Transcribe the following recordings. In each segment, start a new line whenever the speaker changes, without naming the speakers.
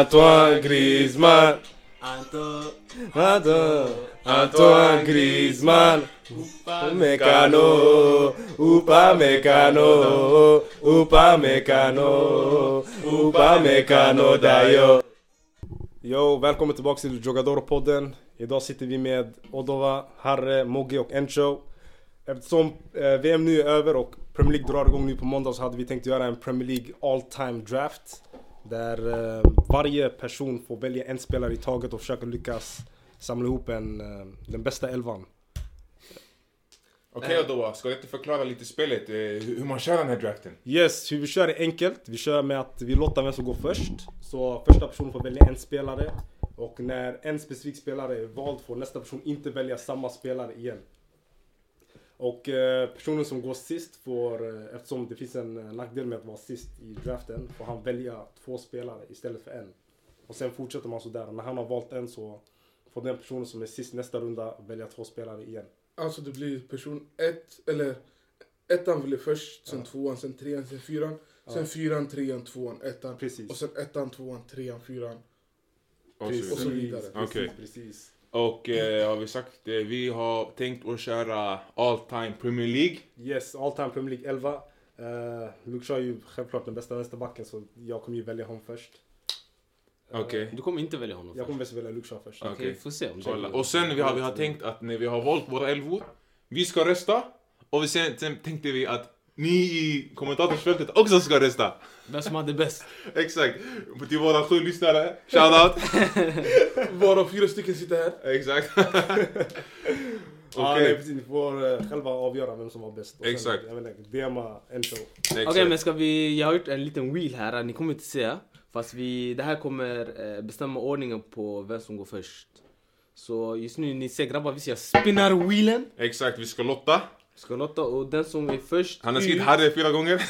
Antoine Griezmann. Antoine, Antoine Griezmann. Upamecano, Upamecano, Upamecano, Upamecano Dayo. Yo, välkommen tillbaka till Jogadoro-podden. Idag sitter vi med Odova, Harre, Mogi och Encho. Eftersom eh, VM nu är över och Premier League drar igång nu på måndag så hade vi tänkt göra en Premier League all time draft. Där eh, varje person får välja en spelare i taget och försöka lyckas samla ihop en, eh, den bästa elvan. Eh.
Okej då, ska du inte förklara lite spelet, eh, hur hur man kör den här draften?
Yes, hur vi kör är enkelt. Vi kör med att vi lottar vem som går först. Så första personen får välja en spelare. Och när en specifik spelare är vald får nästa person inte välja samma spelare igen. Och eh, personen som går sist får, eh, eftersom det finns en eh, nackdel med att vara sist i draften, får han välja två spelare istället för en. Och sen fortsätter man sådär. Och när han har valt en så får den personen som är sist nästa runda välja två spelare igen.
Alltså det blir person ett, eller ettan blir först, sen tvåan, sen trean, sen fyran. Sen fyran, trean, tvåan, ettan.
Precis.
Och sen ettan, tvåan, trean, fyran.
Och så
Och så
vidare.
vidare.
Precis,
Okej.
precis.
Och eh, har vi sagt, eh, vi har tänkt att köra all time Premier League.
Yes, all time Premier League 11. Uh, Luke Shaw är ju självklart den bästa vänsterbacken så jag kommer ju välja honom först.
Okej.
Du kommer inte välja honom
Jag
först.
kommer mest välja Luke Shaw först.
Ja.
Okej,
Okej.
får se om det
Kolla.
blir-
Och sen vi har, vi har tänkt att när vi har valt våra elvor, vi ska rösta. Och vi sen, sen tänkte vi att ni i kommentatorsfältet också ska rösta.
Vem som hade bäst.
Exakt. Till våra sju lyssnare, shoutout.
Varav fyra stycken sitter här.
Exakt.
Ah,
Okej.
nej, precis, ni får eh, själva avgöra vem som var bäst. Och sen,
Exakt.
Jag vet inte, DMa en show.
Eh,
Exakt.
Okej men ska vi, jag har gjort en liten wheel här, ni kommer inte se. Fast vi, det här kommer eh, bestämma ordningen på vem som går först. Så just nu, ni ser grabbar, visst jag spinnar wheelen.
Exakt, vi ska lotta.
Ska lotta och den som är först
Han har
ut-
skrivit Harry fyra gånger.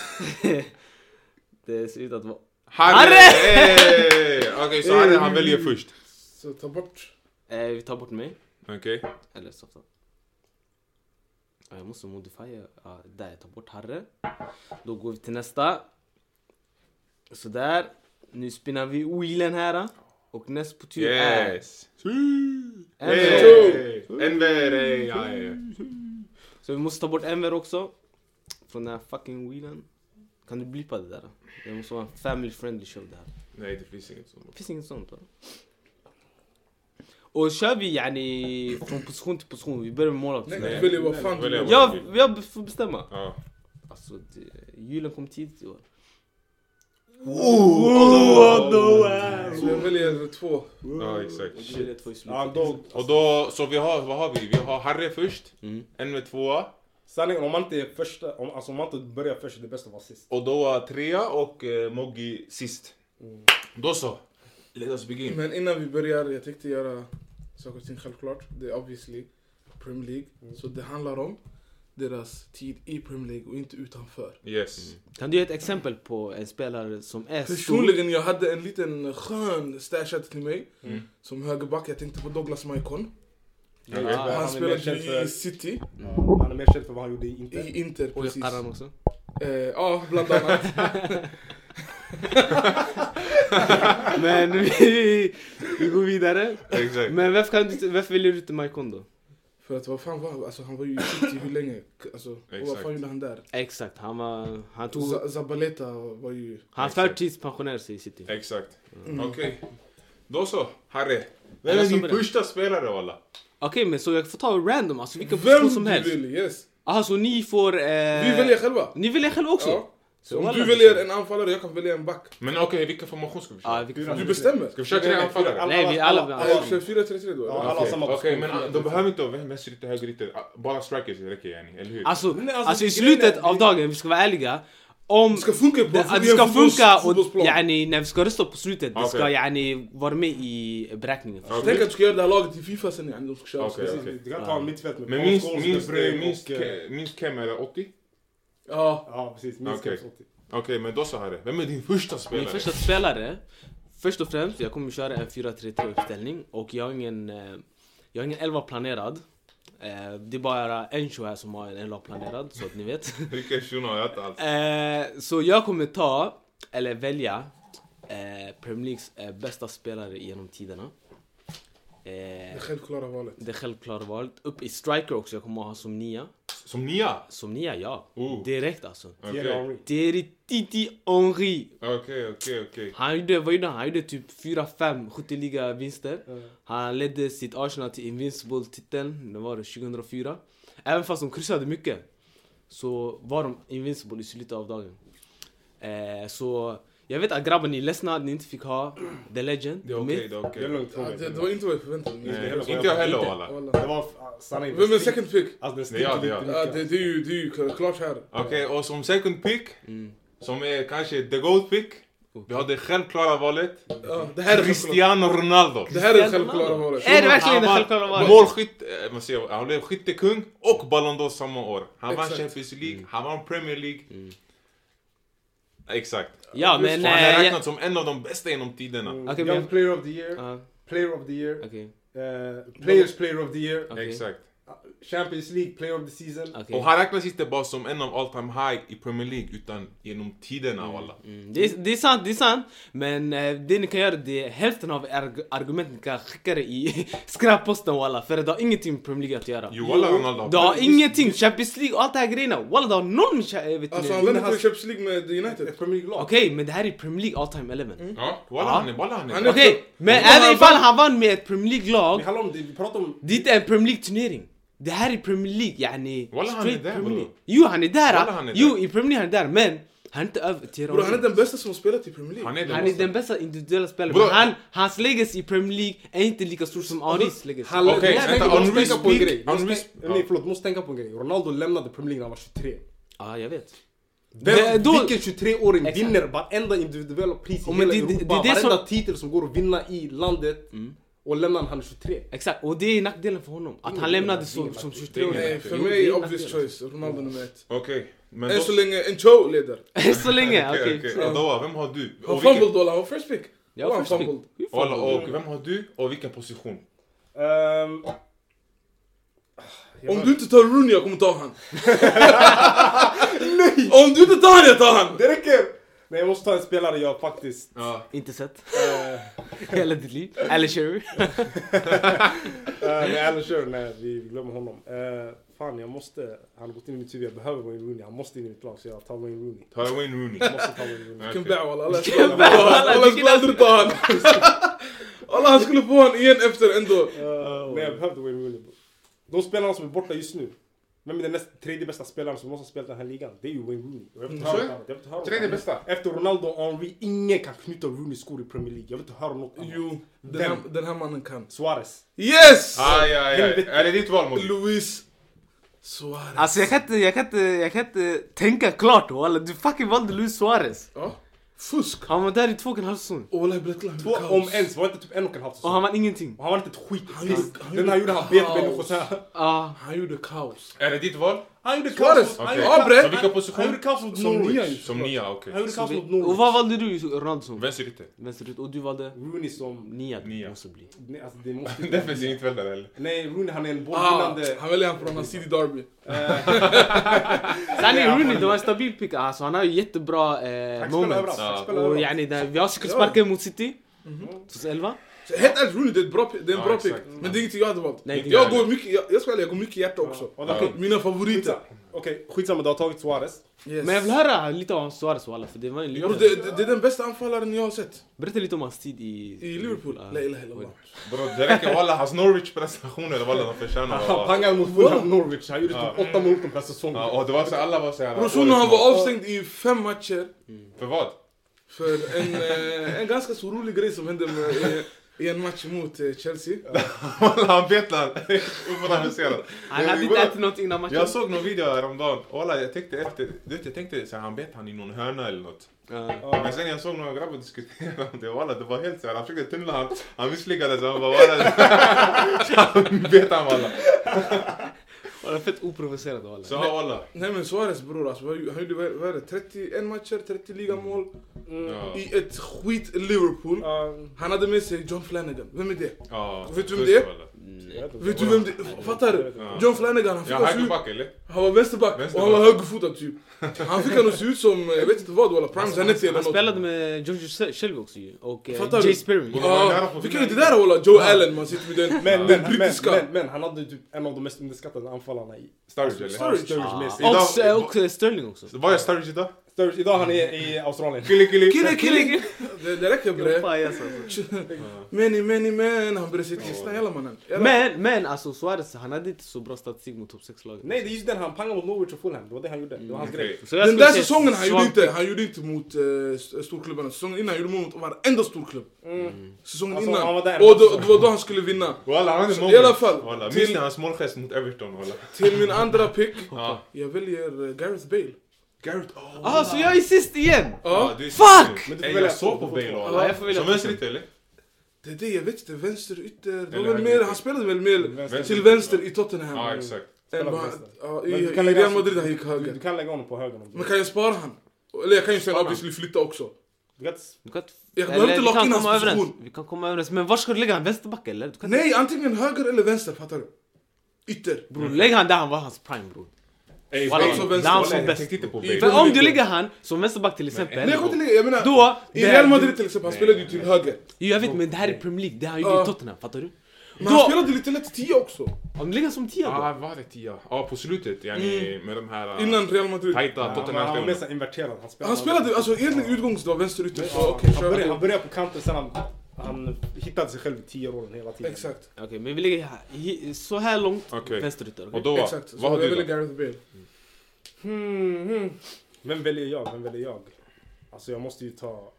Det ser ut att vara...
Harry! Mm.
Harry!
Hey! Okej, så Harry han väljer först.
Så ta bort.
Eh, vi tar bort mig.
Okej.
Eller så. så. Ja, Jag måste modifiera. Ja, där, jag tar bort Harre. Då går vi till nästa. Sådär. Nu spinnar vi wheelen här. Och näst på tur är...
Yes.
Enver.
Hey! Enver! Hey! Ja, ja.
Så vi måste ta bort Enver också. Från den här fucking wheelen. Kan du blipa det där? Det måste vara en family friendly show det här.
Nej, det finns inget sånt.
Det finns inget sånt va? Och kör vi yani från position till position. Vi börjar med
Nej,
målvakten.
Nej.
du väljer vad fan du
Väljer
vill.
vad-
Jag, jag får bestämma.
Ja.
Alltså, det, julen kom tidigt i år.
Så jag väljer två.
Ja, exakt.
Det är två i slutet.
Ja, då,
Och då, så vi har, vad har vi? Vi har Harry först,
Mm.
Enver tvåa.
sanningen, om man inte är första, om, alltså om man inte börjar först, det är bäst att vara sist.
Och då var trea och eh, Moggi sist. Då så. Mm. Let us begin.
Men innan vi börjar, jag tänkte göra saker och ting självklart. Det är obviously Premier League. Så det handlar om deras tid i Premier League och inte utanför.
Yes.
Kan du ge ett exempel på en spelare som är stor?
Personligen, jag hade en liten skön stashad till mig. Som högerback, jag tänkte på Douglas Maikon.
Okej.
Ja.
Han
Han
är mer känd
spelade ju
för-
i City,
Ja, han är mer känd för vad han gjorde i Inter.
i Inter
Och
precis.
Karan också.
Eh, Ja, bland annat.
Men vi, vi går vidare.
Exakt.
Men varför, kan du, varför väljer du inte Maikon då?
För att vad fan var alltså, han var ju i City hur länge? Alltså, och vad
Exakt.
fan gjorde han där?
Exakt, han var... Han tog...
Z- Zabaleta var ju...
Han
Exakt.
förtidspensionerade sig i City.
Exakt.
Mm.
Okej. Då så, Harry. Vem
Alla
är
som
din
börjar.
första spelare walla?
Okej men så jag får ta random alltså, vilken
Vem
position som
du
helst.
vill, yes.
Jaha så ni får... Eh...
Vi väljer själva.
Ni väljer själva också?
Ja.
Så
Om
alla
du
vi-
väljer en anfallare, jag kan välja en back.
Men okej, vilken formation ska vi köra?
Ja, vilken
Du
Du
fan.
bestämmer.
Ska vi köra tre anfallare?
Nej, vi alla-
Ja, jag kör 4-3-3 då.
Ja, alla
eller?
har
Okej,
samma
Okej,
position.
men ah, de behöver inte vara vänsterytter, högerytter. Ah, Bara strikers räcker yani, eller hur?
Alltså,
Nej,
alltså,
alltså,
i
grejen är-
slutet av dagen, vi ska vara ärliga. Om...
Det ska funka på
Det, att det ska
fotbolls-
funka och
fotbollsplan.
yani, när vi ska rösta på slutet, det ska
Okej.
yani, vara med i beräkningen. förstår
Okej.
Tänk att du ska göra det här laget i Fifa sen, yani, de ska köra.
Okej.
Precis, Du kan ta en mittfält med
Men
Paul
minst,
Scholes,
minst,
Steg och,
minst,
eh,
ke- minst Kem är 80?
Ja,
Ja, precis. Minst
Okej.
Kems 80.
Okej, men då så Harry. Vem är din första
du? Min
spelare?
första spelare, först och främst, jag kommer köra en 4-3-3 uppställning och jag har ingen, eh, jag har ingen elva planerad. Eh, Det är bara Encho här som har en elva planerad, så att ni vet. Äh.
Vilken shuno, jag vet inte alls.
Eh, Så jag kommer ta, eller välja, eh, eh, Premier Leagues eh, bästa spelare genom tiderna.
Det
Eh,
självklara valet.
det självklara valet. Upp i striker också, jag kommer ha som nia.
Som nia?
Som nia, ja.
Oh.
Direkt alltså.
Okej,
Thierry Henry.
Thierry Titi Henry.
okej, okej, okej.
Han gjorde, vad gjorde han? Han gjorde typ 4-5 skytteliga vinster.
Mm.
Han ledde sitt Arsenal till Invincible-titeln, det var det 2004. Även fast de kryssade mycket så var de Invincible i slutet av dagen. Eh, så jag vet att grabbar ni är ledsna att ni inte fick ha The Legend.
Det är
Myth.
okej, det är
Det är
okej.
lugnt.
Ja,
Robert.
det, det var inte vad jag förväntade mig.
Nej.
Eh, Inte jag heller walla.
Walla.
Det var ah, sanna
Vem är
investering.
second pick?
Alltså den
Det är jag, det
sticker
är jag.
lite
Ja, det,
mycket.
det, är ju, det är ju klart här.
Okej, och som second pick,
Mm.
som är kanske the gold pick. Vi har det självklara valet.
Ja, det här är självklara-
Cristiano Ronaldo.
det här är det självklara valet.
Är det verkligen det
Han
självklara
var
valet?
målskytt, eh, man säger, han blev skyttekung och Ballon d'Or samma år. Han vann
Exakt.
Champions League, han vann Premier League. Exakt.
Ja men...
Och han är
Eh, ja, Mm.
räknad som en av de bästa genom tiderna.
Okej,
Young
men-
player of the year,
Ja,
player of the year,
okej.
eh, players player of the year,
Okej.
Exakt.
Champions League player of the season.
Okej.
Och han räknas inte bara som en av all time high i Premier League utan genom tiderna walla.
Mm, det, är, det är sant, det är sant. Men eh, det ni kan göra det är hälften av arg- argumenten ni kan skicka det i skräpposten walla. För det har ingenting med Premier League att göra.
Jo walla Ronaldo
Det har
har
ingenting, Champions League och allt det här grejerna. Walla det har noll med... Cha- eh, Vet
Alltså
ni-
han lämnade Champions League med United.
Ett Premier League-lag.
Okej, men det här är Premier League all time 11.
Ja, walla
Ja.
han är, walla han
Han
är.
är-
Okej, men
Men
även
han
ifall
vann-
han vann med ett Premier League-lag,
Men hallå, om det- vi pratar om...
det är inte en e Premier League-turnering. Det här är Premier League, yani...
Walla, han är
straight
där,
Premier
bror.
League. Jo, han är där!
Walla,
ah.
han är
jo,
där.
i Premier League han är där, men han är inte över till
Bro, han är den bästa som har spelat i Premier League.
Han är
Han är den bästa individuella spelaren,
Bror.
men han, hans legacy i Premier League är inte lika stor som Aris legacy.
Hallå,
Okej,
måste
vänta,
tänka-
on
måste tänka på en
risk-
grej.
on
Måste
risk-
tänka- Nej förlåt, måste tänka på en grej. Ronaldo lämnade Premier League när han var 23.
Ja, jag vet.
Vem,
Men då-
vilken 23-åring
Exakt.
vinner varenda individuella pris i
Och men
hela
det- det-
Europa?
det är det som- Mm.
varenda titel som går att vinna i landet och lämnar han Ehm, 23.
Exakt, och det är nackdelen för honom. Att
Ingen
han lämnade
nackdel,
som,
ingen
som
nackdel.
23
Nej,
åring
för
Jo,
mig
det är
är obvious
nackdelen.
choice. Ronaldo nummer ett.
Okej, men
Än
då...
så länge Encho leder.
Så länge,
Okej,
okej.
okej. Adoa, vem har du?
Han
Och vilken-
fumbled walla, han var first pick.
Ja,
Walla, han
first pick.
fumbled.
Walla, och vem har du och vilken position?
Ehm,
Om du inte tar Rooney, jag kommer ta han. Nej! Om du inte tar han, jag tar han!
det räcker! Nej jag måste ta en spelare jag faktiskt...
Ja,
Inte sett.
eh,
Hela ditt liv. Eller Sherry.
Eh, nej, Alan Shearer, nej vi glömmer honom. Eh, fan, jag måste... Han har gått in i mitt huvud, jag behöver Wayne Rooney. Han måste in i mitt lag, så jag tar Wayne Rooney.
ta Wayne Rooney.
Jag måste ta Wayne Rooney.
Okej.
Vilken bär walla, alla
Vilken bär, walla,
alla
vilken
skulle aldrig ta han. Alla han skulle få han igen efter ändå. Oh.
Eh, nej, jag behövde Wayne Rooney. bro. De spelarna som är borta just nu. Vem är den näst, tredje bästa spelaren som någonsin spelat i den här ligan? Det är ju Wayne Rooney. Och Jag vill inte höra
Mm,
något annat. Jag vill inte höra något
Tredje
annat.
bästa.
Efter Ronaldo och Henry, ingen kan knyta Rooney skor i Premier League. Jag vill inte höra något annat.
Jo, den här,
Vem?
den här mannen kan.
Suarez.
Yes!
Aj, aj, aj.
Helvete.
Är det ditt val, Molly?
Luis Suarez.
Alltså jag kan inte, jag kan inte, jag kan inte tänka klart walla. Du fucking valde Luis Suarez.
Ja. Fusk.
Han var där i två och en halv säsong.
Och walla, jag blev glad.
Två, om ens, var inte typ en och en halv
Och
säsong.
han vann ingenting.
Och Han var inte ett skit.
Han
piss.
gjorde- han
Den här
gjorde
gjorde han bet
kaos.
människor såhär.
Ah.
Han gjorde kaos.
Är det ditt val?
Han gjorde kaos.
Suarez!
Han
Okej.
gjorde
Ja,
kaos-
bre.
Så vilka
han
positioner?
gjorde kaos mot
Som nia
Norwich.
ju.
Som nia, okej.
Han gjorde kaos mot
Och
Norwich.
vad valde du Ronaldo som?
Vänsterytter.
Vänsterut. Och du valde?
Rooney som...
Nia.
Nia.
Måste bli.
Nej, alltså det måste
Defensivt mittfältare, eller?
Nej, Rooney han är en
Ah,
bollvinnande...
han väljer han från Nasidi Derby.
Sanni Rooney, det var en stabil pick. Alltså han har ju jättebra eh,
Han spelar
moments.
överallt. Han
Ja.
spelar
Och
överallt.
yani, där, vi har cykelsparken mot City. 2011.
Så Helt ärligt, Rooney det är ett bra, det är en
Ja,
bra
exakt.
pick. Men det är ingenting jag hade valt.
Nej, det är
jag,
inte.
går mycket, jag, jag ska ärlig, jag går mycket hjärta också.
Ja, okej.
Mina favoriter.
Skitsamma. Okej, skitsamma. Du har tagit Suarez.
Yes.
Men jag vill höra lite om Suarez walla, för det var en
Bro,
liten...
det, det, det är den bästa anfallaren jag har sett
Berätta lite om hans tid i...
i Liverpool.
Ja.
La ilaha illallah.
Bro, det räcker. Walla, hans Norwich-prestationer, walla, de förtjänar att
Han
vara-
pangade mot Fulham Norwich. Han gjorde typ åtta mål per säsong.
Ja, och det var så alla var så här...
Bro, Shuno han var avstängd i fem matcher
För vad?
för en, eh, en ganska så rolig grej som hände med, i, i en match mot eh, Chelsea.
Walla, han betlade. Oanalyserat.
Han hade inte ätit något innan matchen.
Jag såg någon video häromdagen. Walla, jag tänkte efter... Du vet, jag tänkte så här, han bet han i någon hörna eller något.
Ja.
Men sen jag såg några grabbar diskutera om det, walla det var helt såhär, han försökte tunnla han, han misslyckades, han bara walla. Så han bet han walla.
Walla, fett oprovocerad walla.
Så ja, alla.
Nej men Suarez bror alltså, vad- han gjorde vad vad är det, 31 matcher, 30 ligamål
Ja.
i ett skit Liverpool.
Ja,
Han hade med sig John Flanagan, vem är det?
Ja.
Vet du vem
Puss,
det är?
alla.
jag vet inte.
Vet du vem det Fattar du?
Ja.
John Flanagan, han fick
Ja,
oss ut.
högerback eller?
Han var vänsterback och han var högerfotad typ. Han fick han att se ut som, eh, jag vet inte vad walla, Prime Zanetti eller
Han
något.
spelade med George Se- Shelby också ju. Och eh,
Fattar du?
Jay Spearman.
Ja. Han var nära
Ja,
på
vilken är det
finalen.
där walla? Joe Allen, man sitter med den.
Men,
Den
men, men,
brittiska.
men, men han hade ju typ en av de mest underskattade anfallarna i
Sturridge eller?
Sturridge.
Sturridge med sig.
Idag-
Och, eh, och eh, Sterling också.
Var är Sturridge idag?
Sturridge, idag han är i Australien.
Kille, kille.
Kille, kille! Det, det räcker bre. Many, many men. Han började sitta i kistan, jalla mannen. Jalla.
Men, men alltså Suarez han hade inte så bra statistik mot topp 6-lagen.
Nej det är just den, han pangade mot Norwich och Fulham. Det var det han gjorde. Det var hans grej.
Okej.
Så jag
Den
skulle
där
säga
säsongen han gjorde
svag-
inte, han gjorde inte mot eh, st- storklubbarna. Säsongen innan han gjorde mål mot varenda storklubb. Säsongen
Alltså,
innan.
han var där.
Och då, det var då han skulle vinna.
Walla, han hade
Så
moments.
i alla fall,
Walla,
till-
minns ni hans målgest mot Everton? Walla.
Till min andra pick.
Ja.
Jag väljer eh, Gareth Bale.
Garrett, åh.
Ah, så jag är sist igen!
Ja,
du är
Fuck!
sist nu.
Men du får
Ey,
välja
jag såg
fot,
på
du får
Bale
fot.
Ja,
och alla.
jag får välja
Som
fot.
vänsterytter eller?
det är det jag vet inte. Vänster ytter. Det var
Eller
väl
höger.
mer, han spelade väl mer
Vänster.
till vänster i
Ja,
Tottenham.
exakt.
Än
Spelade
vad-
vänster.
ja,
Men
I
du alltså-
i
kan lägga-
Real Madrid han gick
Du, du
höger.
kan lägga honom på höger om du
Men
vill.
kan jag spara han? Eller jag kan ju sen
Spara han.
obviously flytta också.
Du kan inte-
Du kan inte-
Jag
Eller,
behöver inte
vi
locka
kan
in
komma
hans
överens.
position.
Vi kan komma överens. Men var ska du lägga han? Vänsterback eller? Du kan inte-
Nej, antingen höger eller vänster, fattar du? Ytter.
Bror, lägg han där han var hans prime bror.
Ey,
Walla,
Bale.
som
Walla,
vänster-
jag
som bäst.
tänkte inte på
I-
Bale.
För om du
Bror.
lägger han som vänsterback till exempel.
Nej, jag kommer inte lägga, jag menar...
Då-
I
det-
Real Madrid till exempel, han spelade ju till höger.
Jo, jag vet men det här är Premier League, det han gjorde
Ja.
i Tottenham, fattar du?
Men han
Då,
spelade lite lätt 10 också.
om du lägger han som tia då?
Ja, ah, var det tia? Ja, på slutet. Yani, med de här... äh,
Innan Real Madrid.
Tajta
Han han var
Tottenham-spelarna.
mest inverterad. Han spelade,
Han spelade, alltså egentligen utgångsdag var vänsterytter. Så
Ja,
okej,
han, började, han
kör.
började på kanten sen han, han hittade sig själv i tio rollen hela tiden.
Exakt.
Okej, men vi lägger här, hi- så här långt
Okej.
vänsterytter. okej?
Och då,
Exakt. Så
vad har
jag
du
väljer
då?
Gareth Bale.
Hmm, hmm. Vem väljer jag? Vem väljer jag? Alltså jag måste ju ta...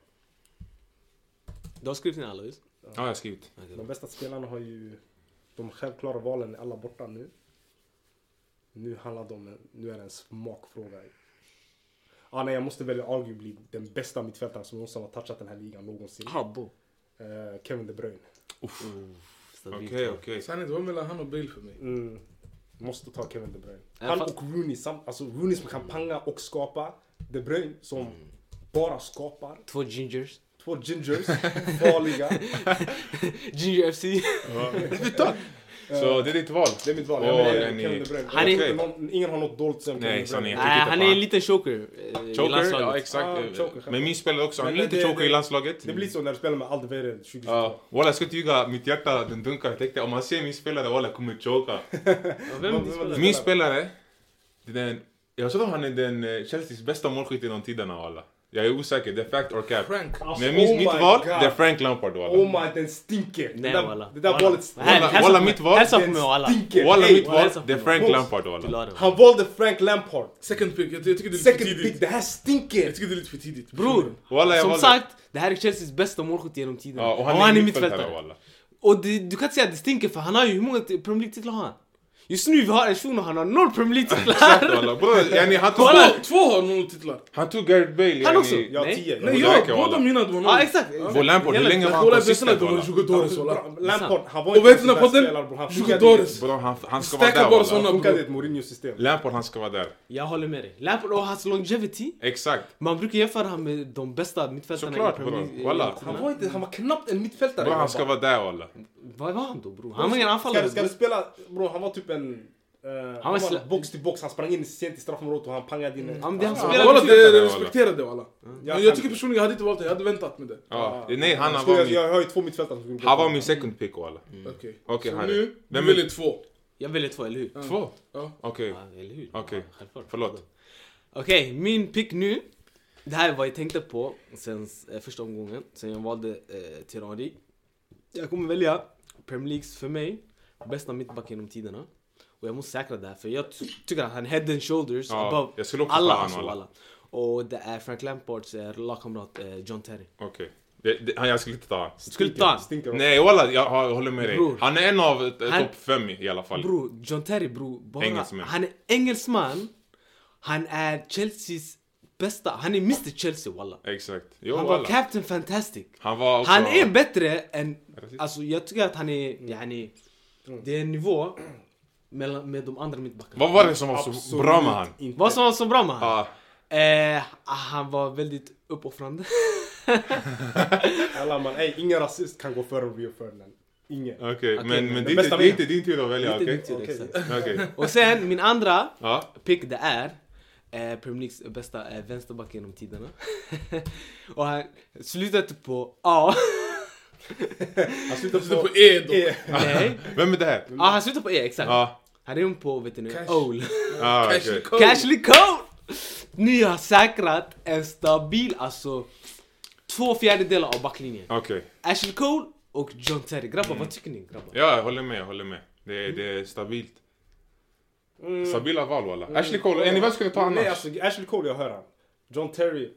Du har skrivit ner alla just?
Ja, jag har skrivit.
De bästa spelarna har ju... De självklara valen är alla borta nu. Nu handlar det om... Nu är det en smakfråga. Ah, nej, jag måste välja arguably den bästa mittfältaren som någonsin har touchat den här ligan någonsin.
Habbo.
Eh, Kevin De Bruyne.
Okej,
Stabilt.
okej.
Sanningen, det var mellan han och Bale för mig.
Mm. Måste ta Kevin De Bruyne.
Ja,
Han
fast-
och Rooney, sam, alltså Rooney som kan panga och skapa. De Bruyne som
Mm.
bara skapar.
Två gingers.
Två gingers, farliga.
Ginger FC.
Så det är ditt val?
Det är mitt val.
Åh,
Jag väljer
den är-
Kevin De Bruyne.
Han är-
Jag tror inte någon, ingen har något dolt sen
Nej,
Kevin De Bruyne.
sanningen.
Nej, han är
fan.
en liten choker. eh, i
Choker?
landslaget.
Ja, exakt.
Ah,
Eh,
choker,
men min spelare också, han
Men
är lite
det-
choker
det-
i landslaget.
Det blir så när du spelar med Aldevere 2022.
Ja, walla jag ska inte ljuga, mitt hjärta den dunkar. Jag tänkte om man ser min spelare, walla kommer choka.
Ja, Vem är din spelare?
Min spelare, det är den, jag tror han är den eh, Chelseas bästa målskytt genom tiderna walla. Jag är osäker, det är fact or cap.
Frank.
Alltså,
Men min,
oh
mitt
my
val,
God.
det är Frank Lampard walla.
Oh my, den stinker!
Nej,
det där,
walla.
det där
Walla.
valet stinker.
Här,
Walla,
hälsa
walla,
på mig.
mitt val.
Hälsa på
Den
mig och alla.
stinker.
Walla
Hey,
mitt val,
hälsa på
det är
mig.
Frank
Boss.
Lampard
Till
walla.
Adam.
Han valde Frank Lampard.
Second pick. Jag tycker det är lite för
Second pick,
tidigt.
det här stinker!
Jag tycker det är lite för tidigt.
Bror,
Walla, jag
som
valde-
sagt, det här är Chelseas bästa målskytt genom tiden.
Ja, och Oh, han är mittfältare walla.
Och det, du kan inte säga att det stinker för han har ju, hur många t- Premier League-titlar har han? Just nu vi har en shuno, han har noll Premier League-titlar!
Exakt walla. Bror, yani, han tog,
Walla.
Två- Två har noll titlar.
han tog Gareth Bale.
Han
yani.
också.
Jag har
Nej.
10.
Nej,
det
jag,
räcker, walla.
båda mina det var noll.
Ja exakt!
Vår Lampard, hur länge var han
Kolla bästarna,
konsistent
de var
walla?
20 dåres walla.
Lampard, han var
Och vet du när
sån där
podden-
spelare, bror. Han funkade inte.
Jugadores.
Bror, han, han ska vara där
Stacka bara
Han
walla.
såna.
funkade i ett Mourinho-system.
Lampard, han ska vara där.
Jag håller med dig. Lampard och hans longevity,
Exakt.
man brukar jämföra han med de bästa mittfältarna
Såklart,
i Premier
bror.
League. eh,
Walla.
titlarna.
Han var, inte, han var knappt en mittfältare.
Bror, han
grabbar.
ska vara där walla.
Vad var han då bror? Han var ingen
ska, du- ska
anfallare.
du spela... Bro, han var typ en... eh, han var
slä-
box till box, han sprang in sent i straffområdet och han pangade in Alltså, en...
Ja, men det Mm, han
Ja,
spelar
Walla,
mittfältare,
det
walla.
respekterade walla. Men jag tycker personligen, jag hade inte valt det. Jag hade väntat med det.
Ja. Nej, han, han
Skulle
var
jag,
min,
jag har ju två mittfältare som skulle gå
han
på.
var min second pick walla.
Okej.
Okej,
Så
Harry.
nu, du
Vem
väljer två.
Jag väljer två, eller hur?
Två?
Ja.
Okej.
Ja, eller hur?
Okej.
Ja, självklart.
Förlåt.
Okej, min pick nu. Det här är vad jag tänkte på sen eh, första omgången, sen jag valde eh, Thierry Henry. Jag kommer välja Premier Leagues, för mig, bästa mittback genom tiderna. Och jag måste säkra det här för jag ty- tycker att han head and shoulders
Ja,
above
jag skulle också
alla,
ta han,
alltså,
alla.
alla. Och det är Frank Lampards eh, lagkamrat eh, John Terry.
Okej. Det- det- han- Jag skulle inte ta han.
Skulle du ta han?
Stinker också.
Nej walla, jag, har- jag håller med dig.
Bror.
Han är en av eh,
Han-
topp fem i alla fall.
Bro, John Terry bro, bara,
Engelsman.
han är engelsman. Han är Chelseas bästa, han är Mr Chelsea walla.
Exakt. Jo,
Han var
walla.
Captain Fantastic.
Han var också...
Han är bättre än... Alltså jag tycker att han är... Yani, det är en nivå mellan, med de andra mittbackarna.
Vad var det som var så bra med han?
Inte.
Vad som var så bra med han?
Ja,
Eh, han var väldigt uppoffrande.
Alla man, ey, ingen rasist kan gå före Rio Ferdinand. Ingen.
okej.
Okej,
men,
men
men
det
det, är
bästa
inte, det är
med-
inte din tur att välja,
Lite
okej?
nyttigt,
Okej.
exakt.
Okej.
Och sen min andra
Ja.
pick det är eh, Premier Leagues bästa eh, vänsterback genom tiderna. och han slutade på A.
Han slutar
Så
på
på E då.
E.
Nej.
Vem är det här?
Ja, han slutade på E, exakt.
Ja.
Han är på, vet ni,
Cash.
Owl.
Ja,
Ashley
okej.
Cole.
Cashley Cole! Ni har säkrat en stabil, alltså två fjärdedelar av backlinjen.
Okej.
Ashley Cole och John Terry. Grabbar, vad tycker ni? Grabbar?
Mm. Ja, jag håller med, jag håller med. Det är, det är stabilt. Stabila val walla. Ashley Cole, en, vem skulle ta annars?
Mm. Nej, alltså Ashley Cole, jag hör han. John Terry,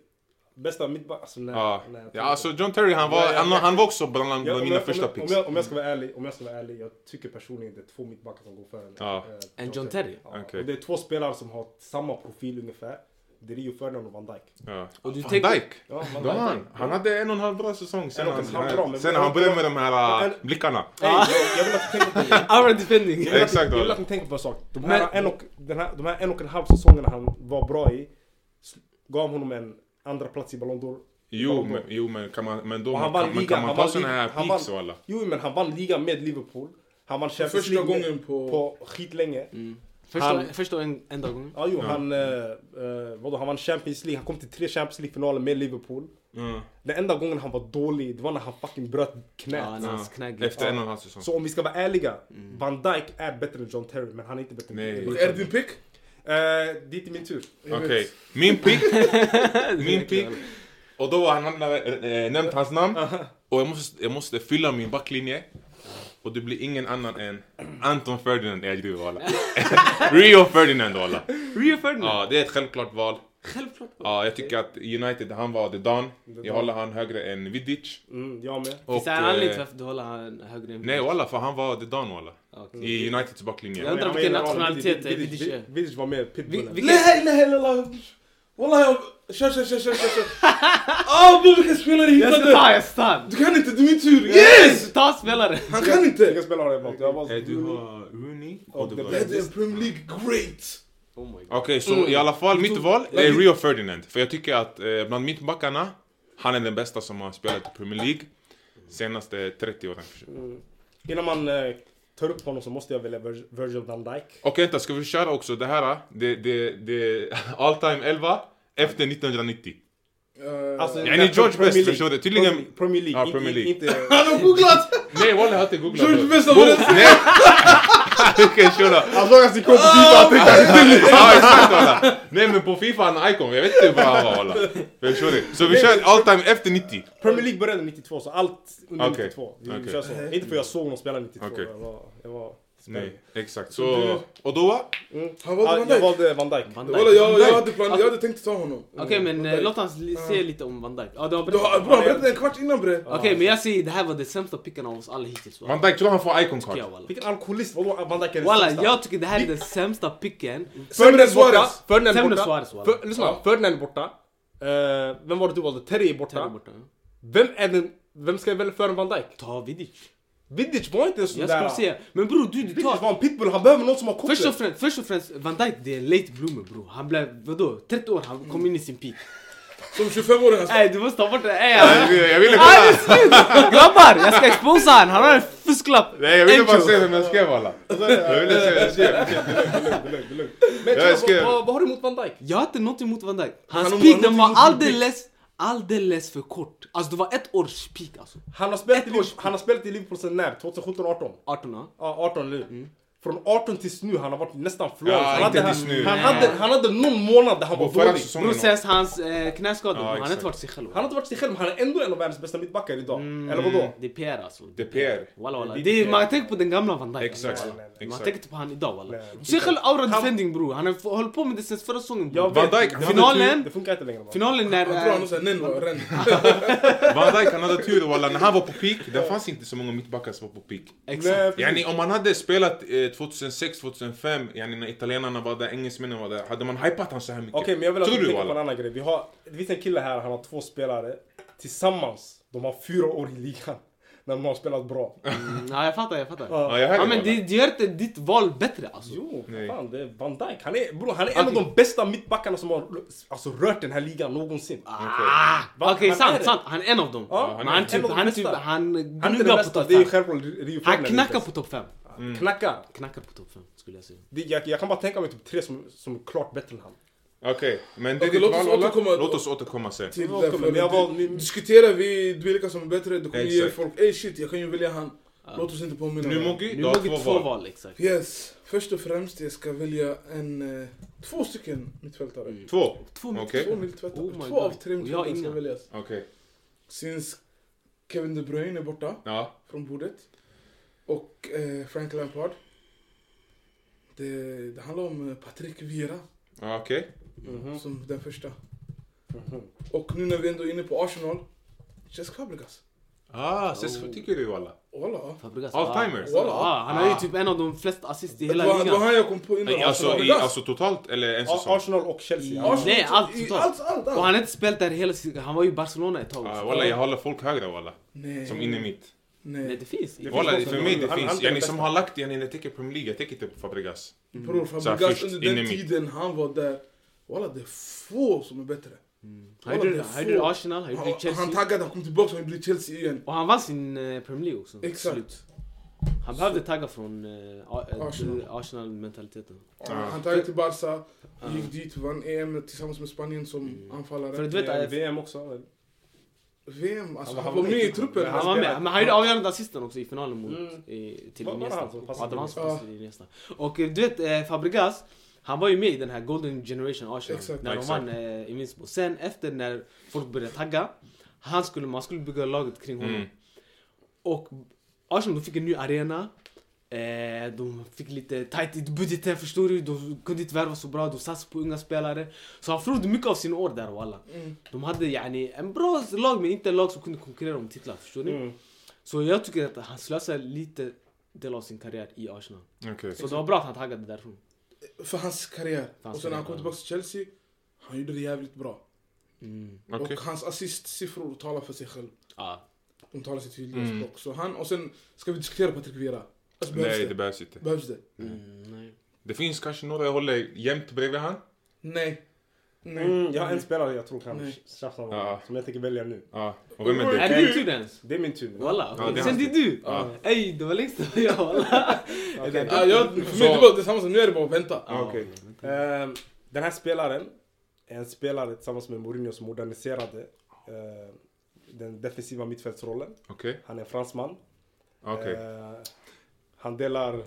bästa mittback. Alltså, nej,
Ja.
nej, jag
ja,
tror
alltså John Terry han var,
Ja, ja.
han, han var också bland,
Ja,
bland
om
mina
jag- om
första
jag-
picks.
Om jag, om jag ska vara ärlig, om jag ska vara ärlig, jag tycker personligen det är två mittbackar som går före.
Ja.
eh,
En John Terry.
Ja,
Okej.
och Det är två spelare som har samma profil ungefär. Det är Rio Ferdinand och Van Dijk.
Ja.
Och du
Van
tänker-
Dijk!
Ja, Van
Då han, han hade en och en halv bra säsong sen
En och en
han,
halv bra, men-
sen han började med de här
Men-
äh, blickarna.
Ey, jag- jag vill att ni tänker på det.
Our
Jag
defending!
vill att ni-
Exakt,
Jag vill
Ola.
att ni tänker på en sak. De här,
Men-
en och, den här, de här en och en halv säsongerna han var bra i sl- gav honom en andra plats i Ballon d'Or.
Jo,
Ballon d'Or.
men, jo men kan man, men då
Och han vann
man, kan, man,
ligan,
kan man
han
ta
vann
såna
ligan,
här
han
peaks
vann-
walla?
Jo, men han vann ligan med Liverpool. Han vann Champions
Första
League med-
gången på-
på skitlänge.
Mm. Första,
Han-
första och en, enda gången.
Ja, jo, han, eh, eh, vadå, han vann Champions League, han kom till tre Champions League-finaler med Liverpool.
Mm.
Den enda gången han var dålig, det var när han fucking bröt knät.
Ja, Mm. när
Ja.
han knägg.
Efter en och en halv säsong.
Så om vi ska vara ärliga, Van Dijk är bättre än John Terry, men han är inte bättre
Nej.
än
Är det din pick?
Eh, det är inte min tur.
Jag
Okej,
vet.
min pick. min pick. Och då har han nämnt- eh, nämnt hans namn. Och jag måste, jag måste fylla min backlinje. Och det blir ingen annan än Anton Ferdinand Edgry walla. Rio Ferdinand walla.
Rio Ferdinand!
Ja, det är ett självklart val.
Självklart!
Ja, jag tycker att United, han var the Don. Jag håller han högre än Vidic.
Mm, jag med.
Och,
Finns det en anledning
eh,
till varför du håller han högre än
Nej walla, för han var the Don walla.
Okej.
Mm.
I Uniteds backlinje.
Jag undrar
Han var
vilken
general.
nationalitet
Vidic-
Vidic är.
Vidic- Vidic var med,
Vi-
Pitbullen.
vi-
Nej, nej, nej, nej. Wallah, jag... Kör, kör, kör, kör, kör, kör. Ah, bror, vilken spelare
Jag ska
hittade!
ta en stan!
Du kan inte, det är min tur! Yes!
Ta spelare!
Han kan inte!
Vilka spelare har jag valt? Jag har valt
Eh, Du har Rooney och
Och
the
the
Don.
Det är en Premier League great!
Oh my god.
Okej, så i alla fall mitt val är Rio Ferdinand. För jag tycker att eh, bland mittbackarna, han är den bästa som har spelat i Premier League senaste 30 åren. Okej,
Innan man eh, tar upp honom så måste jag välja Vir- Virgil van Dijk.
vänta, ska vi köra också det här? Det, det, det all time 11 efter 1990.
Eh,
Alltså,
Ja, ni
nej,
George
Premier
Best,
League.
förstår du? Tydligen-
Premier- Premier League.
Ja,
inte-
Premier League.
Inte,
Han har googlat!
Nej, Walle har inte Alltså, googlat.
George Best har
Bo-
varit-
Nej! Okej, köra.
Han såg att sin kompis hittade
Ja, exakt walla. Nej, men på Fifa han är icon. Jag vet inte hur bra han var walla. Förstår du? Så vi kör all time efter 90.
Premier League började 92, så allt under
Okej.
92. Vi
Okej.
kör så. Inte för jag såg någon spela 92.
Okej.
Jag var... Jag var
Nej, exakt. Så, och då?
Mm.
Han
Ja,
valde Van Dijk.
Jag valde Van Dijk.
Van Dijk.
Wallah, jag, jag, hade plan, jag hade tänkt ta honom.
Okej men
Van
eh,
Dijk.
låt oss li- se lite om Van Dijk. Ja, du har
Du
berättat.
har, bra, berätta en kvart innan bre.
Okej men jag säger det här var det sämsta picken av oss alla hittills.
Van Dijk, tror han får icon
Tycker
card?
jag, walla.
Vilken alkoholist! Vadå Van Dijk är den
Walla
sämsta?
jag tycker det här är den sämsta picken.
Sämre än
borta,
Suarez.
Ferdinand
Sämre
borta.
Suarez, walla.
För- Lyssna, Ferdinand är borta. Eh, vem var det du valde? Terry är borta.
Ta borta.
Vem är den... Vem ska jag välja före Van Dijk?
Ta Vidic.
Vidic var inte en sån
Jag
där...
skulle säga. Men bror du, du
Vidic
tar...
var en pitbull, han behöver någon som har koppel.
Först och, främst, först och främst, Van Dijk det är en late bloomer bro. Han blev, vadå, 30 år, han kom in i sin peak.
Som 25-åring. alltså.
Ey du måste ta bort det, ey!
Ja, jag
han-
ville- Jag ville
Han är
kolla.
slut! Grabbar, jag ska exposa han, han har en fusklapp!
Nej, jag ville bara
Enkel.
se vem jag skrev alla. Jag ville se vem jag skrev.
Men
Jag
tjena, vad,
skrev-
vad, vad har du emot Van Dijk?
Jag har inte något emot Van Dijk. Hans
Han har
peak
något
den var
emot din
alldeles, alldeles för kort. Alltså det var ett års peak alltså.
Han har spelat, i,
Ett
Liv-
års-
han har spelat i Liverpool sen när? 2017-18?
18 ja.
Ja, 18 nu.
Mm.
Från 18 tills nu, han har varit nästan flawless.
Ja,
han,
inte
hade,
tills nu.
han, hade, han hade någon månad där han
Och
var
förra
dålig.
säsongen
Bror sen hans eh, knäskador,
Ja,
han har
exakt.
inte varit sig själv.
Han har inte varit sig själv, men han är ändå en av världens bästa mittbackar idag.
Mm.
Eller vadå?
Det är PR alltså.
Det är PR.
Walla walla.
Det är
Det är,
PR.
man tänker på den gamla Van Dijk.
Exakt,
alltså, walla. Man
exakt.
tänker inte på han idag walla.
Nej.
Du ser själv Aura
Han-
Defending bror. Han har f- hållit på med det sen förra säsongen
Jag
bror.
vet,
Van Dijk,
det-
han
Finalen,
Det funkar inte längre. va?
finalen
Jag tror han
när... eh,
har såhär nenno, renn.
Van Dijk han hade tur walla, när han var på peak, det fanns inte så många mittbackar som var på peak.
Nej,
Exakt.
precis.
Yani om han hade spelat eh, 2006, 2005, yani när italienarna var där, engelsmännen var där, hade man hypat han så här mycket?
Okej, men jag vill att
Tror
du
du
tänker på en
walla?
annan grej. Vi har, det finns en kille här, han har två spelare. Tillsammans, de har fyra år i ligan. när de har spelat bra.
Ja, jag fattar, jag fattar.
Ja.
Ja, jag hörde
Ja, men
bara.
det, det gör inte ditt val bättre alltså.
Jo, för
Nej. Alltså-
fan det är Van Dijk. Han är, bro, han är en av
Okej.
de bästa mittbackarna som har alltså, rört den här ligan någonsin.
Ah, Okej,
han är
sant,
det.
sant. Han är en av dem.
Ja,
men
han är
han,
en
typ,
av de
han,
bästa.
typ, han
Han är inte
gnuggar
den
på
bästa,
topp
det är ju
5.
självklart det är ju
Han
Ferdinand
knackar
inte.
på topp 5.
Knackar.
Knackar på topp 5 skulle jag säga.
Det, jag, jag kan bara tänka mig typ tre som, som är klart bättre än han.
Okej, men det är
Okej,
ditt
låt oss
val, Ola.
återkomma-
Låt oss återkomma sen.
Till
Jag
därför,
kommer- jag var- Mm.
du- Diskuterar vi vilka som är bättre, då kommer ge
Exakt.
folk ey shit, jag kan ju välja han. Låt oss inte påminna
Nu
om honom.
Moggi,
Nu
du
har vi
har
två val.
två val.
exakt.
Yes, först och främst jag ska välja en, eh, två stycken mittfältare.
Två?
Två mitt-
Mm. Okej.
Två mittfältare,
Oh my
två av
God.
tre
Och jag
mittfältare
har
ska
inga.
väljas.
Okej.
Syns Kevin De Bruyne är borta
Ja.
från bordet. Och eh, Frank Lampard. Det, det handlar om eh, Patrick Vieira,
Ja, Okej. Mm.
Mhm.
som den första.
Mhm.
Och nu när vi ändå är inne på Arsenal, Cesc Fabregas.
Ah, ses
Oh.
vad tycker du alla?
Walla.
Fabregas.
All-timers?
Walla.
Ah, han har ju typ en av de flesta assist i
Det
hela
var, det var
ligan.
han jag kom på innan.
Nej, Alltså, i,
Fabregas.
alltså totalt eller en
A-
säsong?
Arsenal och Chelsea.
Arsenal,
Nej, allt
i-
totalt.
allt, allt, allt.
Och han har inte spelat där hela sin... Han var ju i Barcelona ett tag
Ah,
också.
Walla, jag håller folk högre walla.
Nej.
Som inne i mitt.
Nej,
Nej.
det finns inget.
finns
Walla,
de som-
för mig det
han- han
finns.
är den
Yani som
bästa.
har lagt yani när jag tänker Premier League, jag tänker inte på Fabregas.
Mm.
Bror,
Så här,
Fabregas
först
under
in i
den
mitt.
tiden han var där. Walla, det är få som är bättre.
Han gjorde det- han gjorde det i Arsenal, han gjorde det i
Han, han
Chelsea.
taggade, han kom tillbaka och han blev Chelsea igen.
Och han vann sin eh, Premier League också. till
Exakt.
slut. Han behövde tagga från eh, A- eh,
Arsenal.
Arsenal-mentaliteten.
Ja, Han taggade till Barca, gick dit, vann EM tillsammans med Spanien som anfallare.
För du vet,
Eh,
eh,
VM
Mm.
också.
VM, alltså
Han
han,
var-
var med i truppen.
Men
Han var med, men han gjorde avgörande assisten också i finalen mot
Mm.
i, till
Var- var det
Iniesta.
han som
Ja,
passade
det var han som
till-
passade till Iniesta. Och eh, du vet eh, Fabregas, han var ju med i den här Golden Generation Arsenal
Exakt.
när de
Exakt.
vann eh, Invincible. Sen efter när folk började tagga, han skulle, man skulle bygga laget kring honom.
Mm.
Och Arsenal de fick en ny arena. Eh, de fick lite tight i budgeten förstår du. De kunde inte värva så bra. De satsade på unga spelare. Så han förlorade mycket av sina år där walla.
Mm.
De hade yani, en bra lag men inte en lag som kunde konkurrera om titlar förstår ni.
Mm.
Så jag tycker att han slösar lite del av sin karriär i Arsenal.
Okej.
Så det var bra att han taggade därifrån.
Alltså, För hans karriär.
hans
och sen när han kom
karriär,
tillbaka till Chelsea, han gjorde det jävligt bra.
Mm.
Okej.
Och hans assistsiffror talar för sig själv.
Ja.
De talar sitt tydliga
Mm.
språk. Så han, och sen ska vi diskutera Patrik Vieira. Alltså, behövs
Nej,
det?
det behövs inte.
Behövs det?
Mm, nej.
Det finns kanske några jag håller jämt bredvid han.
Nej. Nej.
Mm, jag har en spelare jag tror kan
Nej.
tjafsa om.
Ja.
Som jag tänker välja nu.
Ja. Och vem är
Mm.
det?
Är det din tur ens?
Det är min tur. nu.
Walla.
Ja, det är
Sen
hans
det är du.
Ja.
Ey, det var längst det var jag walla.
Okej.
Ja, jag, för mig det var detsamma som nu är det bara att vänta.
Ja, Okej.
Ehm, den här spelaren är en spelare tillsammans med Mourinho som moderniserade eh, den defensiva mittfältsrollen.
Okej.
Han är fransman.
Okej.
Eh, han delar...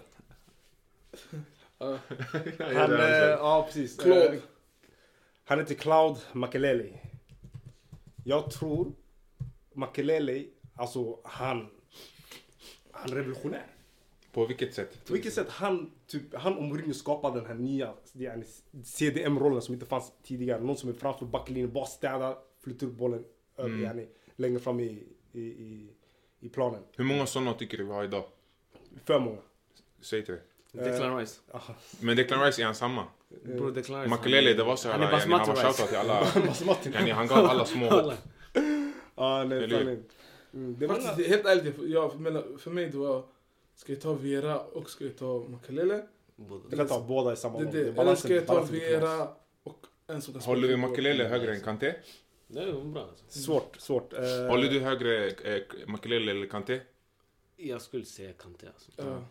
Han,
det
eh,
är sant.
ja, precis.
Claude.
Eh, han heter Cloud Makelele. Jag tror Makelele, alltså han... Han är revolutionär.
På vilket sätt?
På vilket sätt han, typ, han och Mourinho skapade den här nya yani, CDM-rollen som inte fanns tidigare. Någon som är framför backlinjen, bara städar, flyttar upp bollen över, yani, längre fram i, i, i, i planen.
Hur många sådana tycker du vi har idag?
För många.
Säg till dig.
Eh,
Declan Rice.
Aha.
Men Declan Rice är han samma?
eh,
Bro, Declan Rice.
Makelele, det var så här,
Han är
yani, han
basmati
var
Rice.
shoutout till alla.
Massa Martin.
yani, han gav alla små hopp.
Walla.
Ah, nej,
Eller
fan,
hur?
nej. Mm, det
Det
var
var faktiskt, helt ärligt, jag, jag, mellan- för mig det var, ska jag ta Vera och ska jag ta Makalele?
Du kan ta båda i samma
Det,
gång.
det.
är
Eller
balansen-
ska jag ta
balansen lite knas.
Vera och en som kan
Håller du
fotboll?
Makelele högre än Kanté?
Det är bra alltså.
Svårt, svårt. Eh,
Håller du högre eh, Makelele eller Kanté?
Jag skulle säga Kanté alltså.
Ja,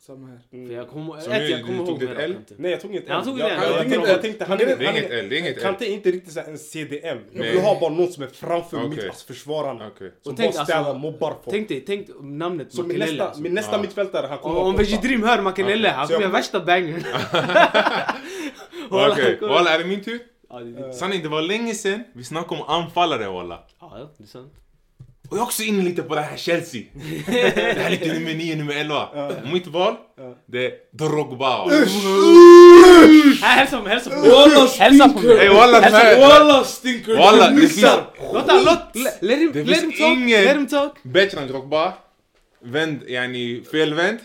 samma här.
För jag kommer,
Så
ett,
nu-
jag
du
kommer
tog
ihåg
ditt L?
mer Kanté.
Nej jag tog inget
Nej, han tog
Jag,
inget
jag,
L.
jag,
Han tog
tänkte, jag tänkte,
inget
L.
han
Det är
Det är inget L, det är inget L.
Kante är inte riktigt så här en CDM. Jag
Nej.
vill ha bara någon som är framför
Okej.
mitt, alltså försvararna.
Okej.
Som
Och tänk,
bara städar,
alltså,
mobbar folk.
Tänk dig, tänk namnet
Så min nästa,
Makelele alltså.
min nästa
Ja.
mittfältare, han kommer
Om, om
vara
Veggie
borta.
Dream hör Makelele,
Okej.
han
Så
kommer
jag-
göra värsta bangern. Walla,
Okej,
kolla.
walla är det min tur?
Ja, det- det-
Sanning, det var länge sen vi snackade om anfallare walla.
ja, det är sant.
Och jag är också inne lite på det här Chelsea. det här är lite nummer 9, nummer 11. Mitt val, det är Drogba.
Här, hälsa på mig, hälsa på mig. Hälsa på mig.
Ey Alltså, walla, den här-
Alltså, Walla stinker!
Walla,
du
det finns
missar!
Låt han, låt, let- let him,
Det
let him
finns
talk,
ingen-
let him talk.
bättre än Drogba. Vänd, yani felvänd.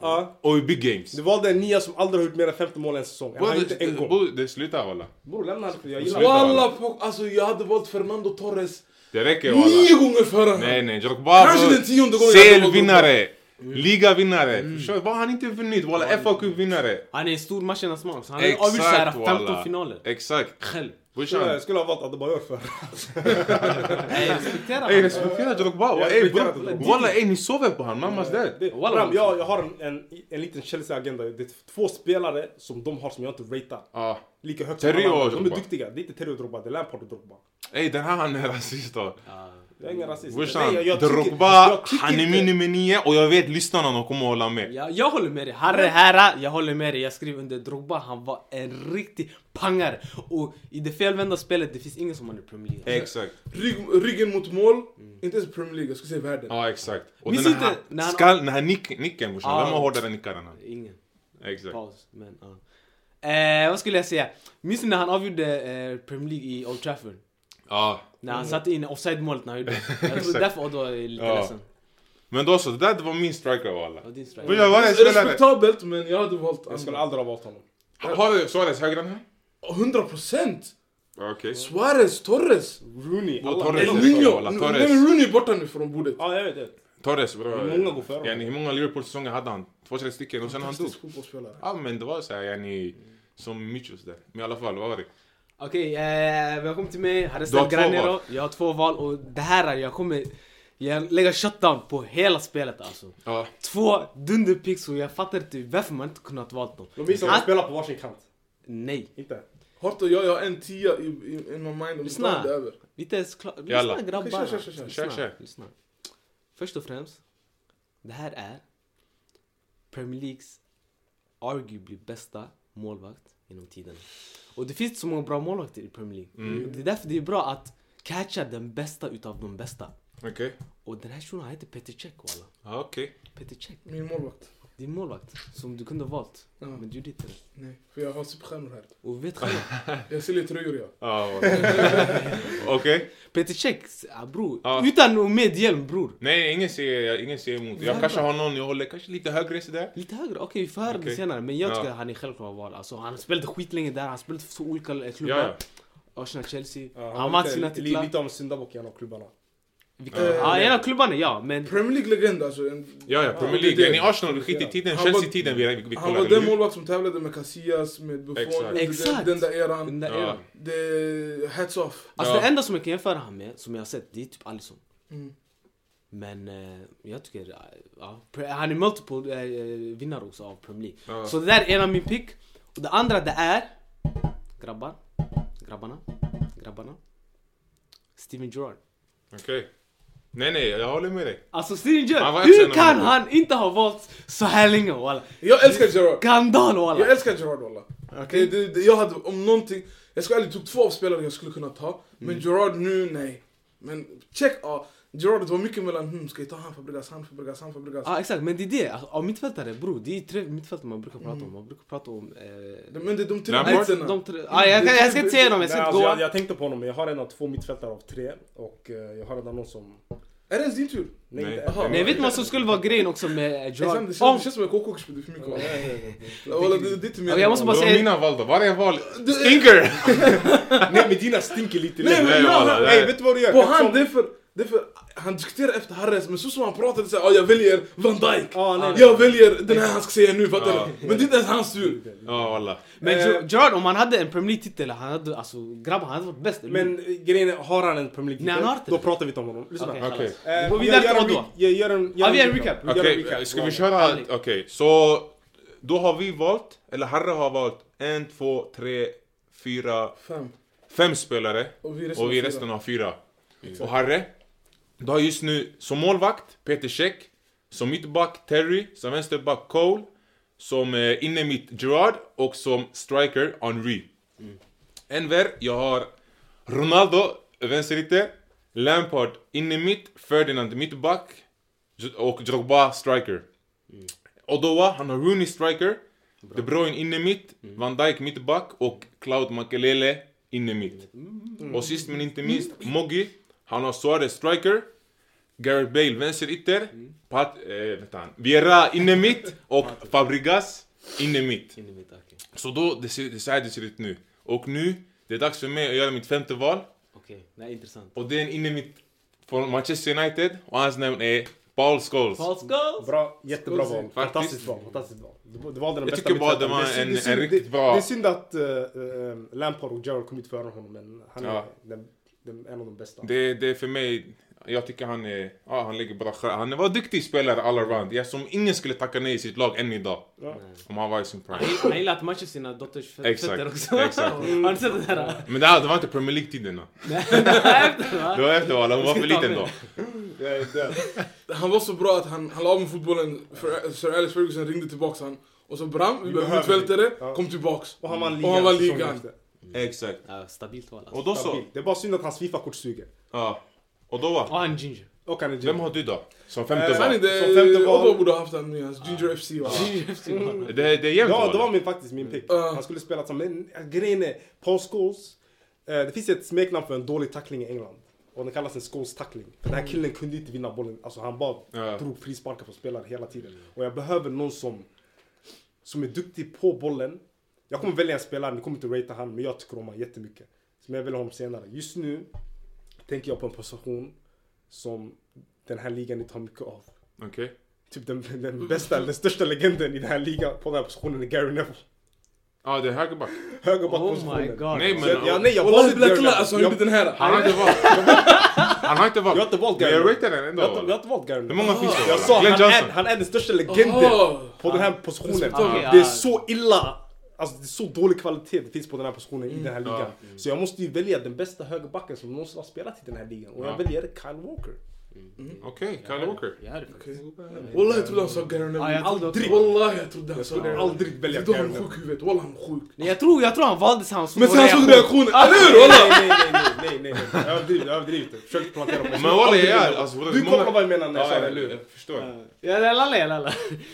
Ja.
Och i big games.
Du valde en nia som aldrig har gjort mer än 50 mål en säsong. Han
Bro,
har gjort
det,
det en
det,
gång.
bro, det slutar walla.
Bror lämna det, jag gillar
gillar det.
det.
Walla, fuck, alltså jag hade valt Fernando Torres.
Det räcker
Nio
walla.
gånger före han.
Nej nej, Jorg
Kanske den tionde gången jag kommer
CL-vinnare! Mm. Liga-vinnare! Förstår du? Vad har han inte vunnit? Walla, FA Cup-vinnare!
Han är en stor matchernas man. så Han har avgjort såhär
Exakt
15
walla!
finaler.
Exakt!
Själv.
Skulle,
Brorsan!
jag skulle ha valt Adebayor för.
Nej, respektera
Ey
honom.
respektera Jorg Baba!
Jag
Ey
respekterar
bro-
honom.
walla ey ni sover på han, mammas död!
Det,
Walla,
Bram,
vad-
jag, jag har en, en, en liten Chelsea-agenda. Det är två spelare som de har som jag inte ratear
Ja.
lika högt
Terry
alla
och
andra. De är
Drogba.
duktiga. Det är inte Terry och Drogba, det är Lampard och Drogba.
Ey den här han är rasist då!
Ja.
Jag är ingen rasist.
Mm. Brorsan,
jag,
Drogba, han är
inte-
min nummer nio och jag vet lyssnarna de kommer hålla med.
Ja, jag håller med dig. Harry Herra, jag håller med dig. Jag skrev under Drogba, han var en riktig pangare. Och i det felvända spelet, det finns ingen som han i Premier League.
Exakt.
Rygg, ryggen mot mål. Inte ens Premier League, jag skulle säga världen.
Ja exakt. Och
Minns
den
inte
här,
när
när
han-
skall, den här nick, nicken brorsan,
Ja.
vem har hårdare nickar än han?
Ingen.
Exakt.
Paus. Men, ja. eh, vad skulle jag säga? Minns ni när han avgjorde eh, Premier League i Old Trafford?
Ja.
När han satte in offside-målet när han gjorde. Jag tror
Exakt.
därför Oddo är lite
Ja.
ledsen.
Men då så, det där var min striker walla.
Och din strike.
Brorsan, vad är det
Det är
spelare?
respektabelt men jag hade valt
Jag skulle
andra.
aldrig ha valt honom.
Har du Suarez högre än här?
100%!
Okej.
Suarez, Torres!
Rooney.
Och
alla-
Torres.
El
Torres.
Niño!
Torres.
Nej men Rooney är borta nu från bordet.
Ja, jag vet det.
Torres bra.
Hur många går före?
Yani, hur många Liverpool-säsonger hade han? Två, tre stycken och sen han dog.
Fantastisk fotbollsspelare.
Ja men det var såhär yani, som Mitchos där. Men i alla fall, vad var det?
Okej, eh, välkommen till mig. Här är
Du har
Stel
två
Granero.
val.
Jag har två val och det här, jag kommer jag lägger shutdown på hela spelet alltså.
Ja.
Två dunderpicks och jag fattar inte varför man inte kunnat valt dem.
De visar att de spelar på varsin kant.
Nej.
Inte?
Hart och jag, jag har en tia i, i, in my mind. Om
Lyssna.
snart är över.
Vi är inte ens klara.
Jalla.
Lyssna grabbar.
Kör, kör, kör, kör.
Lyssna,
Kör, kör.
lyssna. Först och främst, det här är Premier Leagues arguably bästa målvakt genom tiden. Och det finns inte så många bra målvakter i Premier League.
Mm.
Och Det är därför det är bra att catcha den bästa utav de bästa.
Okej.
Och den här shunon han heter Petr Cech walla.
Ja okej.
Petr Cech,
Min målvakt.
din målvakt som du kunde ha valt.
Ja.
Men du gjorde inte det.
Nej, för jag har superstjärnor här.
Och vet själv,
Jag säljer tröjor jag.
Ja, walla. Okej.
Petr Cech, ah, bror.
Ja.
Utan och med hjälm bror.
Nej, ingen ser, ingen ser emot. Jag kanske har någon jag håller kanske lite högre sådär.
Lite högre, okej vi får höra det
Okej.
senare. Men jag
Ja.
tycker att han är självklar val. Alltså, han spelade skitlänge där, han spelade för så olika eh, klubbar.
Ja,
Arsenal, Chelsea.
Ja,
han vann
lite-
sina
li-
titlar.
Lite av en syndabock i en av klubbarna.
Vilka-
Eh,
ja, en av klubbarna ja, men...
Premier League-legend alltså. En,
ja, ja Premier
det är det.
League. Ni Arsenal, skit i tiden.
Han var-
Chelsea-tiden vi, vi, vi
han
kollar.
var den
eller hur?
målvakt som tävlade med Casillas, med Buffon.
Exakt.
under Den,
Exakt.
den där eran.
Den där
Ja.
eran.
Det är hats off.
Alltså
Ja.
det enda som jag kan jämföra han med, som jag har sett, det är typ Alisson.
Mm.
Men eh, jag tycker, eh, ja, pre- han är multiple eh, vinnare också av Premier League.
Ja.
Så det där är en av min pick. Och det andra det är, grabbar, grabbarna, grabbarna. Steven Gerrard.
Okej. Nej, nej, jag håller med dig.
Alltså Steven
Han var
Gerrard,
ensam
hur
när
kan
man-
han inte ha valt så här länge walla?
Jag älskar Gerard.
Skandal
Jag
walla!
älskar Gerard walla. Det, det, det, jag hade om någonting, jag ska ärligt tog två av spelare jag skulle kunna ta.
Mm.
Men Gerard nu, nej. Men check, ja. Gerard det var mycket mellan, hmm, ska jag ta han Fabregas, han Fabregas, han Fabregas.
Ja exakt, men det är det. Alltså, av mittfältare bror, det är tre mittfältare man brukar prata om. Man brukar prata om... Eh,
Men det är de tre
Lampard?
nej,
bytena.
de tre, ah, jag, kan, jag ska inte säga dem, jag
Nej,
ska inte
alltså,
gå.
jag, jag tänkte på honom, men jag har en av två mittfältare av tre. Och eh, jag har redan någon som...
Är det ens din tur?
Nej,
Nej.
inte
Aha.
en.
Nej vet ni vad som skulle vara grejen också med eh,
Det känns-
Gerard?
det känns-
Om,
det känns som jag kokokar för mycket. va?
Nej, nej, nej, nej.
Walla, det det är inte
Ja, jag måste
Det
bara-
meningen.
var
säger-
mina val då. Varje val. Stinker!
Nej, men dina stinker lite
Nej, men
längre.
jag-
walla, det
Nej,
här-
vet du vad du gör?
På han, det är för... Det är för han diskuterar efter Harris, men så som han pratade såhär, jag väljer Van Dijk.
Ja, nej, nej.
Jag väljer den här han ska säga nu,
Ah.
fattar du? Men det är inte ens hans tur.
Ja, walla.
men
eh,
Ger- Gerard om han hade en Premier League-titel, han hade alltså grabbar, han hade varit bäst. eller hur?
Men eh, grejen är, har han en Premier
Nej, han har
League-titel,
inte
då
det.
pratar vi inte om honom. Lyssna.
Okej,
Eh,
Okej.
kallas.
jag
Vi går vidare
gör
till
en
Oddo.
re- Jag gör en... gör
Ja, vi gör en recap.
Jag gör en
Okej,
recap.
ska vi
Walla.
köra?
Aldrig.
Okej, så då har vi valt, eller Harry har valt, en, två, tre, fyra,
Fem.
fem spelare.
Och vi resten
Och vi
har fyra.
resten har fyra. Och Harry, du har just nu som målvakt Peter Cech, som mittback Terry, som vänsterback Cole, som eh, innermitt Gerard och som striker Henry. Enver, jag har Ronaldo, vänsterytter, Lampard innermitt, Ferdinand mittback J- och Drogba striker. Odoa, han har Rooney striker, De Bruyne innermitt, Van Dijk mittback och Cloud Makelele innermitt. Och sist men inte minst, Moggi. Han har Suarez striker. Gareth Bale vänsterytter. Pat... Eh, vänta. han. Vieira inne mitt och Fabregas inne mitt.
In i mitt, okej.
Så då, det ser, det, så här det ser ut nu. Och nu, det är dags för mig att göra mitt femte val.
Okej, det är intressant.
Och det är en inne mitt från Manchester United och hans namn är Paul Scholes.
Paul Scholes!
Bra, jättebra
Skål,
val.
Zeke.
Fantastiskt
Faktiskt.
val. Fantastiskt val. Du, du valde den
Jag
bästa
tycker bara det
mittfältaren.
var
är synd-
en-
det är synd-
en riktigt
det-
bra-
Det är synd att eh, eh, Lampard och Gerrard kom ut före honom, men han är
Ja.
den, den, en av de bästa.
Det, det är för mig, jag tycker han är, ja han ligger bra skär. Han var duktig spelare all around. Jag som ingen skulle tacka nej i sitt lag än idag.
Ja.
Mm.
Om han var i sin prime.
Han gill- Han gillar att matcha sina dotters fö-
Exakt,
fötter också.
exakt.
Har ni sett det där?
Men det, här, det var inte Premier League-tiderna.
Efter, va?
Det var efter alla, hon var för liten då.
Jag är död.
Han var så bra att han, han la av med fotbollen. För, eh, Sir Alex Ferguson ringde tillbaks han. Och så Bram, vi behöver
behöver
mittfältare,
dig. Ja.
kom tillbaks.
Och han vann ligan.
Och han vann
säsongen
ligan.
efter.
Exakt.
Ja, stabilt val alltså.
Och då så.
Stabilt. Det är bara synd att hans Fifa-kort suger.
Ja. Och då va?
Och han är ginger.
Och han är ginger.
Vem har du då? Som
Eh,
femte
Han
val?
är
Så femte
det...
val.
Obba borde ha haft han nu, hans
Ah.
Ginger FC va?
Oh
Det, det är jämnt
Mm. Ja, det var
val.
min, faktiskt min pick.
Mm.
Han skulle spela som... Men eh, grejen är, Paul Scholes. eh, Det finns ett smeknamn för en dålig tackling i England. Och den kallas en Scholes tackling. För
Mm.
den här killen kunde inte vinna bollen. Alltså han bara
Ja.
drog frisparkar på spelare hela tiden. Och jag behöver någon som, som är duktig på bollen. Jag kommer välja en spelare, ni kommer inte ratea han, men jag tycker om honom jättemycket. Som jag väljer honom senare. Just nu tänker jag på en position som den här ligan inte har mycket av.
Okej.
Typ den, den bästa, den största legenden i den här ligan på den här positionen är Gary Neville.
Ja, det är högerback.
Oh my
Högerbackpositionen.
god.
Nej
Så jag,
men...
jag, nej, jag valde
Wallahi
inte Gary
Oh, Black
Neville.
Lives, alltså han
Jag-
gjorde den här.
Han har inte valt. Han har inte valt.
Jag har inte valt
Men
Gary
jag
Neville.
ratear den ändå.
Jag har inte- jag har inte valt Gary
Hur
Neville.
många finns det?
Jag sa,
Glenn
han
Johnson.
är, han är den största
Ah.
legenden.
Aha.
på den här positionen.
Okej,
det är
ja.
så illa. Alltså det är så dålig kvalitet det finns på den här positionen i den här ligan. Så jag måste ju välja den bästa högerbacken som någonsin har spelat i den här ligan. Och jag
Ja.
väljer Kyle Walker.
Okej, Kyle Walker.
Jag hör det faktiskt.
Wallah jag trodde han sa Gary
Ja,
Neville.
jag trodde också.
Aldrig! Wallah jag trodde han
Jag
sa Gary
skulle
Neville.
aldrig välja
Då
Gary
har han
Neville.
sjuk huvud, wallah han är sjuk.
Nej, jag tror, jag tror han valde så han såg
Men sen han såg
reaktion.
reaktionen,
Ah.
eller hur?
Nej,
Wallah!
nej, nej, nej, nej, nej, nej. Jag överdriver, jag överdriver inte. Försök plantera mig.
Men walla, jag är... Alltså,
Du kommer vad jag menar när jag
Ja,
sa
eller
det.
hur? Jag förstår.
Ja, la, la, la, la, la.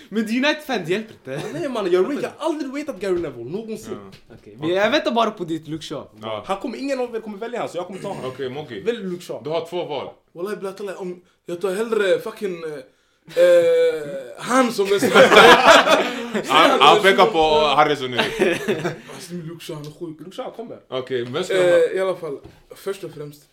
Men United-fan, det hjälper inte.
Nej mannen, jag, rate- jag har aldrig ratat Gary Neville någonsin.
Ja.
Okej, men Jag väntar bara på ditt look show.
Ja.
Han kommer, ingen av er kommer välja han så jag kommer ta honom.
Okej, Moggi.
Välj Luke Shaw.
Du har två val.
Wallahi Black Lives, om jag tar hellre fucking... eh, eh, han som är snabb.
Han han pekar på Harrison nu.
Alltså min Luke Shaw, han är sjuk.
Luke Shaw kommer.
Okej, vem ska man...
Eh, I alla fall, först och främst.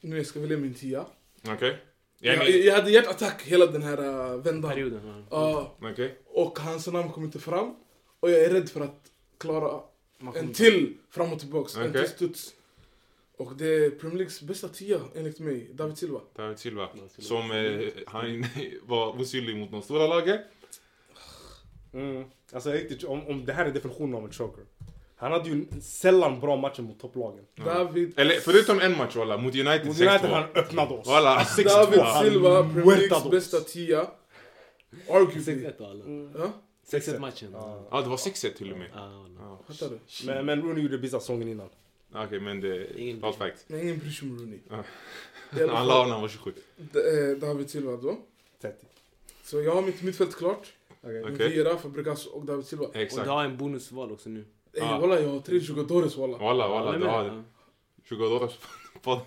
Nu jag ska välja min tia.
Okej.
Jag,
Jenny.
jag hade hjärtattack hela den här eh, vändan.
Perioden. ja.
Ja,
Okej.
och hans namn kom inte fram. Och jag är rädd för att klara
Man kommer-
en till fram och tillbaks. En
Okej.
till studs. Och det är Premier Leagues bästa tia enligt mig, David Silva.
David Silva. Som eh, han var osynlig mot de stora lagen.
Mm. Alltså riktigt, om, om det här är definitionen av en choker. Han hade ju sällan bra matcher mot topplagen.
David,
Eller förutom en match walla, mot United
Mot United han
6-2.
öppnade oss.
Walla.
David
han
Silva, Premier Leagues
muertade oss.
bästa tia. Arguably.
6-1 och alla.
Ja,
6-1 matchen.
Ja.
Ja, det var 6-1 till och med.
Ja, alla.
Ja.
fattar du?
Men, men Rooney gjorde bästa säsongen innan.
Okej, men det...
Ingen-
Fun fact.
Nej, ingen bryr sig om Rooney.
Ja.
I alla
Han
fall,
la när han var 27.
D- eh, David Silva då.
30.
Så jag har mitt mittfält klart.
Okej.
Med
Okej. Ah.
Vieira, Fabregas och David Silva.
Och
Exakt.
du har en bonusval också nu.
Ey
Ah.
walla jag har tre Jugadores walla.
Walla, walla,
Alla
du
med?
har
Ja.
20 dollar på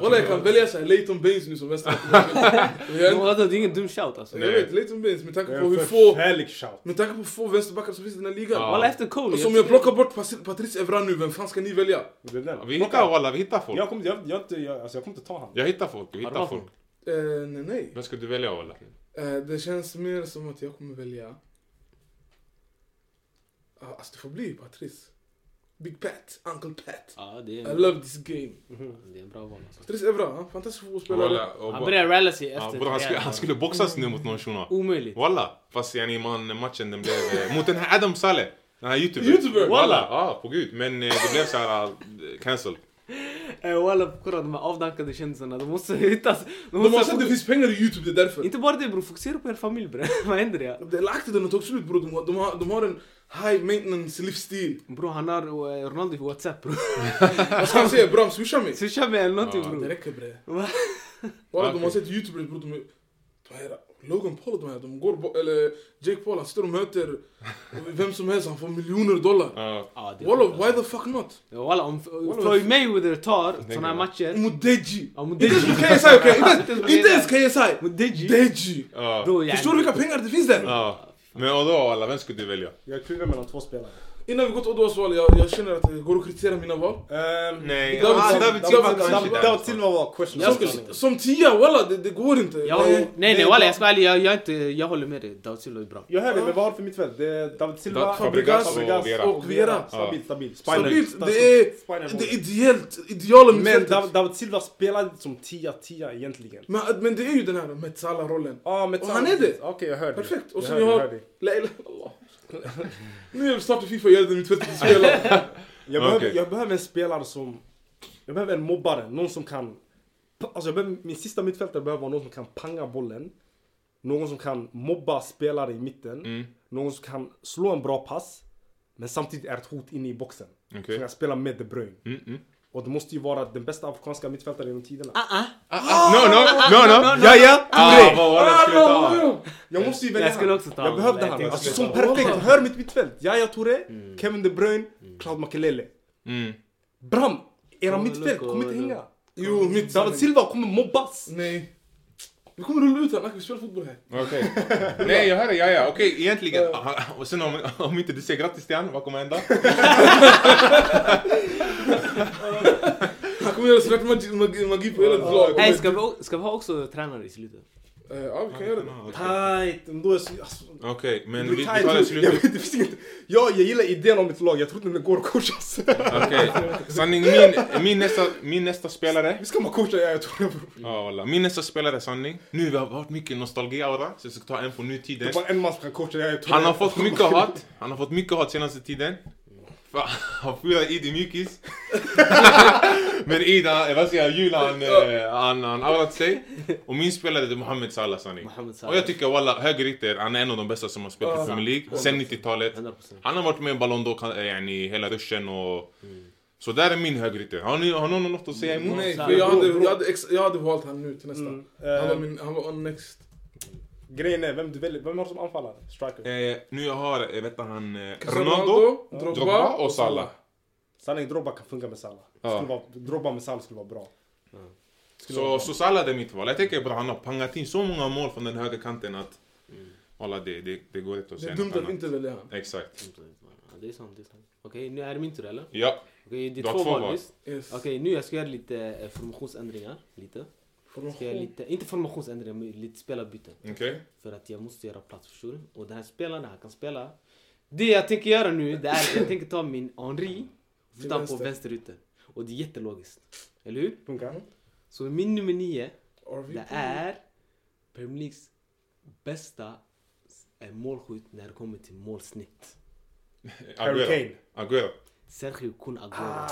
Walla jag kan välja såhär Leighton Baines nu som vänsterback. Jag
Men
vet-
vadå, det är ingen dum shout alltså.
jag vet, Leighton Baines med tanke
Det är
på
en
hur få,
förfärlig shout.
med tanke på hur få vänsterbackar som finns i den här ligan.
Ja.
Walla efter Cole.
Och som Alltså, jag plockar bort Pas- Patrice Evra nu, vem fan ska ni välja?
Det är den.
Vi
Plocka.
hittar walla, vi hittar folk.
Jag kommer jag, jag, inte- jag, alltså jag kommer inte ta han.
Jag hittar folk, vi
Har du
hittar
valt
folk.
Eh, nej nej.
Vem ska du välja walla?
Eh, det känns mer som att jag kommer välja... Ah, Alltså det får bli Patrice. Big Pat, Uncle Pat.
Ja, det är,
I love this game.
det är en bra val alltså.
Patrice Evra, han är fantastisk fotbollsspelare.
Walla, och
Han
bara-
börjar ralla sig
Ja,
efter.
bror, han, skulle,
Real.
han skulle boxas nu mot någon shuno.
Omöjligt.
Walla! Fast yani man, matchen den blev... eh, mot den här Adam Saleh. Den här youtubern.
Youtuber,
Walla! Ja, på gud. Men eh, det blev såhär... Uh, cancel.
Eh, Walla, kolla de här avdankade kändisarna. De måste hittas. De
De
måste
har sett att det finns pengar i Youtube, det är därför.
Inte bara det bror, fokusera på er familj bre. Vad händer det?
Det lagt den har tagit slut bror, de, har- de, har, de har en high maintenance livsstil.
Bror han har eh, Ronaldo på Whatsapp bror.
Vad ska han säga? Bram swisha mig.
Swisha mig eller någonting
Ja,
Det
bror.
räcker bre.
Va?
Walla de har
Okej.
sett youtubers bror, de är... De här, Logan Paul och de här, de går bo- eller Jake Paul han står och möter vem som helst, han får miljoner dollar.
Ja.
Ja, det är
Walla
sjukt,
why the fuck not?
alltså. Walla om om Floyd Mayweather tar såna här matcher.
Mot Deji!
Ah,
Ja, mot
Inte ens mot
Deji.
KSI okej, Inte ens- inte ens KSI!
Mot Deji.
Deji!
ja.
Bror, yani.
Ah.
Förstår du vilka pengar det finns där?
ja. Men och då walla, vem skulle du välja?
Jag klurar mellan två spelare.
innan vi går till Odoas val, jag, jag känner att det går att kritisera mina val.
Ehm,
Nej,
David
ah,
Silva-
David
David
Silva
Silva-
kanske
Dav-
där.
David Silva var question.
Jag
mark.
skulle-
Som tia, walla det, det går inte. Eh,
Jag, nej
Nej.
det
nej
är
walla
bra.
jag ska vara ärlig, jag, jag, är inte, jag håller med dig. David Silva är bra.
Jag hörde, men vad har du för mittfält? Det är David Silva,
David Fabregas
Fabregas
och Vera.
och Vera.
Ja.
Stabilt, stabilt.
Stabilt,
Spinal-
det är,
Spinal
det är
ball.
ideellt, ideala
Men
mittfältet.
Dav- David Silva spelade som 10-10 egentligen.
Men, eh, men det är ju den här Metsala-rollen.
Ja, men
Och han är det.
Okej, jag hör dig.
Perfekt. Och
Jag
sen
hör
jag
dig, hör
har...
dig.
La ilaha illallah. Nu är vi snart i Fifa och gör det mittfältet vi spelar.
Jag,
Okej.
behöver, jag behöver en spelare som... Jag behöver en mobbare, någon som kan... Alltså jag behöver, min sista mittfältare behöver vara någon som kan panga bollen. Någon som kan mobba spelare i mitten.
Mm.
Någon som kan slå en bra pass. Men samtidigt är ett hot inne i boxen.
Okej.
Som kan spela med De Bruyne.
Mm, mm.
Och det måste ju vara den bästa afrikanska mittfältaren genom tiderna.
Ah, ah, No, no, no, no. Ja, ja. Ah, vad var det jag skulle ta?
Jag måste ju välja
Jag skulle
han.
också ta
Jag
honom,
behövde
jag
han.
tänkte
Alltså
också
som
ta honom.
perfekt. Hör mitt mittfält. Yahya Touré, Kevin De Bruyne, Claude Makelele.
Mm.
Bram, era
Kommer
mittfält
Luka
kommer inte
och-
hänga.
Jo, mitt...
David Silva kommer mobbas.
Nej. Vi kommer rulla ut honom, vi spelar fotboll här.
Okej. Nej, jag hörde ja, ja. Okej, egentligen. Aha, Och sen om, om inte du säger grattis till han, vad kommer hända?
Han kommer göra svart magi, magi, magi på hela ditt lag.
Hey, ska, vi, o- ska vi ha också tränare i slutet?
Eh, Ja, vi kan göra det.
Tajt, ändå är så- alltså,
Okej, men
det
vi,
blir
vi
tajt.
tar det i
Jag
slutet.
vet, det finns inget- Jag jag gillar idén om mitt lag, jag tror inte den går att coachas.
Okej. Sanning, min, min, nästa, min nästa spelare.
Vi ska bara coacha Yahya Touré bror.
Ja, walla. Min nästa spelare, sanning. Nu vi har varit mycket nostalgi-aura, så jag ska ta en från
Det
nutiden.
är bara en man som kan coacha Yahya Touré.
Han har fått mycket hat. Han har fått mycket hat senaste tiden. För Han fyller Id i mjukis. Men Id, han- vad säger jag, Jul han, eh, han, han outat sig. Och min spelare är Mohamed Salah sanning.
Mohamed Salah.
Och jag tycker walla, högerytter, han är en av de bästa som har spelat i Premier League sen 90-talet.
100%.
Han har varit med i Ballon d'Or, eh, yani, hela ruschen och... Så där är min högerytter. Har, ni- har någon något att säga emot?
Nej,
Bra,
för jag hade,
bra.
jag, hade ex, jag hade valt han nu till nästa.
Mm,
Han var
eh,
min, han var on next.
Grejen är, vem du väljer, vem har du som anfallare? Striker.
Eh, nu jag har, eh, vet du, han, eh,
Cristiano
Ronaldo,
Drogba,
Drogba och Salah.
Sanning Drogba kan funka med Salah.
Ja.
Skulle vara- Drogba med Salah skulle vara bra. Skulle vara
Så,
bra.
så Salah det är mitt val. Jag tänker på att han har pangat in så många mål från den högra kanten att... Alla det, det, det går inte att
Det
säga
är
något
dumt att
annat.
inte välja han.
Exakt.
Ja, Det är sant, det är sant. Okej, nu är det min tur eller? Okej,
Ja.
det är
Du har
två
två val.
val visst?
Yes.
Okej, nu jag ska göra lite eh, formationsändringar. Lite. Ska jag
Formation.
lite, inte formationsändringar, men lite spelarbyten.
Okej.
För att jag måste göra plats, förstår du? Och den här spelaren, han kan spela. Det jag tänker göra nu, det är att jag tänker ta min Henri och flytta honom på
vänster.
vänsterytter. Och det är jättelogiskt. Eller hur?
Funkar?
Så min nummer nio,
RVP.
det är Premier Leagues bästa eh, målskytt när det kommer till målsnitt.
Harry
Aguero.
Kane.
Aguero.
Sergio Kun Aguero.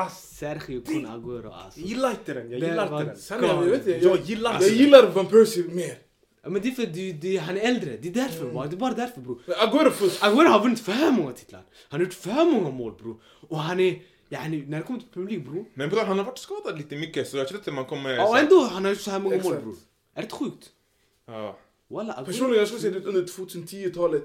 Ah,
Sergio Kun Aguero alltså.
jag gillar inte den, jag
Det
gillar
var-
inte den.
Sen, jag, jag vet inte,
Jag gillar
jag
Alltså,
inte den.
gillar Van Persie mer.
Ja, Men det är för det, det, han är äldre, det är därför mm. Det är bara därför bror.
Men Aguero först.
Aguero har vunnit för många titlar. Han har gjort för många mål bror. Och han är, yani, när det kommer till يعني Premier League bror.
Men bror, han har varit skadad lite mycket så jag tror inte man kommer...
Ja, och ändå han har gjort så här många mål
Exakt.
bror. Är det inte sjukt?
Ja.
Walla, Aguero.
Personligen, jag skulle säga det under 2010-talet.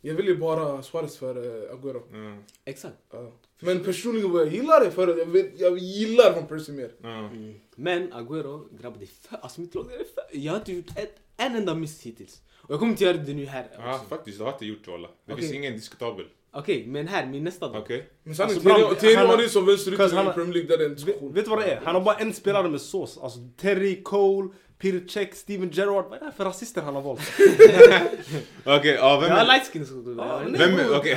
Jag ville bara Suarez för eh, Aguero.
Mm.
Exakt.
Ja. Men personligen vad jag gillar det för jag, vet, jag gillar Van Persie mer.
Ja.
Men Aguero, grabbar det är för, alltså mitt lag det är för. Jag har inte gjort ett, en enda miss hittills. Och jag kommer inte göra det nu här
Ja,
också.
faktiskt. Det har inte gjort walla. Det
Okej.
finns ingen diskutabel.
Okej, men här, min nästa dag.
Okej?
Men sanningen,
Alltså, bra,
Thierry- Thierry
han har-
Henry som
Cause
vänsterytter
han
i
har-
Premier League, där är en
Vet,
diskussion.
vet du vad det är? Han har bara en spelare med sås. Alltså Terry, Cole, Peter Cech, Steven Gerrard. Vad är det här för rasister han har valt?
Okej, ja vem
Jag har
är...
light skin يعني så du
Vem är... Okej.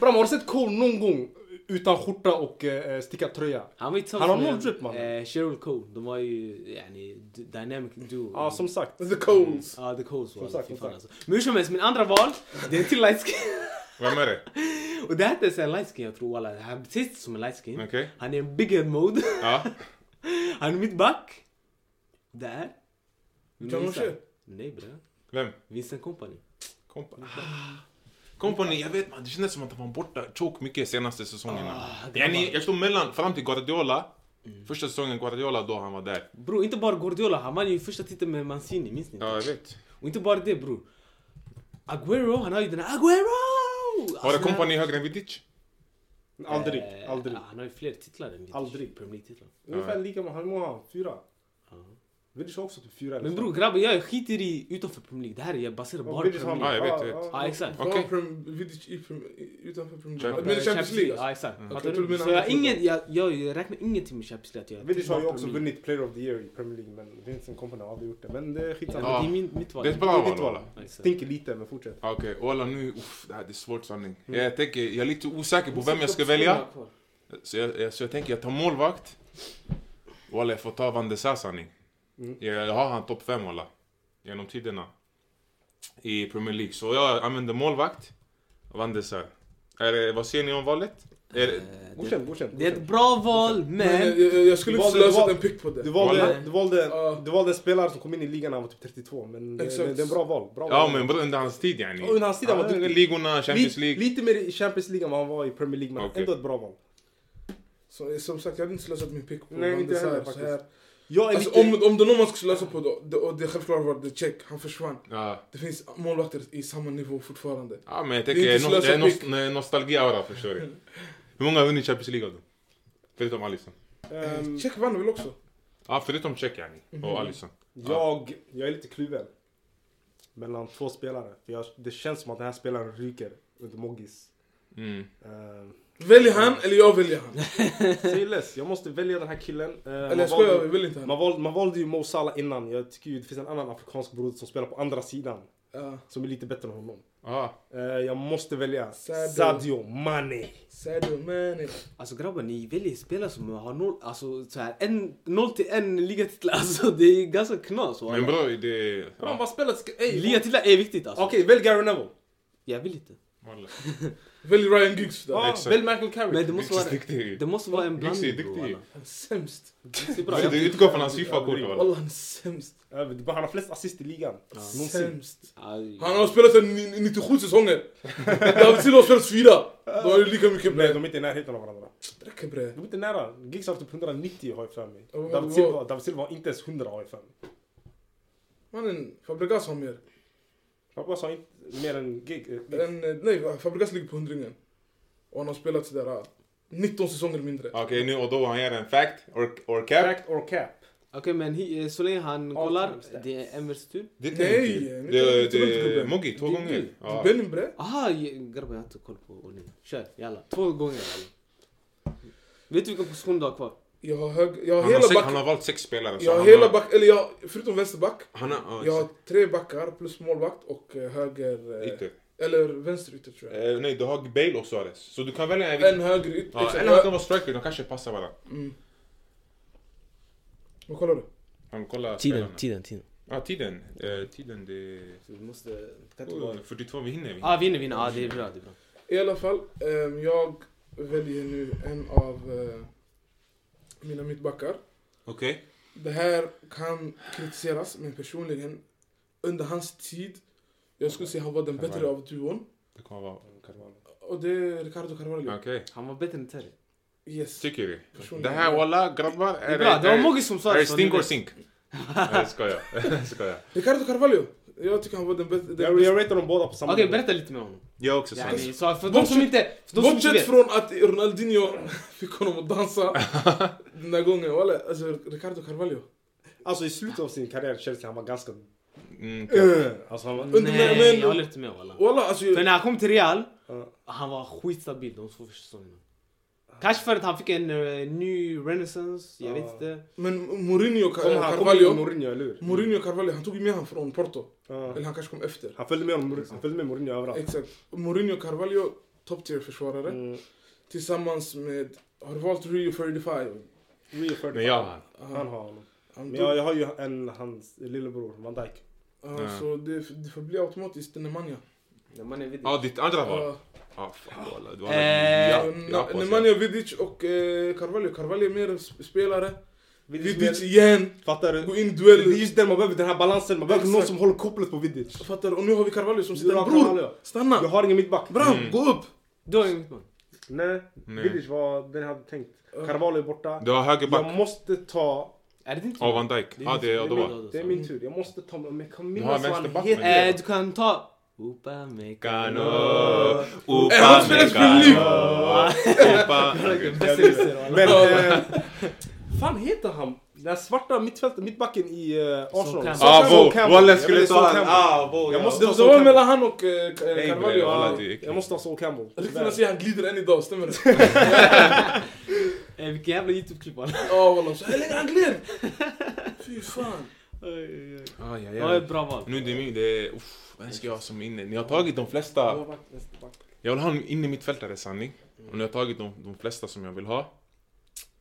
Bram, har du sett Cole någon gång utan skjorta och eh, stickad tröja?
Han var ju
Han har
tillsammans
noll drip, man.
eh, Cheryl Cole. De var ju yani, d- dynamic duo.
Ja, som sagt.
The Coles.
Ja, The Coles var
sagt,
fy
som
fan
sagt.
alltså. Men hur som helst, min andra val, det är till light skin.
Vem är det?
Och det här är inte ens en light skin jag tror alla. Han ser inte som en light skin.
Okej.
Han är en big head mode.
Ja.
Han är mittback. Där.
John Moshe.
Nej bre.
Vem?
Vincent Company.
Kompani.
Ah.
Kompani, jag vet man, det kändes som att han var borta choke mycket senaste säsongerna.
Ah, det
Yani,
var- Mm.
jag stod mellan, fram till Guardiola. Första säsongen Guardiola då han var där.
Bro, inte bara Guardiola. Han vann ju första titeln med Mancini, minns ni?
Ja, jag vet.
Och inte bara det bror. Aguero, han har ju den här Aguero!
Har det
Alltså,
Kompani högre än Vidic?
Aldrig,
Eh,
aldrig.
Han har ju fler titlar än vi.
Aldrig.
Premier League-titlar.
Ungefär lika många. Hur många har han? Fyra?
Ja.
Vidic har också typ fyra eller
Men
fem.
bror grabben jag skiter i utanför Premier League. Det här är baserat
Och
bara på
Vidic har
Premier
mer.
League.
Ja, jag vet, jag vet.
Ja exakt.
Var
Okej.
Prem- Vidic i Prem- i- utanför Premier League?
Champions-
Men Champions League alltså.
Ja exakt.
Mm.
Fattar
Jag tror du
du?
menar
Så jag,
andra
ingen, jag, jag räknar ingenting med Champions League att göra.
Vidic har ju
Bara
också
Typ Premier League.
vunnit Player of the Year i Premier League men Vincent Kompany har aldrig gjort det. Men det är skitsamma.
Ja,
Ja.
men Det är min, mitt val.
Det är ett bra
Det är ditt
val.
val.
Ola.
Ja, exakt.
Stinker lite men fortsätt.
Ja, Ah, Okej, Ola nu, uff, det här det är svårt sanning.
Mm.
Jag tänker, jag är lite osäker på vem jag ska välja. Så jag, jag, så jag tänker jag tar målvakt. Walla jag får ta Van de Sar sanning.
Mm.
Jag, jag har han topp 5 walla. Genom tiderna. I Premier League. Så jag använder målvakt. Van de Sar. Är det- Vad ser ni om valet? Är det,
Eh, det-
Godkänt, godkänt.
Det är
godkänt.
ett bra val
Men jag-
men...
jag, jag skulle inte
Du valde-
slösat
du
en pick på
Du
det.
valde,
Walla.
du, valde,
Ja.
du valde en spelare som kom in i ligan när han var typ 32 men det,
Exakt.
det, det är en bra val. Bra
ja
val.
men under hans tid yani.
Och under hans tid han var
Ja,
duktig.
Ligorna, Champions
Lite-
League.
Lite mer i Champions League än vad han var i Premier League men
Okej.
ändå ett bra val.
Så, som sagt, jag hade inte slösat min pick på
Nej,
Van
inte
de Sar,
heller
så
faktiskt.
här.
Jag är
Alltså,
lite...
om, om det är någon man skulle slösa på då, det, och det självklart var det check, han försvann.
Ja.
Det finns målvakter i samma nivå fortfarande.
ja men jag
Det är
tänker,
inte
no, det är
slösat
nost- nej, nostalgi-aura förstår du. Hur många har vunnit Champions League av dem? Förutom Alisson.
ehm,
Eh, check vann väl också?
Ja förutom Cech yani.
Mhm.
Och Alisson.
Jag, jag är lite kluven. Mellan två spelare. För jag, det känns som att den här spelaren ryker under Moggis.
Mm.
Uh,
Väljer han eller jag väljer han?
Säg less, jag måste välja den här killen. Eh, man,
Eller jag skojar, jag
valde,
vill inte han.
man, valde, man valde ju Mo Salah innan. Jag tycker ju det finns en annan afrikansk broder som spelar på andra sidan.
Ja,
Som är lite bättre än honom.
Ja.
Eh, jag måste välja
Sadio.
Sadio, Mane.
Sadio Mane.
Alltså grabbar ni väljer spelare som har noll, alltså så här, en, noll till en ligatitel. Alltså det är ganska knas.
Men
walla.
bra, det...
Man
Ja.
bara spelat... ska- ey,
Ligatitlar är viktigt alltså.
Okej, välj Gary Neville.
Jag vill inte.
Walla.
Välj Ryan Giggs då.
Ja,
exakt.
välj Michael Carrick.
Men det måste vara,
Duktig.
det måste vara en
Giggs är
blandning.
duktig.
bro, walla.
Han är sämst.
Det är bra.
Du
Jag-
du utgår från hans Fifa-kort
Ja,
walla.
Wallah han är sämst.
Eh, Han har flest assist i ligan. Någonsin.
Sämst.
Aj.
Han har spelat sedan ni- 97 säsonger. David Silva har spelat fyra. Då har det lika mycket
Nej,
bre.
de är inte i närheten av varandra.
Det räcker bre.
De är inte nära. Giggs har typ 190 har jag för mig.
Oh,
David
oh.
Silva, David Silva har inte ens 100 har jag för mig.
Mannen, Fabregas har mer.
Fabregas har inte mer än Gig- eh, Giggs.
En, eh, nej, Fabregas ligger på hundringen. Och han har spelat sådär ah, 19 säsonger mindre.
Okej nu och då han gör en fact or, or cap.
Fact or cap?
Okej men hi- eh, så länge han
All
kollar,
time stats.
det är Envers tur.
Det är
Nej,
inte-
nej,
Det,
inte
det,
Robben.
Moggi, två
Det är
gånger.
du.
Ja.
Benin bre.
Aha, e, je- grabbar jag har inte koll på ordningen. Kör, e- jalla. Två gånger jalla. Vet du vilken position du har kvar?
Jag har, hög, jag har
Han, har sex,
hela
han
backen.
har valt sex spelare. så
Jag har
han
hela back, eller jag, förutom vänsterback.
Han har...
Jag
Ja,
har tre backar plus målvakt och eh, höger... eh,
ytter.
Eller vänsterytter tror jag.
Eh, nej, du har Bale och Suarez. Så du kan välja en...
En höger ytter.
Ja,
exakt.
en av dem var striker, de kanske passar varandra.
Mm. Vad kollar du?
Han kollar spelarna.
tiden, tiden.
Ja, tiden. Eh, tiden, det...
Så vi måste... det kan inte vara-
Oh, 42, vi hinner. Vi.
Ah, vinner, vinner. Ah, det är bra, det är bra.
I alla fall, ehm, jag väljer nu en av eh, mina mittbackar.
Okej.
Det här kan kritiseras, men personligen, under hans tid, jag skulle säga han var den bättre av duon.
Det kommer vara...
Och det är Ricardo Carvalho.
Okej.
Han var bättre än Terry.
Yes.
Tycker du?
Personligen.
Det här walla grabbar
Det är
är...
bra, det var
är-
Moggi som sa
Är det
så
stink
nu
or
vet-
sink? Nej, jag skojar. Jag skojar.
Ricardo Carvalho! Jag tycker han var den bättre. Den
Jag,
bästa.
jag ratear dem båda på samma
Okej,
nivå.
berätta lite mer om honom.
Jag också
Ja,
sant.
ni- så för de
Bortsett-
som inte... För de som inte
Bortsett
vet.
från att Ronaldinho fick honom att dansa den där gången. Walla, alltså Ricardo Carvalho.
Alltså i slutet av sin karriär i Chelsea han var ganska...
Mm,
Alltså han var...
under-
Nej,
men-
jag håller inte med walla.
Walla, alltså...
För när han kom till Real,
Ja.
han var skitstabil de två första säsongerna. Kanske för att han fick en eh, ny renaissance, jag vet
Ja.
inte.
Men Mourinho Car-
Kom han kom in med
Carvalho,
Mourinho, eller hur?
Mourinho Carvalho, han tog ju med honom från Porto.
Ja.
Eller han kanske kom efter.
Han följde med, Mourinho, han följde med Mourinho överallt.
Exakt. Mourinho Carvalho, top tier försvarare.
Mm.
Tillsammans med, har du valt Rio 45?
Rio Ferdinand.
Men jag har
Han har honom.
Han
Men
tog,
jag, jag har ju en, hans lillebror, Van Dijk.
ja,
Ja.
Så det, det får bli automatiskt Nemanja.
När man är vid-
Ja, ditt andra val?
Ja,
Ja, fan walla. Du har...
Eh,
Ja,
Na-
jag har på sig.
Nemanja, Vidic och eh, Carvalho. Carvalho är mer sp- spelare. Vidic
Vidic-
igen.
Fattar du?
Gå in i
Det är
duell.
just den man behöver, den här balansen. Man behöver någon
Exakt.
som håller kopplet på Vidic.
Fattar du? Och nu har vi Carvalho som sitter
Du har
där. Bror,
Carvalho. Jag
stanna!
har ingen mittback.
Bram,
Mm.
gå upp!
Du har inget man.
Nej,
Nej.
Vidic var den jag hade tänkt.
Ja.
Carvalho är borta.
Du har högerback.
Jag måste ta...
Är det din tur?
Ja, Van Dijk. Ja, det är
min-
Odoa.
Det är min tur. Jag måste ta... Men jag kan minnas
har en
vad han
vänsterback,
heter.
men-
Eh, du kan ta... Upamecano.
Eh, han spelar Premier League.
Opa,
Bästa
Men eh, fan heter han? Den här svarta mittfält, mittbacken i eh, Arsenal.
Campbell.
Sol
Ah,
Campbell.
Vo.
Campbell.
Wallen
Jag
skulle
vill Sol
ta han.
Campbell.
Ah, Vo.
Jag
ja.
måste
Det
ha
det
Sol
var
Campbell.
mellan han och eh, Ca-
Nej,
Carvalho.
bre, wallah,
Ja.
det är äckligt.
Jag måste ha Sol Campbell.
Rykten säger han glider än idag, stämmer det?
Eh, vilken jävla Youtube-klipp han
Ja wallah, så här länge han gled! Fy fan.
har.
ja,
Ja, ett bra val.
Nu är det min, det är... Uff, vem ska jag ha som inne? Ni har tagit de flesta. Jag vill ha en inne mittfältare, sanning. Och ni har tagit de, de flesta som jag vill ha.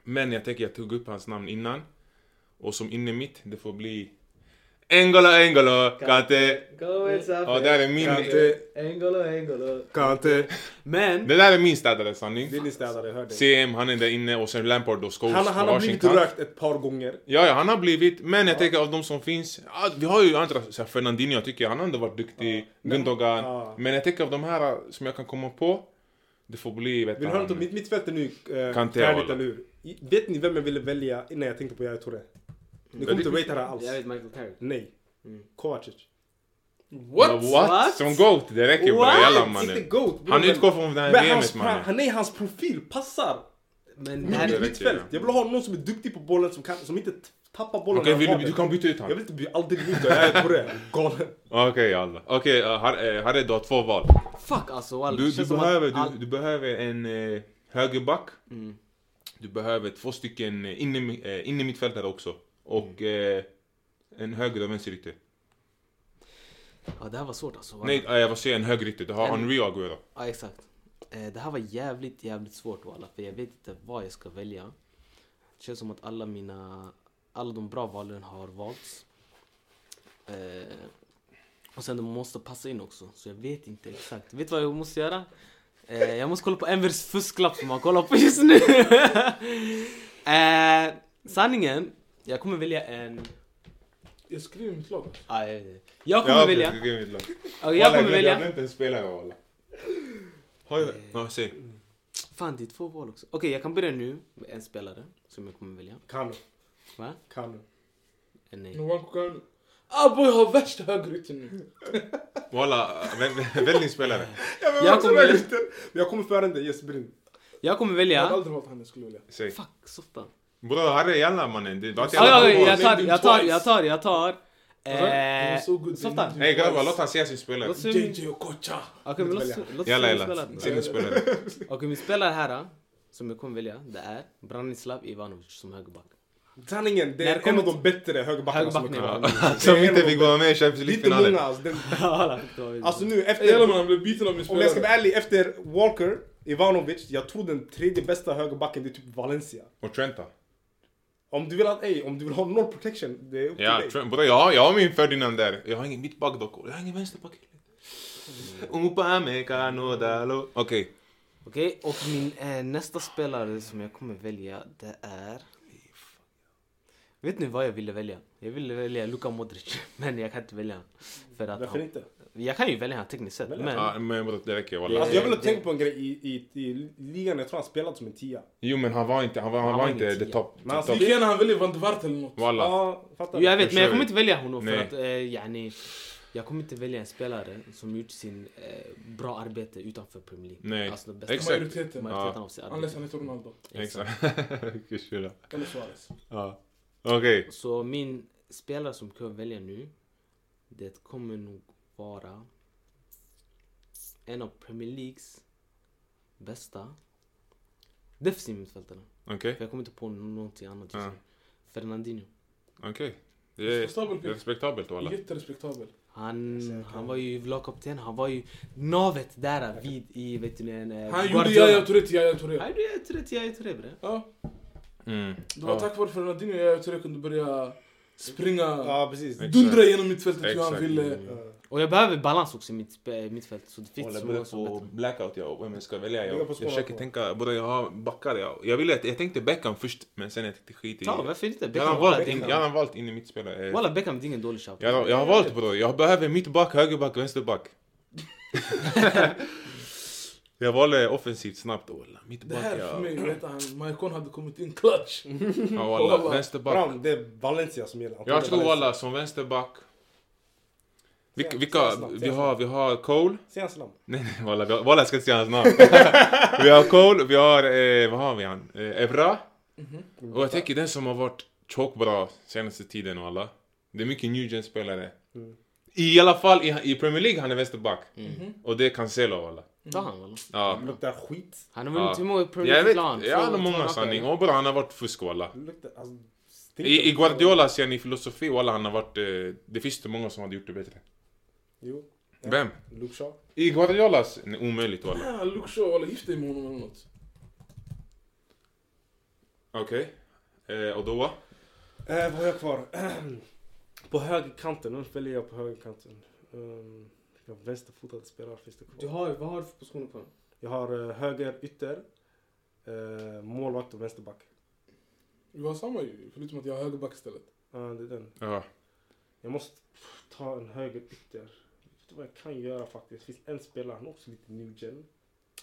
Men jag tänker jag tog upp hans namn innan. Och som inne mitt, det får bli... Engolo, Engolo, Kante.
Go
Ja, det här är min...
Kante,
Engolo, Engolo.
Kante.
Men,
Det där är min städare, sanning.
Det är din städare, hörde
CM, han är där inne och sen Lampard och Scholes
Han, han
från
har blivit
Washington.
rökt ett par gånger.
Ja, ja, han har blivit. Men jag tänker av de som finns. Ja, vi har ju andra, så här, Fernandinho jag tycker jag, han har ändå varit duktig. Gundogan.
ja.
Men jag tänker av de här eh, som jag kan komma på. Det får bli, vet
Vill ni höra något om mitt mittfält är nu eh,
Kanté,
färdigt,
wallah.
eller hur? I- Vet ni vem jag ville välja innan jag tänkte på Yahya Touré? Ni kommer inte ratea det här alls.
jag vet Michael Carrick.
Nej. Kovacic.
What?
What?
What?
What?
Som GOAT, det räcker bre.
What?
Jalla
Inte
mannen.
GOAT.
Han
men-
utgår från det här
Men
VMet
hans,
mannen.
han, nej, hans profil passar
Men det här
mitt
är...
mittfält. Jag vill ha någon som är duktig på bollen, som, kan, som inte t- tappar bollen
Okej,
när han
vill
har
du-
den.
du kan byta ut
Jag
honom.
vill inte bli aldrig byta, jag är på det. Galen.
Okej, jalla. Okej, eh, Har- eh, Harry, du har två val.
Fuck alltså walla.
Du,
Det
du,
känns som
behöver,
att all- Mm.
du, du behöver en eh, högerback. Du behöver två stycken eh, inne- eh, innermittfältare också. Och
Mm.
eh, en höger och vänsterytter.
Ja, det här var svårt alltså. walla.
Nej, eh, vad säger jag? En högerytter. Du har
En-
Henry och Aguero.
Ja, exakt. Eh, det här var jävligt, jävligt svårt walla. För jag vet inte vad jag ska välja. Det känns som att alla mina... Alla de bra valen har valts. Eh, och sen de måste passa in också. Så jag vet inte exakt. Vet du vad jag måste göra? Eh, jag måste kolla på Envers fusklapp som han kollar på just nu. eh, sanningen. Jag kommer välja en...
Jag skriver mitt lag.
Ah, jag, vet inte. jag kommer välja...
Jag kommer välja.
Okej, jag kommer välja...
inte ens spelare walla. Har jag... Ja, säg.
Fan, det är två val också. Okej, jag kan börja nu med en spelare som jag kommer välja.
Kanu.
Va?
Kanu.
Eh,
Nu
Nej.
var han Aboy Ah, har värsta högerytter nu.
Walla, vä- vä- välj din spelare.
Jag kommer,
Jag kommer före dig Jesperin.
jag kommer
Jag hade
välja...
aldrig valt han jag skulle vilja.
Säg.
Fuck, softa.
Bror, Harry, jalla mannen. Det- Du har inte
Ja,
jävla
ja,
koll.
jag tar,
Name
jag tar,
twice.
jag tar, jag tar.
Det var
Eh,
så good, det
softa.
är
Nej grabbar, låt han säga sin spelare.
Låt se min...
JJ Okocha.
Okej, men låt
välja.
se låt se
Jalla,
min
jalla.
spelare.
Säg din spelare.
Okej, min spelare här, eh, som jag kommer välja, det är Branislav Ivanovic som högerback.
Sanningen, det
När
är
det
en av de
kommer
bättre högerbackarna som
Högerbacken,
har kommit.
Som
Det är en
inte
av de
fick vara med i Champions
Lite
League-finalen.
många alltså. Den,
Jalla, det var ju-
alltså nu
Jävlar
efter...
men han blev biten av min
Om jag ska vara
spelare.
ärlig, efter Walker, Ivanovic, jag tror den tredje bästa högerbacken det är typ Valencia.
Och Trenta.
Om du vill att, ey, om du vill ha noll protection, det är upp till
Ja,
dig.
Trent. Bror, jag, har- jag har min Ferdinand där. Jag har ingen mittback dock. Jag har ingen vänsterback. Upamecano Dalo. Okej.
Okej, och min eh, nästa spelare som jag kommer välja, det är... Vet ni vad jag ville välja? Jag ville välja Luka Modric, men jag kan inte välja honom. För att
Varför
han,
inte?
jag kan ju välja honom tekniskt sett, men...
Ja, men bror, det räcker walla.
Alltså jag vill
Det-
tänka på en grej i, i, i ligan, jag tror han spelade som en tia.
Jo men han var inte, han var, han
Han
var
var
inte
ingen
det
tia.
topp.
Men han
top.
Lika gärna han väljer Van de Waart eller något.
Ja,
Walla.
fattar
Jo, jag vet,
Då
men jag
kör
kommer
vi.
inte välja honom för
Nej.
att, eh, yani, jag kommer inte välja en spelare som gjort sin eh, bra arbete utanför Premier League.
Nej.
Alltså den bästa
Exakt.
Majoriteten.
majoriteten av sitt arbete.
Unless han heter Ronaldo.
Exakt. Vilken kyla.
Eller
Eh,
Suarez.
Ja. Okej.
Så min spelare som jag välja nu, det kommer nog vara en av Premier Leagues bästa defensiva mittfältare.
Okej.
För jag kommer inte på någonting annat just
Ja.
nu. Fernandinho.
Okej. Det är
Respektabel
det är
pick.
respektabelt walla.
Jätterespektabel.
Eh,
Han, han var ju lagkapten, han var ju navet där vid i, vet du, en, eh,
Han gjorde
Guardiola.
Yahya Touré till Yahya Touré.
Nej, du är rätt, jag är rätt bre.
Ja.
Mm.
Det var tack vare Fernandinho Yahya Touré kunde börja springa.
Ja, precis. Eh,
Dundra genom mittfältet hur
Exakt. Mm.
han ville.
Och jag behöver balans också i mitt, sp- mittfält, så det finns
Walla,
så
jag börjar
många som
få
bättre.
blackout jag, vem jag ska välja. Jag,
Ligga
jag
på skolan
försöker
på.
tänka, både jag har backar jag. Jag, ville, jag tänkte Beckham först, men sen jag tänkte skit i...
Ta, varför inte?
jag har
Beckham,
valt,
walla,
in, jag har valt in i mitt spelare. Eh,
Walla, Beckham, det är ingen dålig shout.
Jag, har- jag har valt bror, jag behöver mittback, högerback, vänsterback. jag valde offensivt snabbt. Walla,
Det
mittback
här för
ja.
mig, vet han, Maikon hade kommit in clutch.
ja walla,
Walla,
vänsterback.
Brown, det är Valencia som gäller.
Jag tror
Valencia.
walla, som vänsterback. Vilka,
Sen-
vilka,
sen snabbt, sen
vi, har, vi har Cole.
Se hans namn.
Nej, nej, walla, vi har- walla jag ska inte säga hans namn. vi har Cole, vi har, eh, vad har vi han? Eh, Evra. Och jag tänker den som har varit tjockbra senaste tiden och alla. Det är mycket new gen spelare. I alla fall i, i Premier League han är vänsterback. Och det är Cancelo och alla.
Ta han väl?
Ja.
Det luktar skit.
Han har vunnit hur många Premier
Jag vet,
League-plan?
ja, han har många sanning. Och bara han har varit fusk och alla.
Det luktar... Alltså, stinker.
I, I Guardiola ser ni filosofi och alla han har varit... Eh, det finns inte många som hade gjort det bättre.
Jo.
Vem?
Luke Shaw.
I Guardiolas? Nej, omöjligt och alla.
Ah, Luke Shaw, alla gift dig med honom eller något.
Okej. Eh, och då?
Eh, vad har jag kvar? på högerkanten. Vem spelar jag på högerkanten? Um, jag har vänsterfotad spelare finns det kvar.
har, vad har du för positioner på honom?
Jag har eh, höger ytter, eh, målvakt och vänsterback.
Vi har samma ju, förutom att jag har högerback istället.
Ja, det är den.
Ja.
Jag måste ta en höger ytter. Vet du vad jag kan göra faktiskt? Det finns en spelare, han är också lite new gen.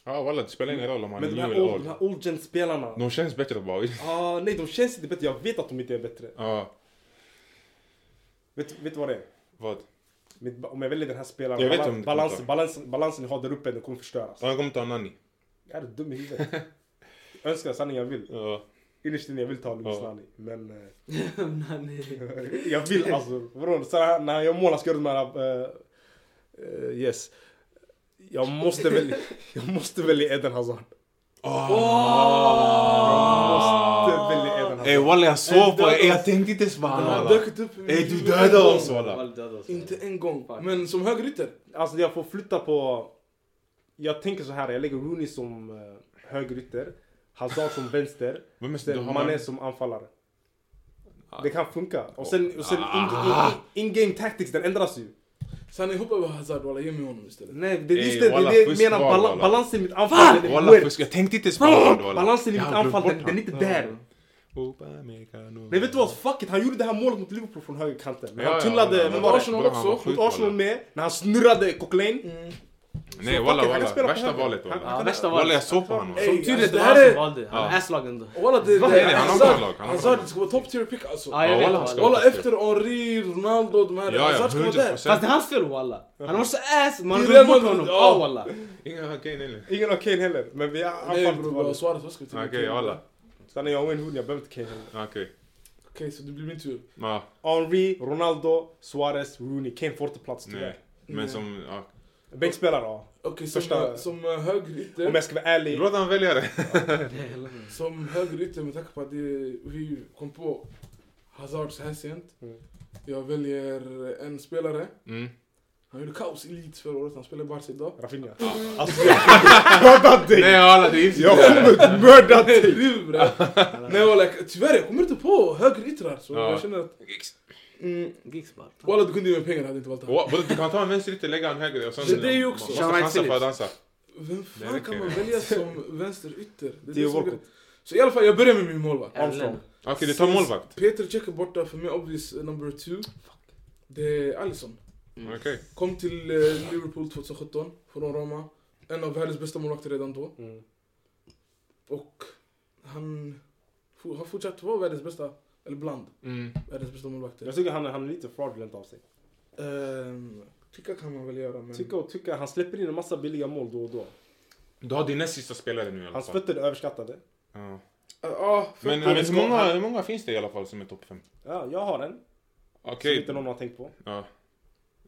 Ja, walla, det spelar ingen roll om han är
Men de
new
här
eller
old, de
old.
här old gen spelarna.
De känns bättre bara.
Ah, nej, de känns inte bättre. Jag vet att de inte är bättre.
Ja,
Vet, vet du vad det är?
vad?
Mitt, om jag väljer den här spelaren,
Jag vet
balans,
om det
balans,
kommer.
balans, balansen jag har där uppe, den kommer förstöras.
Han kommer ta Nani.
Jag är dum i huvudet. Jag önskar sanningen jag vill.
Ja.
Innerst inne jag vill ta Lukas
Ja.
Lani. Men eh,
Nej.
jag vill alltså. Vadå? Så här, när jag målar ska jag göra de här... eh, eh, yes. Jag måste välja, jag måste välja Eden Hazard.
Ah.
Jag måste välja Eden Hazard. Eh,
Ey walla jag sov på er, jag tänkte inte ens på han
Han har
walla.
dökt upp i mitt
Ey du
huvud en
dödade
gång.
oss walla.
Inte en gång.
Fuck.
Men som högerytter.
Alltså jag får flytta på... Jag tänker så här, jag lägger Rooney som uh, högerytter. Hazard som vänster.
Vem är det?
Sen Mané som anfallare. Det kan funka. Ah. Och sen, och sen
Ah.
in- in- in-game tactics, den ändras ju.
Sanne, hoppa över Hazard walla, ge mig honom istället.
Nej, det är
Ey,
just det.
walla,
Det är det
fusk
jag menar.
var,
Bala-
walla.
balansen i mitt anfall. den är
Walla
weird.
fusk, jag tänkte inte ens på han walla.
Balansen i
Jag
mitt
har glömt
anfall,
bort
den,
han.
den är inte där.
Upamecano.
Nej vet du vad, fuck it. Han gjorde det här målet mot Liverpool från högerkanten. Men
Ja,
han
ja,
tunnlade,
ja,
vem
men
var det?
Arsenal
Bra, han
också,
var
mot
sjuk,
Mot
walla.
Arsenal med, när han snurrade Coquelin.
Mm.
Nej
Så
walla
fuck it, han kan
walla,
spela på
värsta
höger.
valet walla.
Han-
Ja, värsta
Walla
valet.
jag sov på honom.
Ey,
Tur
alltså,
det
det
var han
här
som
är...
valde. Han är asslag ändå.
Walla det,
Vad
det
är det?
Han har
Hazard-
bra lag, han har bra
Hazard
lag.
ska vara top tier pick alltså.
Ja, jag
Ja,
vet
walla, han
walla.
ska-
Walla efter Henri, Ronaldo, de här.
Ja ja,
Hazard ska vara där.
100%.
Fast det är hans fel walla. Han var så ass, man har
Det är
glömt
det
bort
man-
honom.
ja.
Ja walla.
Ingen okej nej nej.
Ingen av Kane heller. Men vi har
Nej bror, vi har
anfallet.
svarat. Vad ska vi till?
Okej walla.
Sen är jag Wayne Hood, jag behöver inte Kane heller.
Okej.
Okej, så det blir min tur.
Ja,
Henry, Ronaldo, Suarez, Rooney. Kane får inte plats
nej.
tyvärr.
Men som, ja.
Bänkspelare ja.
Okej, som,
Första-
som eh, högerytter.
Om jag ska vara ärlig.
Låt han välja det.
Som högerytter med tanke på att det, vi kom på Hazard så här sent.
Mm.
Jag väljer en spelare.
Mm.
Han gjorde kaos i Leeds förra året, han spelar i Barca idag.
Rafinha. Alltså jag kommer mörda dig!
Nej walla det är inte
Jag kommer mörda dig!
Du bre! Nej walla, jag- tyvärr jag kommer inte på högeryttrar. Så
Ja.
jag känner att... Mm,
Gigs bara.
walla du kunde ge mig pengar, jag hade inte valt han.
Både du kan ta en vänsterytter, lägga en höger och sen...
Det- det är ju också-
Måste chansa för att dansa.
Vem
Nej,
fan
det
kan
kan
man
jag.
välja som vänsterytter? Det
Theo
är det som är-
Walcott.
Så i alla fall, jag börjar med min målvakt.
Armstrong.
Okej, du tar målvakt.
Peter Cech är borta, för mig obvious eh, number two. Det är Alisson.
Okej.
Kom till eh, Liverpool 2017 från Roma. En av världens bästa målvakter redan då.
Mm.
Och han fo- har fortsatt vara världens bästa, eller bland
Mm.
världens bästa målvakter.
Jag tycker han, han är lite fraudulent av sig.
Ehm, tycka kan man väl göra, men...
Tycka och tycka, han släpper in en massa billiga mål då och då.
Du har din näst sista spelare nu i alla
Hans
fall.
fötter är överskattade.
Ja.
Ah, ah, för-
Men hur många, hur många finns det i alla fall som är topp 5?
Ja, jag har en. Som
Okej.
inte någon har tänkt på.
Ja.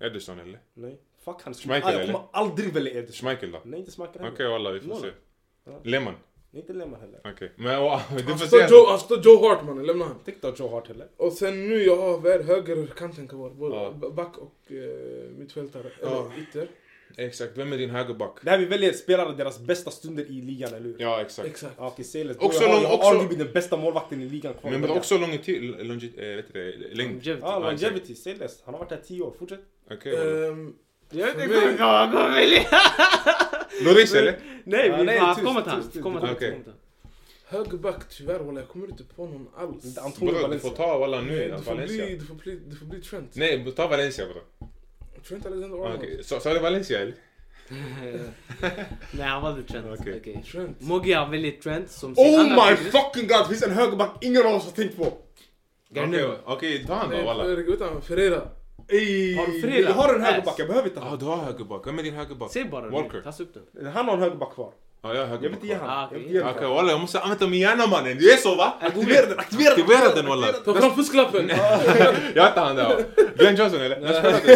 Ederson eller?
Nej. Fuck han.
Schmeichel,
Ah, jag
eller?
kommer aldrig välja Ederson.
Schmeichel då?
Nej, inte Schmeichel heller.
Okej alla, vi får
Noll.
se.
Ja.
Lehmann?
Inte Lehmann heller.
Okej. Men wow, du
Han
får
står
se.
Joe, han står Joe Hart mannen, lämna han.
Jag Tänkte ha Joe Hart heller.
Och sen nu, jag har vär- högerkanten kvar. Både
Ja.
b- back och eh, mittfältare.
Ja.
Eller ytter.
Exakt, vem är din högerback?
Där vi väljer spelare deras bästa stunder i ligan, eller hur?
Ja exakt.
Exakt.
Ja, okej, Seles.
Också
Också jag har,
någon-
jag har
också-
arguably den bästa målvakten i ligan kvar.
Men det är också lång tid, longi- eh, vet du det, längd.
Longevity.
Ja,
Ja, exakt.
longevity. Seles. Han har varit här 10 år. Fortsätt.
Okej walla.
Ehm,
Jag
vet
vet
inte.
inte. Jag kommer välja.
Loris
Eh,
eller?
Nej,
Ja,
vi
nej,
bara
tyst,
kommer till
tyst,
han.
tyst,
Vi kommer
tyst.
till han,
Okej.
vi kommer till han.
Högerback, tyvärr walla, jag kommer inte på någon alls.
Inte Antonio
Bror du
Valencia.
får ta alla nu,
Du får, bli,
Valencia.
du, får bli, du får bli Trent.
Nej, ta Valencia bror.
Trent Alexander-Arnold.
Okej, sa sa du Valencia eller?
Nej, han valde Trent.
Okej.
Okej.
Trent.
Moggia väljer Trent som sin
Oh
andra
my
högerback.
fucking god! Det finns en högerback ingen av oss har tänkt på!
Okej, Okej, ta han då
Nej,
walla.
Fer- utan Ferreira.
Ey,
Har du Ferreira?
vill du ha en
Ass.
högerback? Jag behöver inte
Ja,
ha.
du har högerback. Vem är din högerback?
Säg bara
Walker.
nu, tassa upp den.
Han har en högerback kvar.
Ja, jag är
Jag vill inte ge
högerback.
han.
Ah,
Jag
okej.
vill inte ge
Okej
han.
walla, jag måste använda min hjärna mannen. Du är så va? Aktivera den, aktivera den! Aktivera den walla!
Ta fram fusklappen!
Jag hette han där. Glenn Johnson eller? När spelade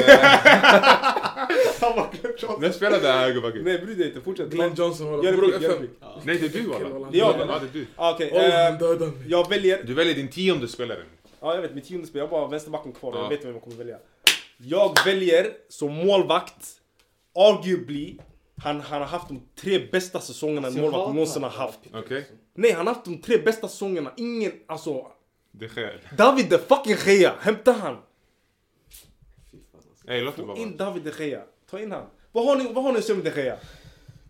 Han var Glenn Johnson.
När spelade han högerbacken?
Nej bry dig inte, fortsätt.
Ah, Glenn Johnson walla,
Gör en
bror
pick, gör en
FM.
pick.
Nej det är du walla.
Det är jag,
Ja, det är du.
Ah, Okej,
Åh,
eh,
Ehm.
han dödade mig.
jag väljer...
Du väljer din tionde spelare.
Ja jag vet, mitt tionde spel. Jag har bara vänsterbacken kvar.
Ja.
Jag vet vem jag kommer välja. Jag väljer som målvakt, arguably, han, han har haft de tre bästa säsongerna en
jag
målvakt
hatar
någonsin har haft.
Okej?
Nej, han har haft de tre bästa säsongerna. Ingen, alltså.
Det sker.
David de fucking Gea, hämta han.
Ey låt det
Få
bara
in
vara.
David de Gea. Ta in han. Vad har ni, vad har ni att säga om de Gea?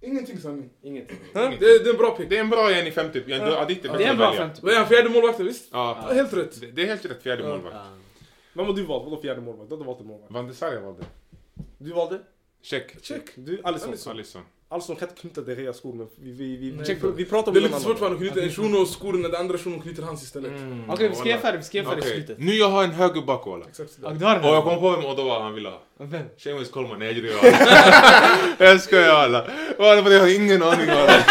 Ingenting sanning.
Ingenting.
Det, det är en bra pick.
Det är en bra en i femte. Ja, du- ja, ditt
Det
är
är
bättre
en
att
bra
välja.
50.
Vad är han, fjärde målvakten visst?
Ja.
Helt rätt.
Det det är helt rätt fjärde målvakt.
Vem har du valt? Vadå fjärde målvakt? Du har inte valt en målvakt.
Van de Sarre valde.
Du valde?
Check.
Check.
Du, Alisson.
Alisson.
Alisson kan inte knyta de Gea skor men vi, vi, vi,
Nej.
vi, vi pratar om
Det är
en
lite
annan. Mm.
svårt för honom att knyta en shuno skor när den andra shunon knyter hans istället.
Okej, vi ska ge färdigt, vi ska ge färdigt
Okej.
slutet.
Nu jag har en högerback walla.
Exakt
Och
sådär.
du har den
Och jag
här?
kom på vem Odoa han ville ha.
Vem?
Seamus Coleman, nej jag skojar Jag skojar alla. Walla för jag har ingen aning walla.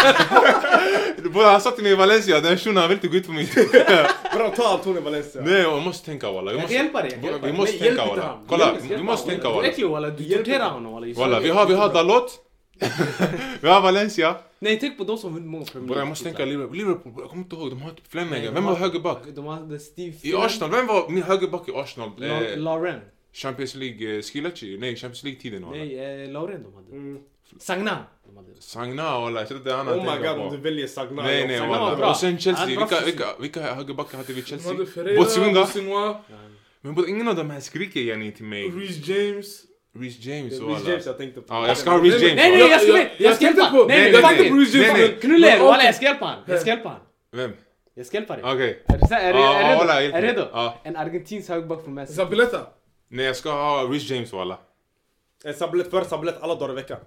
Bara han satte mig i Valencia, den shunon han vill inte gå ut på mig.
Bra, ta Antonio Valencia.
Nej jag måste tänka walla. Jag
Jag
måste-
kan hjälpa dig. jag kan hjälpa
Vi
dig.
måste
Nej, hjälp
tänka
inte
walla.
han.
Kolla,
Hjälp, hjälp
vi måste
honom.
tänka
Du
walla.
är äcklig walla, du
Hjälp
torterar
inte.
honom walla. just nu.
Walla, vi har, vi har Dalot. vi har Valencia.
Nej, tänk på de som vunnit många Premier
Bra, jag måste tänka
League-titlar.
Liverpool. Liverpool, jag kommer inte ihåg. De har typ Flanagan.
Nej,
Vem
de
var
har-
högerback?
De hade Steve
I
Finn,
Arsenal, vem var min högerback i Arsenal?
La-
Eh,
Lauren.
Champions League, eh, Skilachi? Nej, Champions League-tiden walla.
Nej, eh, Lauren de hade.
Mm.
Sagna. de hade.
Sagna walla, jag tror det är han han
Oh my
tänker
god,
på.
om du väljer Sagna.
Nej nej
Sagna
var
walla.
bra.
Och sen Chelsea,
Han var
vilka,
bra.
vilka, vilka högerbackar hade vi i
De hade
Chelsea?
Ferreira,
Botsugunga?
Botswana,
Men både ingen av de här skriker yani till mig.
Reece James.
Reece James
Det är
och
Reece
alla.
James jag tänkte på.
Ja, jag ska ha Reece James.
Nej, nej,
walla.
jag ska- jag ska
tänkte
hjälpa.
på-
Nej,
nej,
jag
nej,
tänkte på
nej.
Reece James,
Nej, nej.
men-
Knuller,
men-
walla jag ska hjälpa han. Jag ska hjälpa han.
Vem?
Jag ska hjälpa dig.
Okej.
Är du så- är du-
Ja,
är du
walla,
redo?
jag
Är du
vet.
redo?
Ja.
En argentinsk högerback från Messi.
Zabaleta.
Nej, jag ska ha Reece James walla.
Eh, Sablett, för Sablett alla dagar i veckan.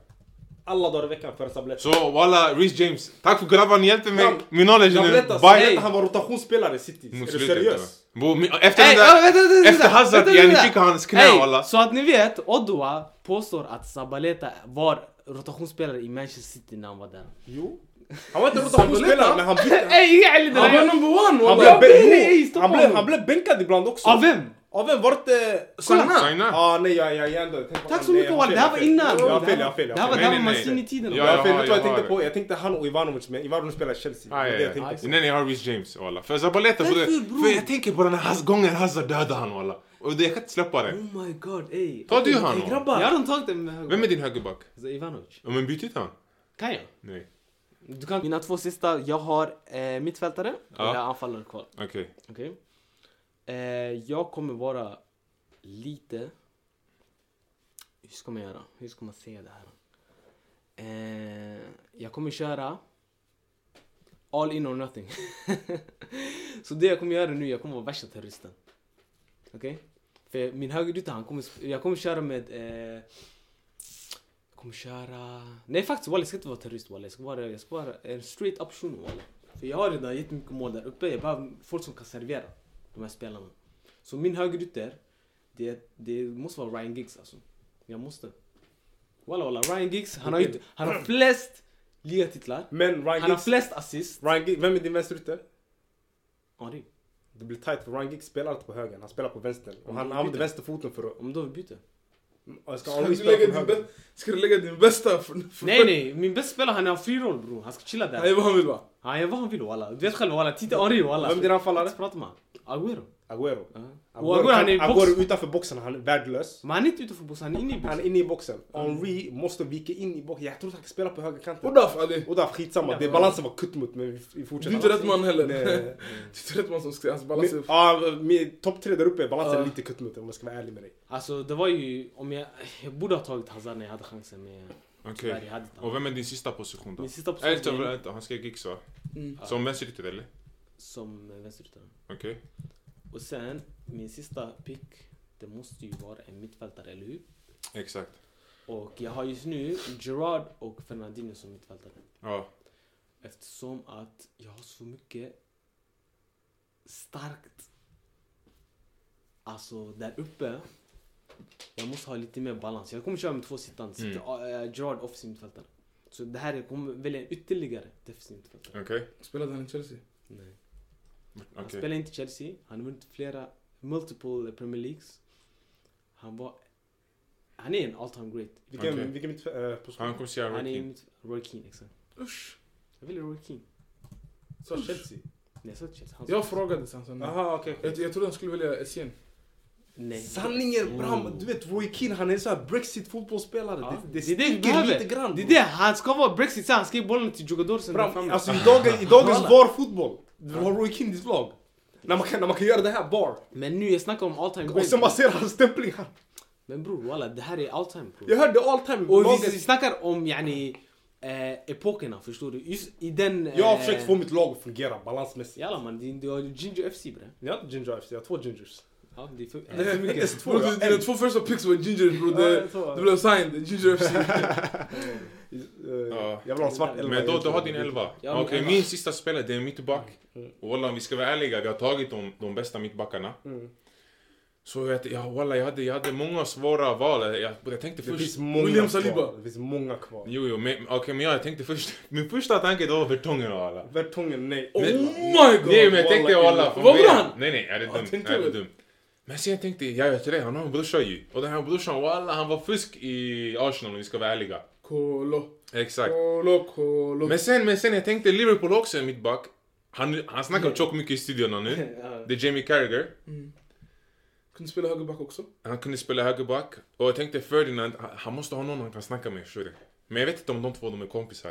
Alla dagar i veckan för Sablett.
Så walla, Reece James. Tack för grabbar, ni hjälpte mig.
Ja.
Min knowledge nu.
Sablett, alltså,
Bye.
Sablett, han var rotationsspelare i City.
Mot
Är du
slutet,
seriös?
va? Bo, men Efter
Ey,
den
ja,
där...
vänta, vänta, vänta,
Efter Hazard,
vänta,
yani,
vänta.
fick hans knä,
Ey,
walla.
Så att ni vet, Odoa påstår att Sabaleta var rotationsspelare i Manchester City när han var där.
Jo. Han var inte rotationsspelare men han bytte.
Ey, inga ärlig
Han var
där!
number
Han
one walla.
blev,
Jag vet,
jo,
nej, stoppa
han, blev,
honom.
han blev bänkad ibland också.
Av vem?
Av vem? Var det inte...
Sagna.
Signa.
Ah, nej, jag, jag, jag ändå. tänk på-
Tack så
nej,
mycket
jag
walla,
fel,
det här var
jag fel.
innan!
Jag har fel, jag har fel. jag
Det
har
här var,
fel.
det
Nej,
här var
nej, nej.
Mancini-tiden.
Ja,
Jag har fel, vet du
Jaha,
vad jag
jag har
tänkte
det.
på? Jag tänkte han och Ivanovic, men Ivanovic spelar i Chelsea. Det
Ah,
var
ja,
det
ja.
jag tänkte på.
Nej, nej, jag har Reece James walla. För Zabaleta, för, det-
Därför, bror.
för jag tänker på den här gången Hazard dödade han walla. Och det, jag kan inte släppa det.
Oh my god, ey.
Ta du han
Ey,
walla.
Jag har
grabbar!
redan tagit den med
Vem
högerback.
är din högerback?
Ivanovic.
Ja, men byt ut han.
Kan jag?
Nej,
Du kan... Mina två sista, jag har eh, mittfältare
Ja.
och jag har anfallare kvar.
okej.
Okej. Eh, jag kommer vara lite... Hur ska man göra? Hur ska man säga det här? Eh, jag kommer köra all in or nothing. så det jag kommer göra nu, jag kommer vara värsta terroristen. Okej? För min högerytter, han kommer... sp- Jag kommer köra med... Eh, jag kommer köra... Nej faktiskt walla, jag ska inte vara terrorist walla. Jag ska vara, jag ska vara en straight up shuno walla. För jag har redan jättemycket mål där uppe. Jag behöver folk som kan servera de här spelarna. Så min högerytter, det, det måste vara Ryan Giggs alltså. Jag måste. Walla walla, Ryan Giggs, han har, ju inte, han har flest ligatitlar.
Men Ryan
Han har
Giggs...
flest assist.
Ryan Giggs, vem är din vänsterytter?
Ja, det. är-
Det blir tight för Ryan Giggs spelar inte på högern, han spelar på vänstern. Och han
Mm,
använder
byter.
vänsterfoten för att...
Om då vi byter.
och Jag ska
Ska
aldrig
du
spela
lägga
på
din
högern.
bästa- Ska du lägga din bästa? för- för-
Nej nej, min bästa spelare han har free roll bror. Han ska chilla
Han gör
där.
vad han vill va?
Han gör vad han vill walla. Du vet själv walla, titta Henry walla.
Vem är din anfallare?
Prata med honom. Aguero.
Agüero.
Ja. Och
Agüero
Aguero han är i
kan- Agüero
box.
utanför boxen, han är värdelös.
Men han är inte utanför boxen, han är inne i
Han är
boxen.
inne i boxen. Henri måste vika in i boxen. Jag tror att han kan spela på högerkanten.
Och därför Ali.
Och där, skitsamma. Det är balansen var kutt mot men vi- vi
Du
fortsätter.
är inte rätt man heller. Du
Nej.
är inte rätt man som ska... alltså, Hans balans
Min-
är...
Ja, min topp tre där uppe, balansen är
Ja.
lite kutt mot om jag ska vara ärlig med dig.
Alltså det var ju, om jag, jag borde ha tagit Hazard när jag hade chansen men
Okej.
tyvärr jag hade inte
Och vem är din sista position då?
Min sista
Eller, vänta,
position
vänta, han ska gigs va?
Mm.
Som vänsterytter eller?
som vänsteryttare.
Okej.
Och sen, min sista pick, det måste ju vara en mittfältare, eller hur?
Exakt.
Och jag har just nu Gerard och Fernandinho som mittfältare.
Ja.
Eftersom att jag har så mycket starkt, alltså där uppe. Jag måste ha lite mer balans. Jag kommer köra med två sittande.
Mm.
Sitta- eh, Gerard offensiv mittfältare. Så det här kommer välja en ytterligare defensiv mittfältare.
Okej. Okay.
Spelade han i Chelsea?
Nej. Han spelar inte i Chelsea. Han har vunnit flera, multiple Premier Leagues. Han var... Han är en all time great.
Vilken,
Okej.
vilken mitt, eh, position?
Han kommer säga
Han är
Roy
en
Keane.
mitt- Roy Keane, exakt.
Usch.
Jag väljer Roy Keane.
Så Chelsea?
Nej, jag sa inte Chelsea. Han sa-
Jag frågade sen. sen nej.
Aha, okej. okej.
jag, jag trodde han skulle välja Essien.
Nej.
Sanningen Bram,
Oh.
du vet Roy Keane han är så här Brexit fotbollsspelare.
Ja,
Det, det
det är det vi
sticker
behöver.
lite grann.
Det är det, han ska vara Brexit, sen han ska ge bollen till Jogador sen där
Bram,
framme.
alltså i, dag, i dagens
Kolla.
VAR-fotboll, du vill ha Roy Keane i ditt lag. När man, kan, när man kan göra det här VAR.
Men nu, jag snackar om all time
Och
great.
sen man ser hans stämplingar.
Men bror walla, det här är all time bror.
Jag hörde all time.
Och vi, vi
laget-
snackar om yani eh, epokerna, förstår du? Just i den... Eh,
jag har försökt få mitt lag att fungera balansmässigt.
Jalla man, det- du har ju Ginger FC bre.
Jag har inte ginger FC, jag har två gingers.
Ja, det är för...
Det är för mycket. S2,
Bro,
ja.
dina dina två första picks var Ginger bro.
Ja,
Det,
jag tror-
det blev signed. Ginger FC.
Eh,
Ja.
Jag vill ha en svart elva.
Men då, du har din elva.
Jag har min
Okej,
elva.
min sista spelare, det är mittback. Och wallah, om vi ska vara ärliga, vi har tagit de, de bästa mittbackarna. Så jag, ja, wallah, jag, hade, jag hade många svåra val. Jag, jag tänkte
Det
först...
finns många
William
kvar.
Saliba.
Det finns många kvar.
Jo, jo, men, okej, men jag tänkte först... Min första tanke då var Vertongen och alla.
Vertongen, nej.
Oh
Men-
my god!
Nej men jag tänkte
Walla,
walla.
illa.
från
Vad
början.
var han?
Nej nej, är det dumt?
tänkte
Är det
väl.
dumt? Men sen tänkte jag, jag vet det, han har en brorsa ju. Och den här brorsan walla, han var fusk i Arsenal om vi ska vara ärliga.
Kolo.
Exakt.
Kolo, kolo.
Men sen, men sen jag tänkte Liverpool också är mittback. Han, han snackar tjockt mycket i studion nu.
Ja.
Det är Jamie Carragher.
Kunde spela högerback också.
Han kunde spela högerback. Och jag tänkte Ferdinand, han- han måste ha någon han kan snacka med, förstår du? Men jag vet inte om de två de är kompisar.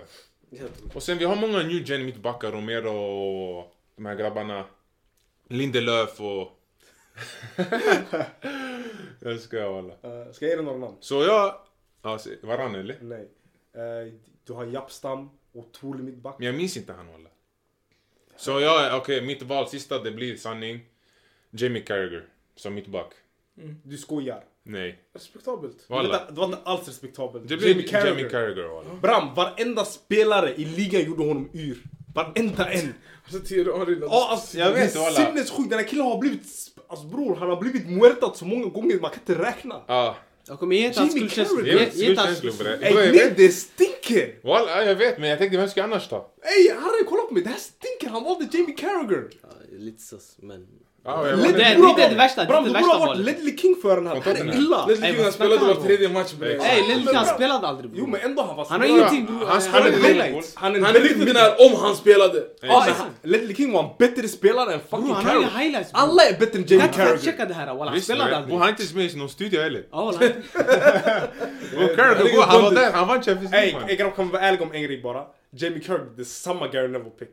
Eh,
Och sen vi har många new gen mittbackar, Romero och de här grabbarna. Lindelöf och... jag skojar walla.
Eh, Ska jag ge dig några namn?
Så jag... Alltså, varann eller?
Nej. Eh, Du har Japstam, otrolig mittback.
Men jag minns inte han walla. Så jag, okej mitt val sista det blir sanning. Jamie Carragher som mittback.
Du skojar.
Nej.
Respektabelt.
Det var
Walla.
inte- det var inte alls respektabelt.
Det blir Jamie Carragher, Jamie Carragher walla.
Bram, varenda spelare i ligan gjorde honom yr. Varenda en.
Alltså Thierry Henry.
Ja, alltså,
Jag vet,
det är
walla.
sinnessjukt. Den här killen har blivit... sp- Alltså bror, han har blivit muertad så många gånger man kan inte räkna.
Ja.
Jag kommer ge inte hans
Jimmy
skuldkänslor.
Carragher.
Ge-
Jag
ge inte hans
känslor för det.
Ey,
Jag
nej,
vet.
det stinker!
Walla, jag vet men jag tänkte vem ska jag annars ta?
Ey, Harry, kolla på mig. Det här stinker. Han valde Jamie Carragher.
Ja, Lite sus, men...
Ja, Ah, jag
Lite-
valde-
det är
Du borde ha
det
varit-
värsta, det är
Bram,
det
du
värsta
borde ha varit
valet.
Ledley King för den här. Det här är
Tottenham.
illa.
Leslie
Ey,
King han
vad
spelade
snackar
var
han
tredje match bre.
Exakt.
Ey, Lille han spelade aldrig
Jo,
bror.
men ändå han var
Han har
spelare.
ingenting bror.
Han
Han
spelade
är en
Liverpool.
highlight. Han är en
Han är
väldigt
riktigt den här om han spelade.
Ja,
Exakt.
men Ledley King var en bättre spelare än
Bror,
fucking
han har ju
Carragher.
highlights bror.
Alla är bättre än
Kan
Jamie
inte fact
Carragher.
checka det här walla, han
Visst,
spelade
men-
aldrig.
Bor han inte med i någon studio heller?
Ja, walla, han-
Och Carragher,
ligger
går- han var
bundet.
där, han vann Champions League
Ey,
man.
ey, grabbar, kan vi vara ärliga om en grej bara? Jamie Carragher, det är samma Gary Neville-pick.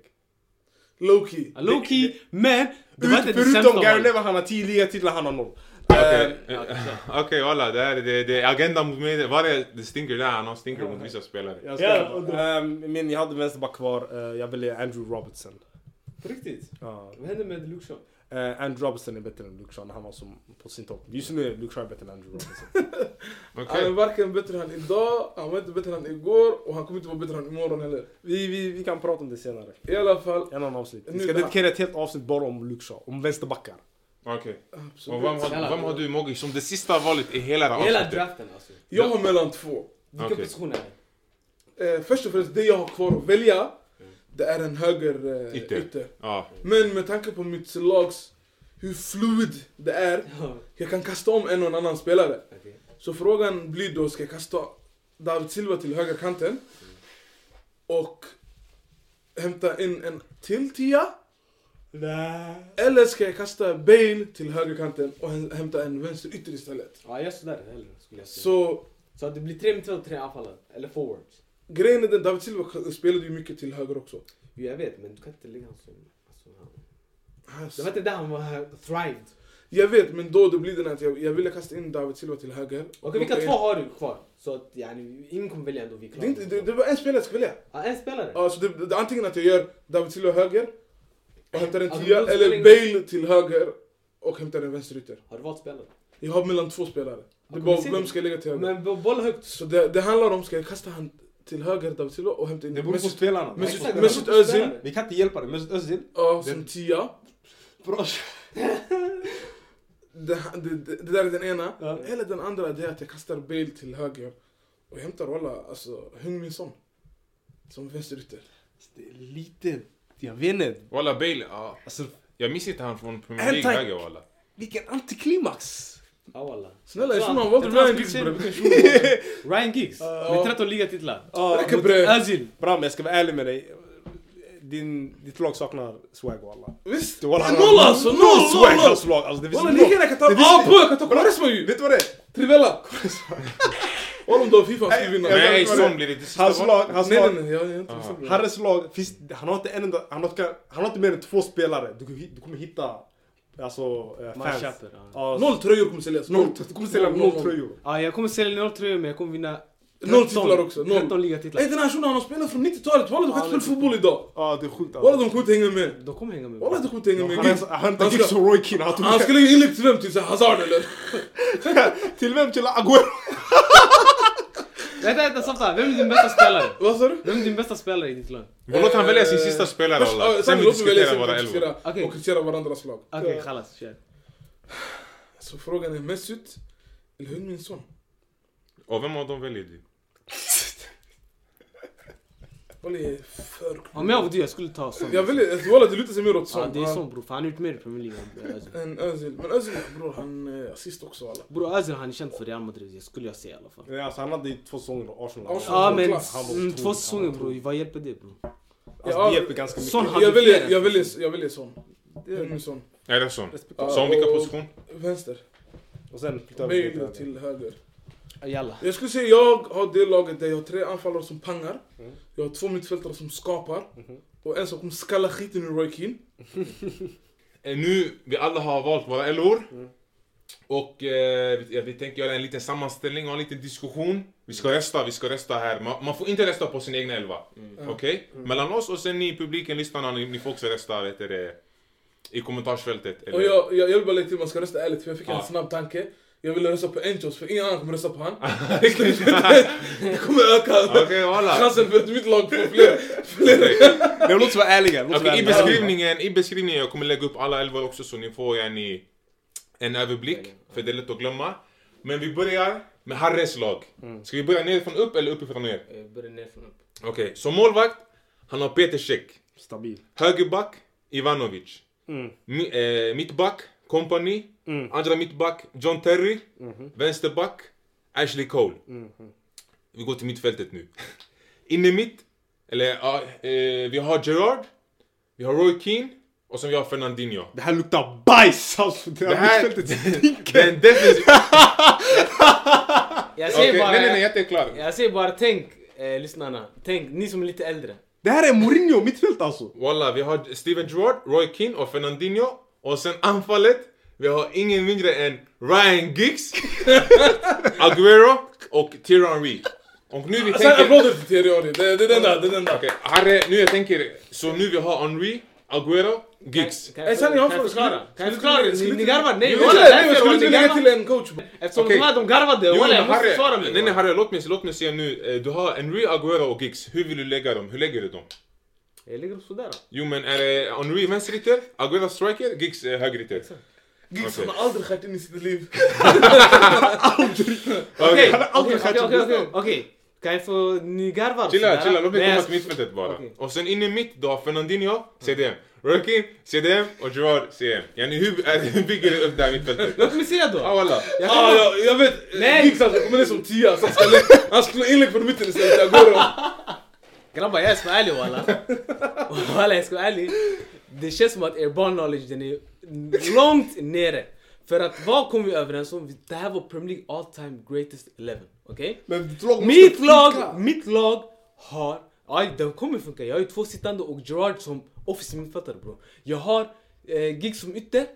Lowkey.
Low key, men... Det var inte det sämsta
Förutom Gary
valet.
Neville, han har 10 ligatitlar, han har noll. Ehm,
Okej, eh, Okej walla, det här är- det- det är agenda mot mig. Varje det stinker där, han har stinker mot vissa spelare.
Jag
Ja,
ska, Ehm, men jag hade vänsterback kvar, Eh, jag ville Andrew Robertson.
På riktigt?
Ja.
Vad hände med Luke Shaw?
Eh, Andrew Robertson är bättre än Luke Shaw när han var som på sin topp. Just nu är Luke Shaw bättre än Andrew Robertson.
Han är
Okej,
varken bättre än idag, han var inte bättre än igår och han kommer inte vara bättre än imorgon heller.
vi, vi, vi kan prata om det senare.
I alla fall.
En annan avsnitt. Vi
Nu
ska
det här.
dedikera ett helt avsnitt bara om Luke Shaw, om vänsterbackar.
okej. Och vem
Absolut.
har, vem har du Moggi som det sista valet i hela det här
Hela
avsnittet?
draften alltså.
Jag har mellan två.
Vilka
Okej.
positioner är det?
Eh, först och främst, det jag har kvar att välja, det är en höger eh,
Ytter.
ytter.
Ja,
Men med tanke på mitt lags, hur fluid det är,
Ja,
jag kan kasta om en och en annan spelare.
okej.
Så frågan blir då, ska jag kasta David Silva till högerkanten? Och hämta in en till tia? Eller ska jag kasta Bale till högerkanten och häm- hämta en vänster ytter istället?
Ja, jag är sådär heller skulle jag säga. Så,
Så
att det blir tre mittfält och tre anfallare. Eller forwards.
grejen är den, David Silva spelade ju mycket till höger också.
Jo, jag vet, men du kan inte lägga honom som... Alltså, han- det
Alltså,
var inte där han var här, thrived.
Jag vet, men då det blir den att jag, jag ville kasta in David Silva till höger.
Okej, vilka
Locka in-
två har du kvar? Så att yani, ingen kommer välja ändå vi är
Det, är inte, det,
klara.
det var en spelare jag skulle välja.
Ja, en spelare.
Alltså, det, det, antingen att jag gör David Silva höger och hämtar en
Ja, men
tia,
då spelar
eller
ingen-
Bale till höger och hämtar en vänsterytter.
Har du valt spelare?
Jag har mellan två spelare. Det är
men
bara
vi ser
vem
det.
ska jag lägga till höger.
Men bo- boll högt.
Så det, det handlar om, ska jag kasta han till höger, David Silva, och hämta in
Det beror på
Mesut-
spelarna.
Mesut-
Det beror på
Mesut
spelarna.
Özil.
spelare.
Vi kan inte hjälpa det. Mesut Özil.
ja, som tia.
Bra.
Det, det, det, det där är den ena.
Ja.
Eller den andra, det är att jag kastar Bale till höger och hämtar, walla, alltså, Hung Min Son. Som vänsterytter.
Det är Lite... Jag vet inte.
Walla Bale, ja.
Alltså,
Jag minns inte han från Premier
En
League
tank-
läge walla.
vilken antiklimax!
Ja, walla.
Snälla, jag
Så
tror man
han-
valde
jag tror han
Ryan Giggs
skulle
bror.
se- Ryan Giggs?
ja.
Med 13 ligatitlar.
Ja,
Räcker
men-
bre.
Özil.
Bram, jag ska vara ärlig med dig. Din, ditt lag saknar swag walla.
Visst?
Det var alla-
Noll alltså! Noll!
Swag
Noll! noll.
hans lag! Alltså det finns
Walla,
inte
lika
något.
gärna kan ta...
Det finns
Ah
inte-
bro, jag kan ta Quaresma ju!
Vet du vad det är?
Trivella! Walla, om du har Fifa ska du vinna.
Jag vet
Nej,
inte vad
sån
det-
blir det till sista
Hans lag,
val.
hans
Nej, nej,
lag.
nej. Jag jag är inte bestämd.
Harrys lag, finns, han, har inte en enda, han, har, inte- han har inte mer än två spelare. Du, du kommer hitta alltså, eh, fans.
Matchuper, ja.
Ja,
Noll tröjor kommer säljas.
noll. Du kommer sälja noll tröjor.
Ja, jag kommer sälja noll tröjor men jag kommer vinna...
Noll titlar också, noll.
13 ligatitlar.
Ey den här shunon han har spelat från 90-talet, walla du kan
Ja,
inte spela fotboll idag!
Ja, det är sjukt
Walla
alltså.
de kommer inte hänga med!
De kommer hänga med.
Walla de kommer inte hänga med!
Han
Giggs.
är- Han
Han
tar gick
ska-
som Roy Keane. Han tog
Han skulle ju inlägg till vem? Till så här Hazard eller?
till vem? Till Aguero?
Vänta, vänta, Safta. Vem är din bästa spelare?
Vad sa du?
Vem är din bästa spelare i ditt lag?
Och låt han välja sin
Eh,
sista spelare
först- ja,
walla. Sen
Sen
vi
låt mig välja
diskuterar
våra
våra elvor.
elvor.
Okej.
Och kritisera varandras lag.
Okej,
Ja.
chalas. Kör.
Så frågan är Mesut eller Heung-Min Son?
Och vem av dem väljer du?
Walla jag är för klok.
Om jag var du, jag skulle ta Son.
Jag väljer, walla det lutar sig mer åt
Ja,
Son.
det är
Ja.
Son bror. För han har gjort mer i Premier League än Özil.
än Özil. Men Özil bror han är assist också walla.
Bror Özil han är känd för Real Madrid, jag skulle jag säga i alla fall.
Ja, alltså, han hade ju två säsonger i Arsenal.
Arsenal.
Ja men
klass.
Han var
mm,
otrolig,
två
han
säsonger
var otrolig.
bror, vad hjälper det bror?
Alltså, det hjälper ganska mycket.
Son hade
Jag väljer,
flera.
jag väljer, jag väljer Son. Heung-Min Son.
Är det sån?
Respektabelt.
Som vilken
och-
position?
Vänster.
Och sen flyttade vi till
Bale
höger.
till höger.
Jalla.
Jag skulle säga jag har det laget där jag har tre anfallare som pangar.
Mm.
Jag har två mittfältare som skapar.
Mhm.
Och en som kommer skalla skiten ur Roy Keane.
Eh, Nu, vi alla har valt våra elvor.
Mm.
Och eh, vi, ja, vi tänker göra en liten sammanställning och en liten diskussion. Vi ska rösta, vi ska rösta här. Man, man får inte rösta på sin egna elva.
Mm.
Okej? Mellan oss och sen ni i publiken, lyssnarna, ni, ni får också rösta vet du, det, i kommentarsfältet. Eller,
Och jag, jag, jag vill bara lägga till, man ska rösta ärligt för jag fick
Ja.
en snabb tanke. Jag ville rösta på Enchos för ingen annan kommer rösta på han. Så det det kommer öka
Okej, voilà.
chansen för att mitt lag får fler. fler.
Men låt oss vara ärliga. Låt oss vara
Okej, i,
ärliga.
beskrivningen, I beskrivningen, jag kommer lägga upp alla elvor också så ni får ja, ni, en överblick. För det är lätt att glömma. Men vi börjar med Harrys lag. Ska vi börja nerifrån upp eller uppifrån ner?
Mm. Eh, Börja ner från upp.
Okej, som målvakt, han har Peter Cech.
Stabil.
Högerback, Ivanovic. Mi, eh, mittback, Company. Andra mittback, John Terry. Vänsterback, Ashley Cole. Vi går till mittfältet nu. Inne mitt, eller ja, eh, vi har Gerard, vi har Roy Keane och sen vi har Fernandinho.
Det här luktar bajs alltså. Det
Det
här
här...
mittfältet
den defensiv...
Jag säger
Okej,
bara,
nej nej nej, jag är inte klar.
jag säger bara tänk, eh, lyssnarna, tänk ni som är lite äldre.
Det här är Mourinho mittfält alltså.
Walla, vi har Steven Gerrard, Roy Keane och Fernandinho. Och sen anfallet, vi har ingen mindre än Ryan Giggs, Aguero och Thierry Reed. Och nu vi
Alltså,
Sen
tänker...
applåder till Thierry Det det är den där, det är den där.
Okej, Harry, nu jag tänker... Så nu vi har Henry, Aguero, Giggs.
Kan
Eh,
jag,
Sanni, jag har
kan
en
jag
fråga.
förklara? Kan
Skulle-
jag förklara?
skulle-
Ni,
skulle-
ni garvar? Nej
Jag
walla,
vet inte,
därför
jag skulle
jag
inte
inte
lägga till
garvar.
en coach.
Eftersom
Okej.
de här de garvade,
Jo,
walla jag
men
måste försvara
Harry,
mig.
nej, nej, Harry, låt mig, låt mig se nu. Eh, Du har Henry, Aguero och Giggs. Hur vill du lägga dem? Hur lägger du dem?
Jag ligger sådär.
Jo, men är det Henry vänsterytter, Aguero striker, Giggs eh, högerytter?
Giggs
Okej.
han har aldrig skärt in i sitt liv.
Okej,
hade aldrig
okej,
skett
okej,
som
okej,
Gustav.
okej, okej. Kan jag få, ni garvar
Chilla,
sådär.
chilla, låt mig
Men jag-
komma till mittfältet bara.
Alltså, Okej.
Och sen inne i mitt, du har Fernandinho, CDM. Rocky, CDM och Gerard, CM. Yani hur äh, hur bygger du upp det här mittfältet?
Låt mig säga då.
Ah walla.
Jag kan-
Ah, jag, jag vet,
Nej.
Giggs alltså, kommer ner som tia. så Han skulle, han skulle inlägg från mitten istället. Jag går om.
Grabbar jag ska vara ärlig walla. Walla jag ska vara ärlig. Det känns som att er barn knowledge den är långt nere. För att vad kom vi överens om? Det här var Premier League all time greatest 11. Okej?
Men ditt lag måste
Mitt
funka.
lag, mitt lag har... Ja, den kommer funka. Jag har ju två sittande och Gerard som offensiv mittfältare bror. Jag har eh, Giggs som ytter.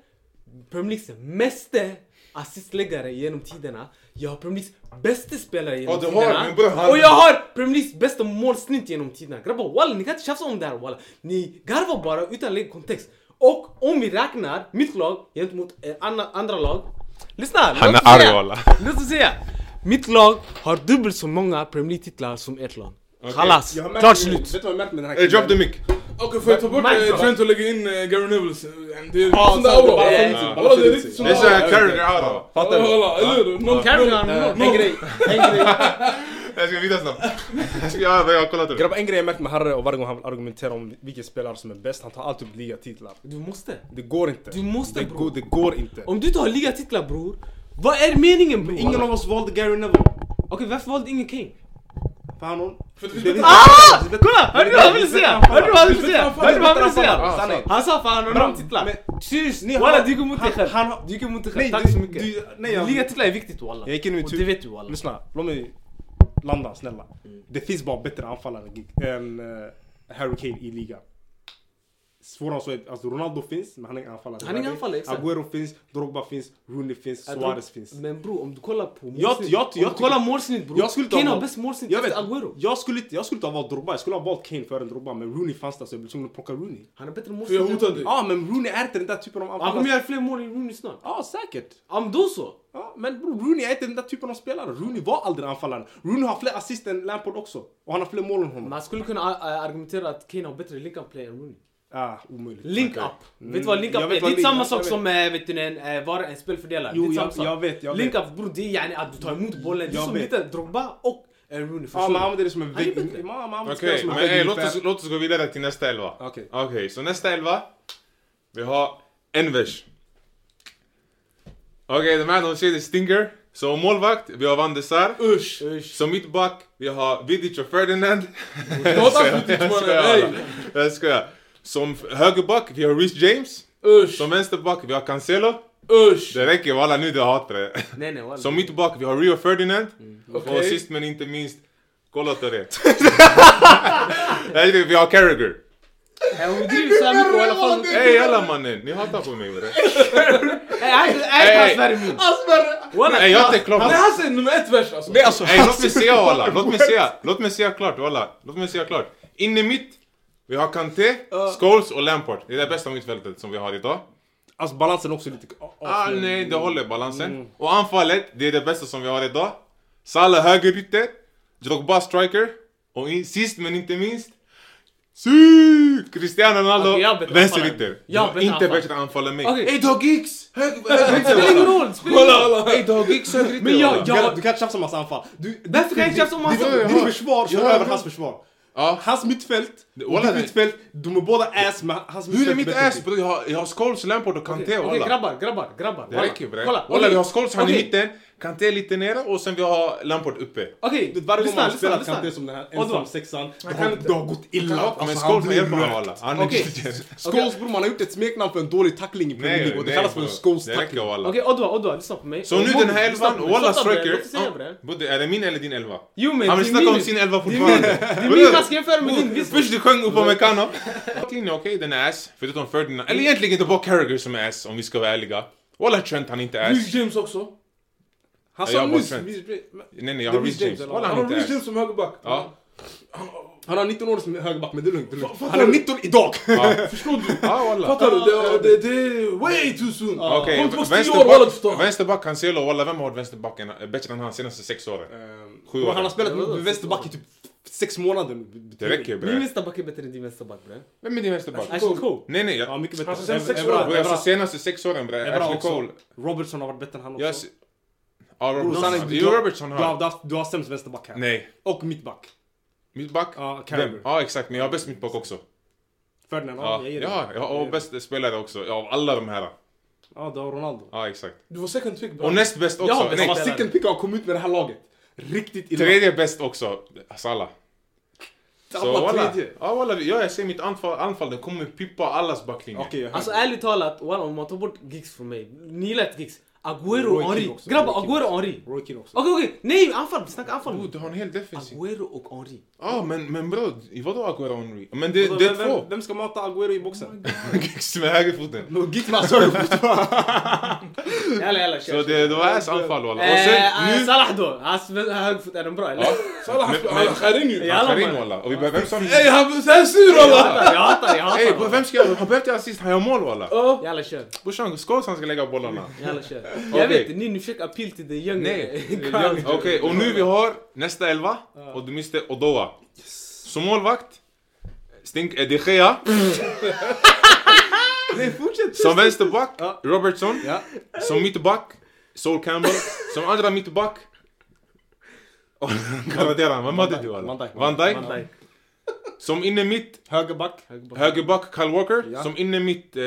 Premier Leagues meste assistläggare genom tiderna. Jag har Premier Leagues bästa spelare genom
Ja, du har,
tiderna.
men bror, han-
Och jag har Premier Leagues bästa målsnitt genom tiderna. Grabbar walla, ni kan inte tjafsa om det här walla. Ni garvar bara utan lägg kontext. Och om vi räknar mitt lag gentemot eh, anna, andra lag. Lyssna!
Han
låt
är
oss
arg,
säga-
walla.
Låt oss säga, mitt lag har dubbelt så många Premier League-titlar som ert lag. Chalas,
Jag har märkt
klart
med-
slut.
Vet du vad jag märkt med den här
Eh, Drop the mic.
Okej, får jag ta bort
Mike,
eh,
va?
Trent och lägga in eh, Gary Neville? Det är
Ja,
sån där
sant, det
aura.
bara
skjuter
Ja.
sig, bara
Walla, det är
skjuter
riktigt
sig.
sån
Det är såhär
aura.
carrier out.
Fattar du?
Walla, eller hur? Någon-
Carry
någon-
on,
Eh,
någon-
En grej, en grej.
Jag ska vidare snabbt. Jag ska, ja, jag har kollat upp.
Grabbar, en grej jag märkt med Harre och varje gång han vill argumentera om vilken spelare som är bäst, han tar alltid upp ligatitlar.
Du måste.
Det går inte.
Du måste,
det,
bror.
går, det går inte.
Om du inte har ligatitlar bror, vad är meningen bror?
Ingen av oss valde Gary Neville.
Okej varför valde ingen Kane?
För han... För
det finns
Ah! Kolla! Hörde du vad han ville säga? Hörde du vad han ville säga? Hörde du vad han ville
Ah,
säga?
sanning.
Han sa fan han har
Bra,
några titlar.
men-
Seriöst,
Ni har-
walla du gick emot dig
han-
själv.
han har-
Du gick emot dig
Nej,
själv, tack
du-
så mycket.
du- nej, jag-
Ligatitlar är viktigt walla.
Jag gick in i mitt
Och det vet du walla.
Lyssna, låt mig landa snälla.
Mm.
Det finns bara bättre anfallare än Gig- än eh, Harry Kane i ligan. Svårare än så är alltså Ronaldo finns, men han är ingen anfallare.
Han är ingen anfallare, exakt.
Agüero finns, Drogba finns, Rooney finns,
Jag
Suarez
tror-
finns.
Men bror om du kollar på målsnitt.
jag
om du
tycker-
kollar målsnitt bror.
Jag skulle ta
Kane har
honom.
bäst målsnitt
Jag,
efter
vet,
Agüero.
jag, skulle inte, jag skulle inte ha valt Drogba, jag skulle ha valt Kane före Drogba. Men Rooney fanns där så jag blev tvungen att plocka Rooney.
Han har bättre
För jag
målsnitt.
hotar dig.
Ja, men Rooney är inte den där typen av
Han kommer
anfallare.
göra fler mål än Rooney snart.
Ja, säkert.
Ja men då så.
Ja, men bro, Rooney är inte den där typen av spelare. Rooney var aldrig anfallaren. Rooney har fler assist än Lampard också. Och han har fler mål än honom.
Man skulle kunna äh, argumentera att Kane har bättre link-up play än Rooney.
Ah, omöjligt.
Link-up.
Okej.
Vet du vad link-up
jag
är?
vet
Det
vad
är
link-
samma
jag
sak
vet.
som äh, vet du, en, äh, vara en spelfördelare.
Jo,
det är samma
jag-
sak.
jag vet, jag vet.
Link-up bror, det är yani att du tar emot bollen. Det är
Jag
som
vet.
lite Drogba och en Rooney.
Ja, man
Förstår du?
använder det som en
Han är
vägg.
bättre.
in- Man man använder
Okej,
det som en
men ey,
vägg
låt, oss,
ungefär.
låt oss gå vidare till nästa elva.
Okej.
så nästa elva. Vi har Envers. Okej, de här de säger Stinger. Som målvakt, vi har Van de Sar.
Usch.
Usch.
Som mittback, vi har Vidic och Ferdinand.
Jag hatar Vidic,
Jag
mannen.
skojar,
Ey.
alla. Jag skojar. Som högerback, vi har Reece James.
Usch.
Som vänsterback, vi har Cancelo.
Usch.
Det räcker walla, nu du hatar det.
Nej nej walla.
Som mittback, vi har Rio Ferdinand.
Mm. Okej.
Och sist men inte minst, kolla på det. Nej, det- vi har Carragher.
Äh, Hon driver såhär mycket walla. fan.
Ey alla mannen, ni hatar på mig bre.
Äh, han- äh,
Ey.
Han svär emot. Walla.
Ey jag är inte klar.
Nej han säger nummer ett värst alltså.
Nej, alltså,
Ey låt mig säga walla, låt mig säga, låt mig säga klart walla. Låt mig säga klart. In i mitt, vi har Kanté, Scholes och Lampard. Det är det bästa mittfältet som vi har idag.
Alltså balansen är också lite... ja, ja.
Ah, nej, det håller balansen. Och anfallet, det är det bästa som vi har idag. Salah högerytter, Drogba striker och in, sist men inte minst Si! Cristiano
Okej,
Ronaldo,
jag har bättre
vänsterytter.
anfallare. Jag har
Du har
bättre
Inte
anfallare.
bättre anfall än mig.
Okej.
Ey, du har Giggs! Hög-
Det spelar ingen roll. det spelar ingen roll.
Ey, du har Giggs högerytter.
Men jag-
walla.
Du kan-
jag-
Du kan inte tjafsa om hans anfall. Du,
Varför kan jag inte tjafsa om hans
ditt-
anfall?
Ditt försvar kör
Ja,
över
ja.
hans försvar.
Ja.
Hans mittfält och
Walla,
ditt
nej.
mittfält, de är båda ass men hans
Hur är
mittfält
mitt
bättre.
ass? bro? Jag har, jag har Scholes, Lampard och Kanté
Okej
walla.
okej, grabbar, grabbar, grabbar.
det
walla.
räcker bre.
Kolla,
Walla, vi har Scholes, han är i
okej.
mitten. Kanté lite nere och sen vi har Lampard uppe.
Okej,
Du vet, Varje gång
lyssna,
man
lyssna,
spelar Kanté
lyssna.
som den här
Vadå?
ensam sexan, det
kan
har,
inte-
det har gått illa. Alltså, han
men Scholes
blir
hjälper honom
rökt.
walla. Han är
Okej. Alltså,
Scholes bror, man har gjort ett smeknamn för en dålig tackling i Premier League och det kallas för en
bro. Det
Scholes-tackling.
räcker walla.
Okej Odwa, Odwa, lyssna på mig.
Så nu den här
Lyssna på
elvan,
mig.
walla
Fatta, bre,
striker.
låt oss säga, bre.
Ja, Budde, är det min eller din elva?
Jo men
Han
det
vill
är
snacka om
min-
sin elva
Det är min-
fortfarande.
Det är min man ska jämföra med din. Visst.
Först du sjöng Upamecano. Backlinjen är okej, den är ass. Förutom Ferdinand. Eller egentligen inte bara Carragher som är ass om vi ska vara ärliga. Walla Trent han är inte ass.
Reece James också.
Han
Alltså,
Jag
sa
har
nyss...
Trent.
vi- men-
Nej nej jag
Det
har
är Reece
Reece James.
James,
Walla
Han
han
har
är
Reece
inte ass.
James som högerback.
Ja.
Han har 19 år som högerback, men det är lugnt. Det är lugnt.
Fa-
Han är 19 idag!
Ja.
Förstår du?
Ja walla.
Fattar du? Det, det, det är way too soon.
Okej,
Kom tillbaka tio år walla du
vänsterback,
förstår.
vänsterback Cancelo. Walla vem har varit vänsterback än- eh, bättre än han senaste sex åren? Sju
Men
år.
Eh, han har spelat
Ja,
med
det är
vänsterback i typ 6 månader nu.
Det räcker
Min
bre.
vänsterback är bättre än din vänsterback bre.
Vem är din vänsterback?
Ashley Cole.
Nej nej.
Ja,
jag-
mycket bättre.
Alltså, sen
Ev-
sex år.
Evra-
Bro, Alltså
Evra-
senaste sex åren bre.
Evra
Ashley
också.
Cole.
Robertson har varit bättre än han
Jag...
också.
Ja
Bror, sanning,
Robertson.
du-
Jo Robertson
Du har,
har.
du har, du har sämst vänsterback här.
Nej.
Och mittback.
Mittback?
Ja,
Vem?
Carragher.
Ja exakt, men jag har bäst mittback också.
Ferdinand, ja,
Ja,
jag ger dig
ja,
det.
ja och bäst spelare också. Ja, Av alla de här.
Ja, du har Ronaldo.
Ja exakt.
Du var second pick bra.
Och näst bäst
Jag
också.
har bäst
Nej,
Vad Sicken Picka har kommit med det här laget. Riktigt illa.
tredje bäst också. Salah. Så
Alla
walla.
tredje.
Ja walla, vi- ja, jag ser mitt anfall, anfall den kommer pippa allas backlinje.
Okej, jag hör.
Alltså ärligt talat, walla om man tar bort Giggs från mig. Ni gillar inte Giggs. Aguero
Roy
och
Keane
Henri.
också.
Grabbar,
Roy Keane
Aguero och
också.
Henri.
Roy Keane också.
Okej okej, nej anfall, vi snackar anfall
Oh,
nu.
du har en hel defensiv.
Aguero och Henri.
Ja men, men bro, vadå Aguero Henry? Men det,
Vem-
det är
Alltså, vem-
två.
Vem ska mata Aguero i boxen?
Giggs med högerfoten.
Men Gick man så fortfarande.
Jalla jalla kör.
Så det, det var ass anfall walla. Och sen
Eh, eh,
nu...
Salah då, hans högerfot, är den bra eller?
Salah han
Men-
spelar-
men-
han skär in ju.
Ja.
Han skär in walla. Och vi behöver... Vem som...
Ey han är sur
Jag
walla.
hatar, jag hatar, jag
Ey bro,
hatar.
vem ska göra... Han behöver inte assist, han gör mål walla.
Oh.
Jalla kör.
Brorsan, skåls han ska lägga bollarna.
Jalla kör.
Okej.
Jag vet, ni, ni försöker appeal till the young
Nej.
crowd.
Okej, och nu vi har nästa elva och du miste Odoa. Som målvakt, Stink eh, de Gea.
Nej, fortsätt.
Som vänsterback,
Ja.
Robertson.
Ja.
Som mittback, Sol Campbell. Som andra mittback, Garanterar han. Vem hade du
Van
alla?
Dijk.
Van
Van
Dijk.
Dijk.
Som inne mitt,
Högerback.
högerback Kyle Walker.
Ja.
Som inne mitt, eh,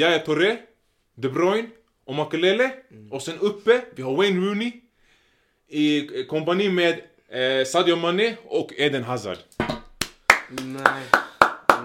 Yahya Touré. De Bruyne. Och Makelele.
Mm.
Och sen uppe, vi har Wayne Rooney. I eh, kompani med eh, Sadio Mané och Eden Hazard.
Nej.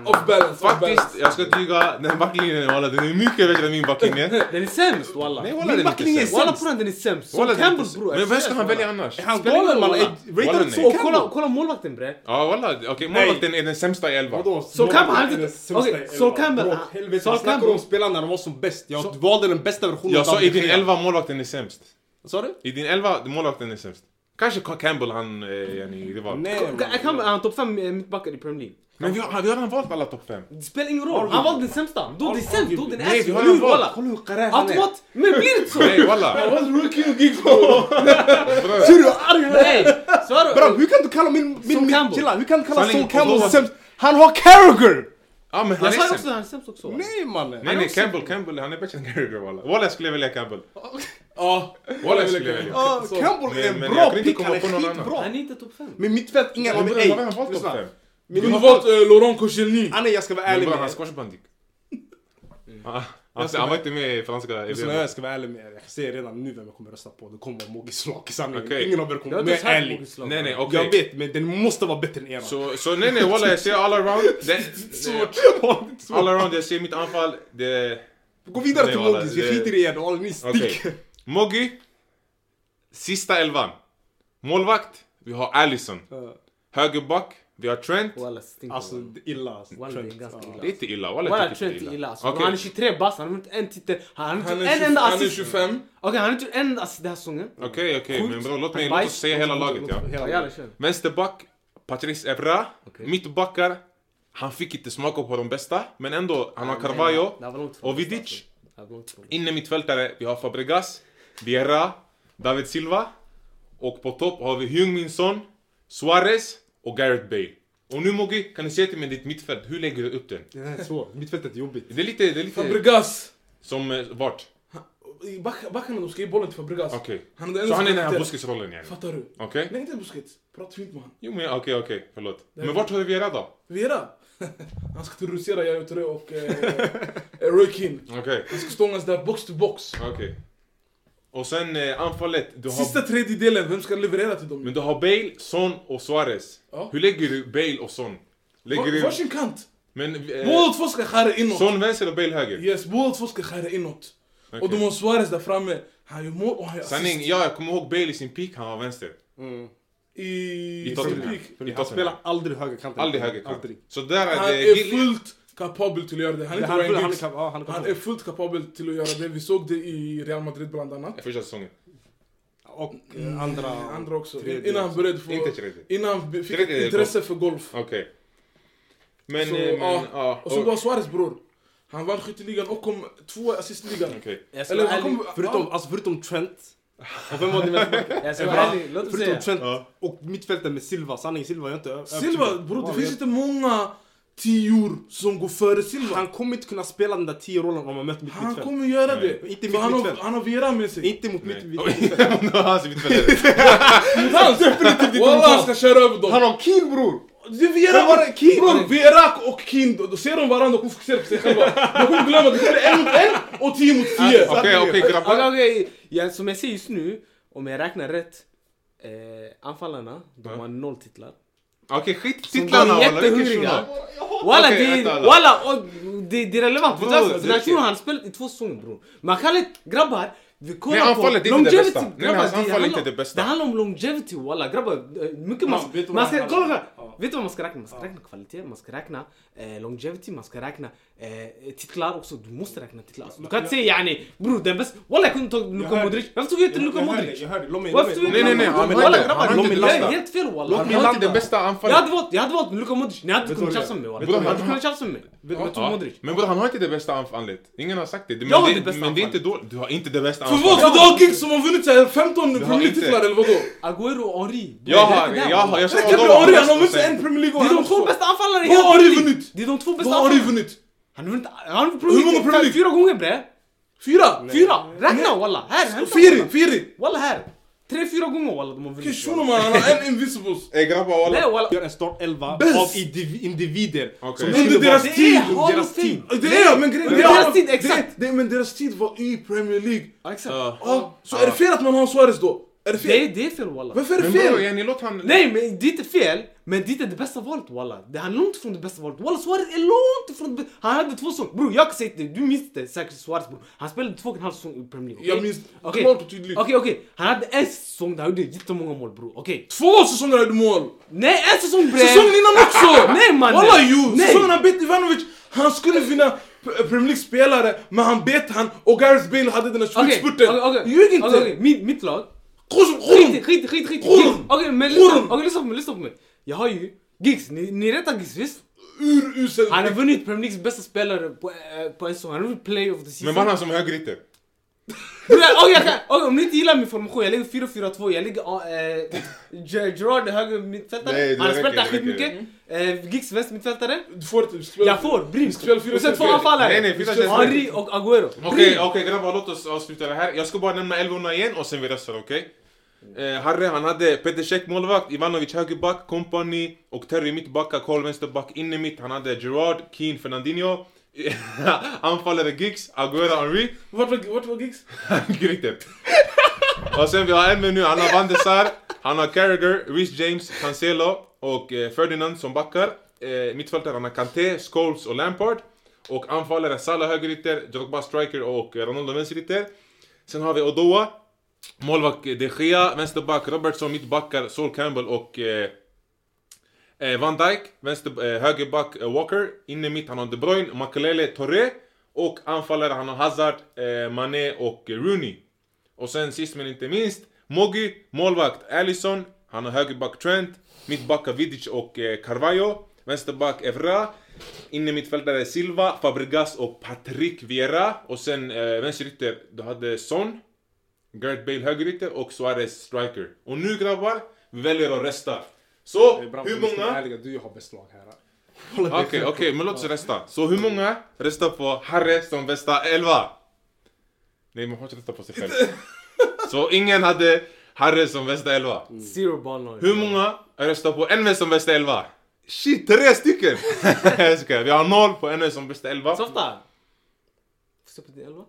Off balance, off
Faktiskt,
balance.
jag ska tyga, den här backlinjen walla, den är mycket bättre än min backlinje.
Den är sämst walla.
Nej, walla, den är
Min
inte
backlinje är
sämst.
sämst. Walla bror den är sämst. Som
Walla, den är inte
Campbell
så-
bror. jag
Men vem ska
säger
han
walla.
välja annars?
Han
Spelar ingen
galen
roll,
mannen.
walla.
Walla,
Rated
nej.
så
Och kolla, kolla målvakten bre.
Ja walla, okej målvakten är den sämsta i elvan.
Vadå?
Så kan man
Målvakten
inte-
är den sämsta
Okej,
i elvan.
så kan man-
Bro, Helvete,
så
vi
kan
snackar
man-
om spelarna när de var som bäst. Jag valde den bästa versionen
Jag
av
sa
de
i din
tre.
elva målvakten är sämst.
Vad Sa du?
I din elva, målvakten är sämst. Kanske Carl Campbell han, eh, yani, det var.
Nej.
Kan- kan- kan- Han är topp 5 mittbackar i Premier League.
Men vi har, vi har redan valt alla topp fem.
Det spelar ingen roll. Han valde den sämsta. Då det är sämst. Då den är
Nej, vi
sämst.
har
Nu
en val.
walla.
Kolla hur karär han är.
Automat. Men blir det så?
Nej walla.
Vad rookie och gigs på?
Ser du hur arg han är?
Nej. Svara.
Bro, hur kan du kalla min, min, min
Campbell.
killa, hur kan du kalla
Sanning,
Sol Campbell
och-
sämst? Han har Carragher!
Ja men han är
Jag sa ju
sämst.
också att han är sämst också. walla.
Nej mannen!
Nej nej, Campbell, Campbell, han är bättre än Gallagher walla. Walla jag skulle välja Campbell.
Ja.
Walla skulle jag välja.
Ah, Campbell
Men-
är en
men
bra
jag kan inte
pick, han
komma
är
på någon
skitbra!
Han är inte topp 5.
Men mittfält, ingen av
Men
dem.
bror,
Ey,
Vad har han valt topp
lyssna.
fem?
Min
Du har
mittfält...
valt eh, Laurent Koscielny.
Ah, nej, jag ska vara
Men
ärlig
bror
med
han
er. Mm.
squashbandik. Ah, Han han var inte med i franska
Lyssna,
eleven.
jag ska vara ärlig med er. Jag ser redan nu vem jag kommer rösta på. Det kommer vara Mogis lag i sanningen.
Okej.
Ingen av er kommer
Jag har
vara mer
inte ens hört
ärlig.
Mogis lag.
Nej nej
Jag
okej.
vet, men den måste vara bättre än era.
Så, så nej nej walla jag ser all around. Det,
Svårt.
all around jag ser mitt anfall. Det,
Gå vidare
Nej,
till
walla,
Mogis, vi
det-
skiter i er. och Ni
Okej.
sticker.
Moggi. Sista elvan. Målvakt. Vi har Allison. Högerback. Vi har Trent.
Walla stinker.
Alltså,
Alltså,
det är illa. alltså.
Walla, det är
Trent.
ganska
Ja.
illa.
Det är inte illa. Walla,
Walla
jag tycker
Trent
inte
är
det
illa alltså.
Okej.
Han är 23 bast, han har inte en titel. Han har
Han
inte
är,
en
20,
enda
han är
assist.
25.
Okej, han har inte gjort en assist den här säsongen.
Okej, okej. Men bro, låt mig
Bajs.
låt oss säga hela laget ja.
Hela
Ja,
laget.
jalla kör.
Vänsterback. Patrice Evra.
Okej.
Mittbackar. Han fick inte smaka på de bästa. Men ändå, han har
Nej,
Carvalho.
det här var långt från
Och
bästa,
Vidic.
alltså. Det här var långt från bästa.
Inne mittfältare, vi har Fabregas, Vieira, David Silva och på topp har vi Heung-Min Son, Suarez och Gareth Bale. Och nu Mogi, kan du säga till mig ditt mittfält, hur lägger du upp den?
Det här är svårt. Mittfältet är jobbigt.
Det är lite, det är lite...
Fabregas.
Som, eh, vart?
I back- Backarna de ska ge bollen till Fabregas.
Okej.
Han är den
Så
enda
han är
som
den här
inte-
buskisrollen igen?
Fattar du?
Okej?
Nej inte Busquets. Prata fint med han.
Jo men okej, okej, förlåt. Men vart har du Vieira då?
Vera. Han ska terrorisera Yahya Touré och eh, Roy Keane.
Okej,
Han ska stångas där box to box.
okej. Och sen eh, anfallet, du har...
Sista tredjedelen, vem ska leverera till dem?
Men du har Bale, Son och Suarez.
Ja.
Hur lägger du Bale och Son? Lägger
Va-
du...
Varsin kant.
Men... Eh,
Båda två ska skära inåt.
Son vänster och Bale höger?
Yes, båda två ska skära inåt. Och de har Suarez där framme. Han gör mål och han gör
Sanning,
assist.
ja jag kommer ihåg Bale i sin peak, han var vänster.
I,
I
I
Tottenham.
Celtic.
För han
Tottenham.
spelar aldrig högerkanten.
Aldrig högerkant.
Aldrig.
Så där
Han
är det...
är
Gil-
fullt kapabel till att göra det. Han är
Han,
inte
han,
Ryan
han,
Giggs.
kan- ja, han,
Han är fullt kapabel till att göra det. Vi såg det i Real Madrid bland annat.
Första säsongen.
Och eh, andra...
Andra också.
tredje
Innan han började få...
Inte tredje.
Innan han be- fick
Tredje är
intresse för golf.
Okej. Men...
Så,
eh, men
ja.
ja,
Och så
och-
var Suarez bror. Han vann skytteligan och kom två assistligan.
Okej.
Jag ska
Eller
vara
han
ärlig.
kom...
Förutom, alltså, förutom Trent. Och vem var din vänsterback?
Jag ska
Evra.
vara ärlig. Låt oss
Förutom
säga.
Trent
Ja.
och mittfältet med Silva. Sanning, Silva är inte ö-
Ja, Silva
övertygad.
bror, det
Ja,
finns
jag-
inte många tior som går före Silva.
Han kommer inte kunna spela den där 10-rollen om han möter mitt
Han
mittfält.
kommer göra
Nej.
det.
Inte
För
mitt
han, har,
mittfält.
han har Vera med sig.
Inte mot mitt
Nej.
mittfält.
Det var hans mittfällare.
Inte hans! Wallah han ska köra över dem.
Han har Keen bror!
Det är Vera,
Vem var det? Kind?
bror, Vera och Kind. Då ser de varandra och kommer fokusera på sig själva. De kommer glömma att det är en mot en och tio mot
Okej,
tio.
okej
Okej,
grabbar.
okej. Ja, Som jag ser just nu, om jag räknar rätt. Eh, anfallarna, de har noll titlar.
Okej, skit
De
titlarna
var
walla. Vilken
jättehungriga.
shuno.
Walla,
Okej,
det,
vänta,
är-
alla.
walla och, det, det är relevant. Vet du
Bror,
varför? Den här
det-
shunon han har spelat i två säsonger bror. Man kan inte, grabbar. Vi kollar
Nej, anfallet är
på
inte det
longevity,
bästa. Nej,
grabbar,
hans anfall är
handlar-
inte det
Det
bästa.
handlar om longevity walla grabbar. eh, Mycket man,
Ja, vet du
man
vad
ska,
han
kolla,
handlar om?
kolla. Vet du vad man ska räkna? Man ska räkna kvalitet, man ska räkna eh, longevity, man ska räkna eh, titlar också. Du måste räkna titlar. Alltså, du kan inte säga yani bror den bästa. Walla jag kunde ta Luka
hörde-
Modric. Varför tog jag inte Luka
Jag hörde,
Modric?
jag hörde. Låt mig...
Varför tog jag
Nej,
inte
nej, nej,
Luka
han
Modric?
vill
Walla
inte- han
grabbar,
vill inte
jag är
lasta.
helt fel walla.
Låt
Han
mig
har
landa
titlar.
det bästa
Jag hade
anfallet.
valt, jag hade valt Luka Modric, ni hade inte
Vet
kunnat
du vad
tjafsa med mig
Vet du
walla.
vad
Ni hade
jag-
kunnat tjafsa med mig.
Vet du vad-
Tog Modric.
Men bror han har inte det bästa anfallet. Ingen har sagt det. Men
Jag har
det-
det bästa
Men det är inte
anfallet.
dåligt. Du har inte det bästa
För vad?
anfallet.
För Dag Giggs som har vunnit så här 15
har
Premier League-titlar
inte-
eller vadå?
Aguero och Henri.
Jag
Det är
har,
det där,
jag har,
walla.
jag sa
Det kan bli
Odoa
Henry,
bäst
han har
och
vunnit
sen-
en Premier League
Det
och
är
han
de två
också.
bästa anfallarna i
Vad
hela
har Henry
Premier League.
vunnit?
Det är de två bästa
Vad har du
anfallarna.
vunnit?
Han har vunnit, han har vunnit
Hur många Premier
Premier League
League?
fyra gånger bre.
Fyra!
Fyra! Räkna walla, här hämta
Firi,
walla.
Firi!
Walla här. Tre, fyra gånger walla de har
Okej,
vunnit.
shunon man, han har en invisibles.
Ey Eh, grabbar
Nej
walla.
walla.
Gör en startelva av
Bäst!
indiv- individer.
Okej.
som
Det
är
skulle
deras
vara-
tid,
Det är deras tid!
Det är men grejen
Men
det är-
deras tid,
det är-
exakt.
det är- Men deras tid var i Premier League.
Ja, exakt.
Ja.
Ja, så är det fel att man har Suarez då? Är det
Det
fel?
är, det är fel walla.
Varför är det
Men bror
fel?
yani låt han...
Nej men det är inte fel, men det är inte det bästa valet walla. Det- Han är långt ifrån det bästa valet. Walla Suarez är långt ifrån det bä- Han hade två säsonger. Bror jag kan säga det, du minns det säkert Suarez bror. Han spelade två och en halv säsong i Premier League. okej?
Jag minns
Okej.
klart och tydligt.
Okej okej, han hade en säsong där han gjorde jättemånga mål bror. Okej.
Två säsonger hade mål!
Nej en säsong bre!
Säsongen innan också!
Nej, mannen.
Walla jo!
Nej.
Säsongen han bet Ivanovic, han skulle vinna P- Premier League-spelare, men han bet han och Gareth Bale hade den där
Okej,
slutspurten.
okej, okej.
Ljug inte!
Okej, okej. Mitt- Mitt lag.
Khuzum, khuzum.
Skit skit skit skit.
Orm.
Gigs. Okej men lyssna,
Orm.
okej lyssna på mig, lyssna på mig. Jag har ju Giggs, ni, ni retar Giggs visst?
Urusel.
Han har vunnit Premier Leagues bästa spelare på, eh, på en säsong, han har vunnit Play of the Season.
Men mannen som högerytter.
Bror, Okej, jag kan- okej, om ni inte gillar min formation, jag lägger 4-4-2, jag lägger eh, Ger- Gerard höger
Nej,
mittfältare,
det
han har
räcker,
spelat där
det räcker.
skitmycket. Eh, Giggs vänster mittfältare.
Du får inte spela.
Jag får Brims.
Spela fyra-
Och sen två
fyra-
Nej, nej, fyra-
anfallare.
fyra-
Henry och Aguero.
Okej, okej grabbar låt oss avsluta det här. Jag ska bara nämna älvorna igen och sen vi restar, okej? Eh, Harry han hade Peter Cech målvakt, Ivanovic högerback, Kompani och Terry mittbacka, Karl vänsterback, inne mitt. Han hade Gerard, Keane, Fernandinho, anfallare Giggs, Aguero, Henry,
Vart var, vart var Giggs?
Gryter. och sen vi har en nu, han har Van de Sar, han har Carragher, Rhys James, Cancelo och eh, Ferdinand som backar. Eh, mittfältare han har Kanté, Scholes och Lampard. Och anfallare Salah högerytter, Drogba striker och eh, Ronaldo vänsterytter. Sen har vi Odoa, målvakt eh, de Gea, vänsterback Robertson, mittbackar Sol Campbell och eh, eh, Van Dijk, vänster, eh, högerback eh, Walker, inne mitt han har De Bruyne, Makelele, Torre och anfallare han har Hazard, eh, Mané och eh, Rooney. Och sen sist men inte minst, Mogi, målvakt Allison, han har högerback Trent, mittbackar Vidic och eh, Carvalho, vänsterback Evra, inne mittfältare Silva, Fabregas och Patrick Vieira och sen eh, vänsterytter, du hade Son, Gareth Bale högerytter och Suarez striker. Och nu grabbar, vi väljer att rösta. Så,
Det är bra,
hur
men vi ska vara
många?
ärliga, Du har bäst lag här.
Okej, okej, men låt oss rösta. Så hur många röstar på Harry som bästa elva? Nej, man får inte rösta på sig själv. Så ingen hade Harry som bästa elva.
Zero ball knowledge.
Hur många röstar på NV som bästa elva? Shit, tre stycken! Jag skojar, vi har noll på NV som bästa elva.
Softa! Får jag på din elva?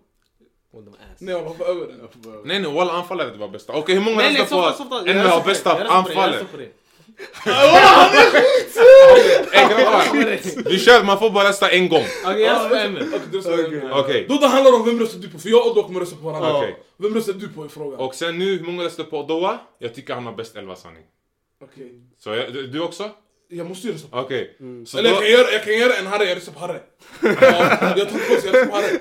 Och de ass.
Nej jag hoppade över den.
Nej, nej, walla anfallare det var bästa. Okej, hur många
Nej nej,
röstar
softa,
på
softa.
att
Jag
NV
röstar på dig, jag
har bästa
röstar på dig, jag
anfallare?
röstar på dig.
Ey grabbar, vi kör, man får bara rösta en gång.
Okej, jag röstar på Emil.
Okej, det var så jag menar.
Okej.
Då det handlar om vem röstar du på? För jag och Odoa kommer rösta på varandra.
Okej.
Vem röstar du på i frågan?
Och sen nu, hur många röstar på Odoa? Jag tycker han har bäst elva sanning.
Okej.
Så jag, du du också?
Jag måste ju rösta på
Okej. Så
Eller
då,
jag kan, göra, jag kan göra en Harry, jag röstar på Harry. ja, jag tar på sig, jag röstar på Harry.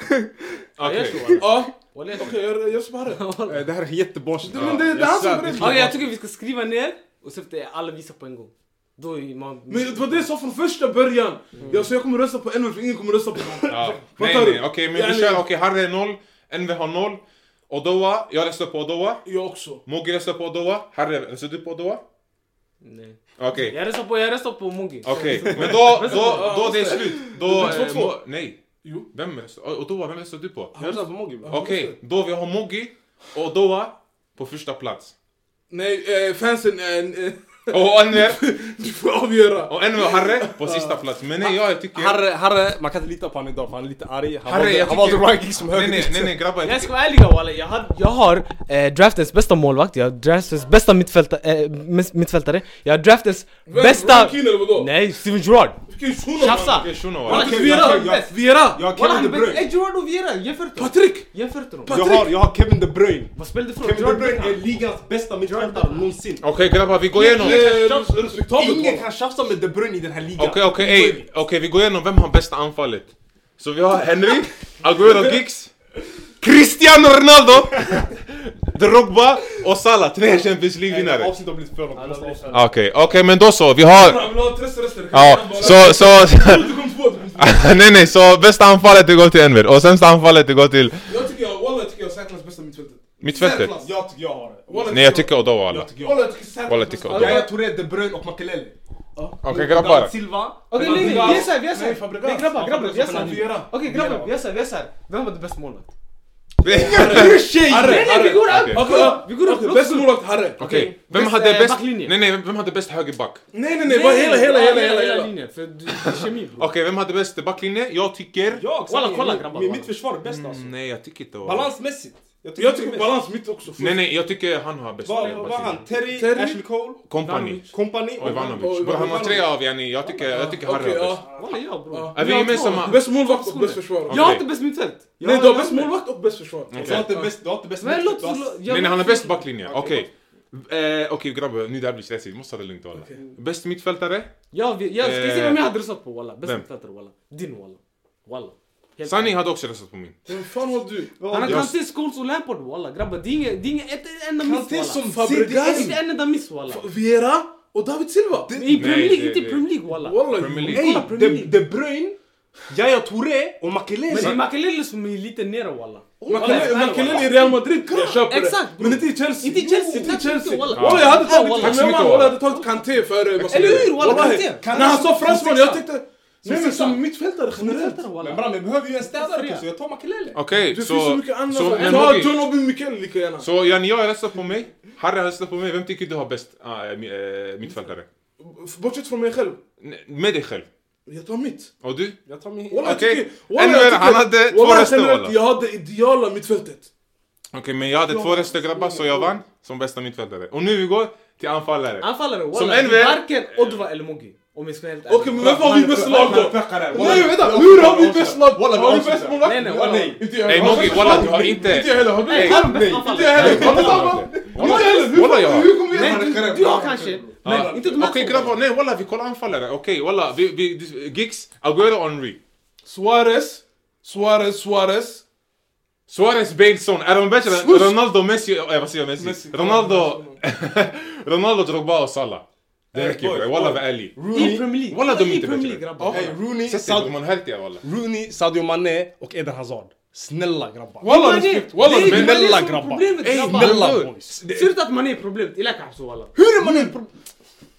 Jag
okej.
gör så, walla.
Ja,
Walla, jag gör
okej
så.
jag, jag röstar på Harry.
Eh, Det här är jättebarnsligt.
Det, men det, det är han som berättar.
Okej, jag tycker vi ska skriva ner och så efter alla visar på en gång. Då är man...
Men det var det jag sa från första början.
Hmm.
Jag sa jag kommer rösta på en för ingen kommer rösta på någon.
Ja. Nej,
Fattar
nej,
du?
okej, men vi
Yani-
kör. Okej, Harry är noll, NV har noll. Odoa, jag röstar på Odoa.
Jag också.
Mogge röstar på Odoa. Harry, röstar du på Odoa?
Nej.
Okej.
Jag röstar på, jag röstar på Mogi.
Okej, men då, då, då det är slut. Då...
Det är
eh,
2-2.
Mo- Nej.
Jo.
Vem röstar? Odoa, vem röstar du på?
Ah, Jag röstar på Mogi bro.
Okej, då vi har Moggi och Odoa på första plats.
Nej, eh, fansen, eh, eh,
Och Enver,
du får avgöra.
och Enver och Harry på sista plats. Men nej, jag tycker...
Harre, Harre, man kan inte lita på honom idag för han är lite arg. Han
Harre,
valde,
jag
han valde
tycker-
Ryan Giggs som
Nej, nej,
högerytter.
nej, nej grabbar.
Jag
Jag
ska
tycker...
vara ärlig walla, jag har, jag har eh, draftens bästa målvakt, jag har draftens bästa mittfälta, eh, miss- mittfältare, jag har draftens
Vem?
bästa...
Roy Keane eller vadå?
Nej, Steven Gerrard!
Vilken shuno man.
Tjafsa!
Okej, shunon,
Walla,
walla.
Okej,
Vieira
jag-
har
jag-
bäst!
Viera!
Jag har
Walla,
Kevin
han
De
är bäst!
Bruyne.
Ey, Gerrard och Vieira, jämför inte dem!
Patrik!
Jämför inte dem!
Jag har, jag har Kevin De Bruyne.
Vad spelar du för
Kevin De
Gerrard
Bruyne är
Bale?
ligans bästa mittfältare någonsin.
Okej grabbar, vi går igenom.
Eh, res- Respektabelt
Ingen
walla.
kan tjafsa med De Bruyne i den här ligan.
Okej, okej, ey. Okej, vi går igenom vem har bästa anfallet. Så vi har Henry, Aguero Giggs, Cristiano Ronaldo, Drogba och Salah. Tre Champions
Vinare.
League-vinnare.
Avsnittet har blivit för långt. Vi måste avsluta.
Okej, okej men då så, vi har...
Jag vill ha ett rest- rest- rest.
Ja, så, så...
Du
Ah.
kom två, du kom två.
nej nej, så bästa anfallet det går till Enver och sämsta anfallet det går till
Jag tycker jag, walla jag tycker jag är särklass bästa mittfältet.
mittfältet.
Särklass.
Jag tycker jag har det.
Walla,
Nej jag tycker Odoa alla.
Jag tycker jag har
Walla
det.
jag tycker
Walla,
särklass
tycker
bästa.
jag.
Yahya Touré, De Bruyne och Makelele.
Okej grabbar.
David Silva.
Okej, nej, nej, vi är såhär, vi är
Nej,
såhär!
Fabregas.
Nej grabbar, grabbar, vi är
Fabregas och
såhär!
Vieira.
Okej grabbar, vi är såhär, vi är såhär! Vem var det bästa målvakt? Nej, nej, vi går upp!
Okej.
Okej, ja.
Vi går upp,
Okej,
låt
Bästa
gå.
målvakt, Harre.
Okej, vem
Bäst,
hade
eh,
bäst...
backlinje.
Nej, nej, vem hade bäst högerback?
Nej, nej, nej, bara hela, hela, hela, hela, hela.
linjen. För det är kemi bror.
Okej, vem hade bäst backlinje? Jag tycker...
Jag,
Walla,
Samir,
kolla,
min-
grabbar,
min-
walla.
Mitt försvar är bäst alltså.
Mm, nej, jag tycker inte...
Balansmässigt.
Jag tycker
det är
balans mitt också.
Nej, nej, jag tycker han har
bäst.
bäst
Vad vad var han? Terry,
Terry?
Ashley Cole,
Kompani.
Company
Och
Och
Ivanovic.
Ivanovic.
Bro, han har tre av yani, jag tycker, jag tycker Harry
Okej,
har bäst.
ja.
Walla jag bror.
Ja.
Är vi
Jag har
gemensamma?
två.
Bäst målvakt och bäst
Jag
försvarare.
har
Okej.
inte bäst mittfält.
Nej, du har bäst målvakt och bäst försvarare.
Du har inte bäst- du har inte bäst
Men
mittfält,
låt...
du har-
låt- jag-
Nej, nej, han har bäst backlinje. Okej. Eh, Okej grabbar, nu det här blir stressigt. Vi måste ta det lugnt walla. Bäst mittfältare?
Jag vet- jag ska se
Eh,
vem jag hade röstat på walla. Bäst
vem?
mittfältare walla. Din walla. Walla. Helt
Sani
ärligt.
hade också röstat på min.
Vem fan har du?
Han har
Jag-
Kanté, Scholes och Lampard walla. Grabbar det är inget- det är inget ett enda miss
Kanté
walla.
som
Det är
Fabregas,
inte en enda miss walla.
Viera och David Silva.
I Premier League,
det-
inte i
det-
Premier League walla.
Walla,
Premier League.
Ey,
Kolla Premier
De,
League.
de Bruyne, Yahya Touré och Makelele.
Men det är Makelele som är lite nere walla.
Makelele Makelele i Real Madrid, jag köper det.
Exakt.
Men inte i Chelsea.
Inte i Chelsea,
Inte i
tack
Chelsea.
så mycket,
Walla, jag hade
Ja,
tagit,
wallah.
jag menar,
wallah.
wallah, jag hade tagit Kanté för Marcelino.
Eller hur, wallah, Kanté.
När han sa fransman, jag tänkte... Nej men
sexa.
som mittfältare generellt.
Mittfältare
Men
walla.
bra, vi behöver ju en städare också. Jag tar Makelele.
Okej,
Det finns så
så...
mycket annat.
Så, men
Ta
okej.
John Obi Mikel lika gärna.
så yani, jag har röstat på mig. Harry har röstat på mig. Vem tycker du har bäst ah, eh, mi- eh, mittfältare?
Bortsett från mig själv.
Nej, Med dig själv.
Jag tar mitt.
Och du?
Jag tar min...
Walla, jag
Okej.
tycker- walla,
Ännu
jag
en,
tycker-
han hade två
walla,
röster,
generellt,
walla.
Jag hade ideala mittfältet.
Okej, men jag hade två röster grabbar så jag vann som bästa mittfältare. Och nu vi går till anfallare.
Anfallare
Som
walla. Det är
Elver-
varken Odwa eller Mogi. Om jag ska vara helt
Okej men varför har vi bäst lag då? Nej vänta, hur har vi bäst lag? Har vi bäst målvakt?
Nej, nej, walla.
Inte jag
Nej
heller.
Mogi, walla du har Eh, inte...
Inte jag heller, har du?
Nej,
Inte
han är bäst
jag
anfallare.
heller. Har du samma?
Walla,
Inte jag heller. Hur-
Walla, jag har.
Hur kommer jag
Men du, du har kanske. Men inte de här
Okej
två.
grabbar, nej walla vi kollar anfallare. Okej walla, vi, vi, dis- Giggs, Aguero, Henry.
Suarez, Suarez, Suarez.
Suarez, Bale, Son. Är de bättre än
Sus.
Ronaldo, Messi, eh, vad säger jag Messi?
Messi.
Ronaldo, Ronaldo, Drogba och Salah. Det räcker
boys,
bre, walla
boys.
vara ärlig.
I
Rooney,
Premier League.
Walla, de är
I
inte
Premier
bättre.
League grabbar.
Hey, Rooney,
Sätt dig på
Sad-
man hälftiga walla.
Rooney, Sadio Mané och Eden Hazard. Snälla grabbar.
Walla
Mané,
respekt,
det
walla
är ju
respekt.
Mané
snälla
som är
grabbar.
Problemet
Ey,
grabbar.
snälla.
Snälla
Walla.
boys.
Ser ut att man är problemet. Illa kanske walla.
Hur är man en problem?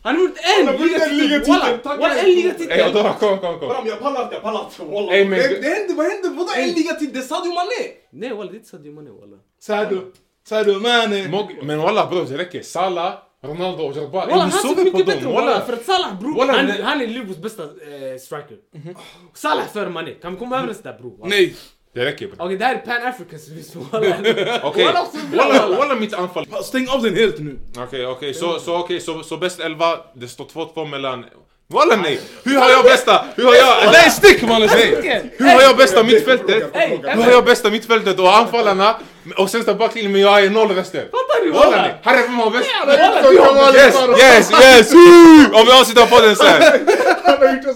Han har gjort en
Han har vunnit en
ligatitel.
ligatitel,
Walla,
tack.
walla en ligatitel.
Ey Adora, kom, kom, kom.
Bram, jag pallar inte, jag pallar inte. Walla.
Ey, men-
Det det händer, vad händer? Vadå en liga till? Det är Sadio Mané.
Nej walla, det är inte Sadio Mané walla.
Sado, Sado, mannen.
Mog- Men walla bror det räcker. Salah, Ronaldo och Drogba. Ey,
Walla
ni
han ser
sover på
mycket
dem,
bättre
walla.
walla. För att Salah bror,
Walla,
han,
nej.
han är Liverpools bästa eh, striker. Salah före Mané. Kan vi komma överens där bror? walla?
Nej.
Det räcker bre.
Okej, det här är Pan-Africans vis walla.
Okej,
Walla, också bra,
walla
walla.
walla mitt anfall.
Stäng av den helt nu.
Okej, okej, så, så, okej, så, så bäst 11, det står 2-2 mellan... Walla nej! Hur har jag bästa? Hur har jag... Nej stick mannen! Nej! Hur har jag bästa mittfältet?
Ey,
Hur har jag bästa mittfältet och anfallarna? Och sämsta backlinjen men jag har ju noll röster.
fattar du
Walla
walla?
nej! Harry vem har bäst?
Walla, du har-
Yes, yes, yes! Om vi avslutar podden sen!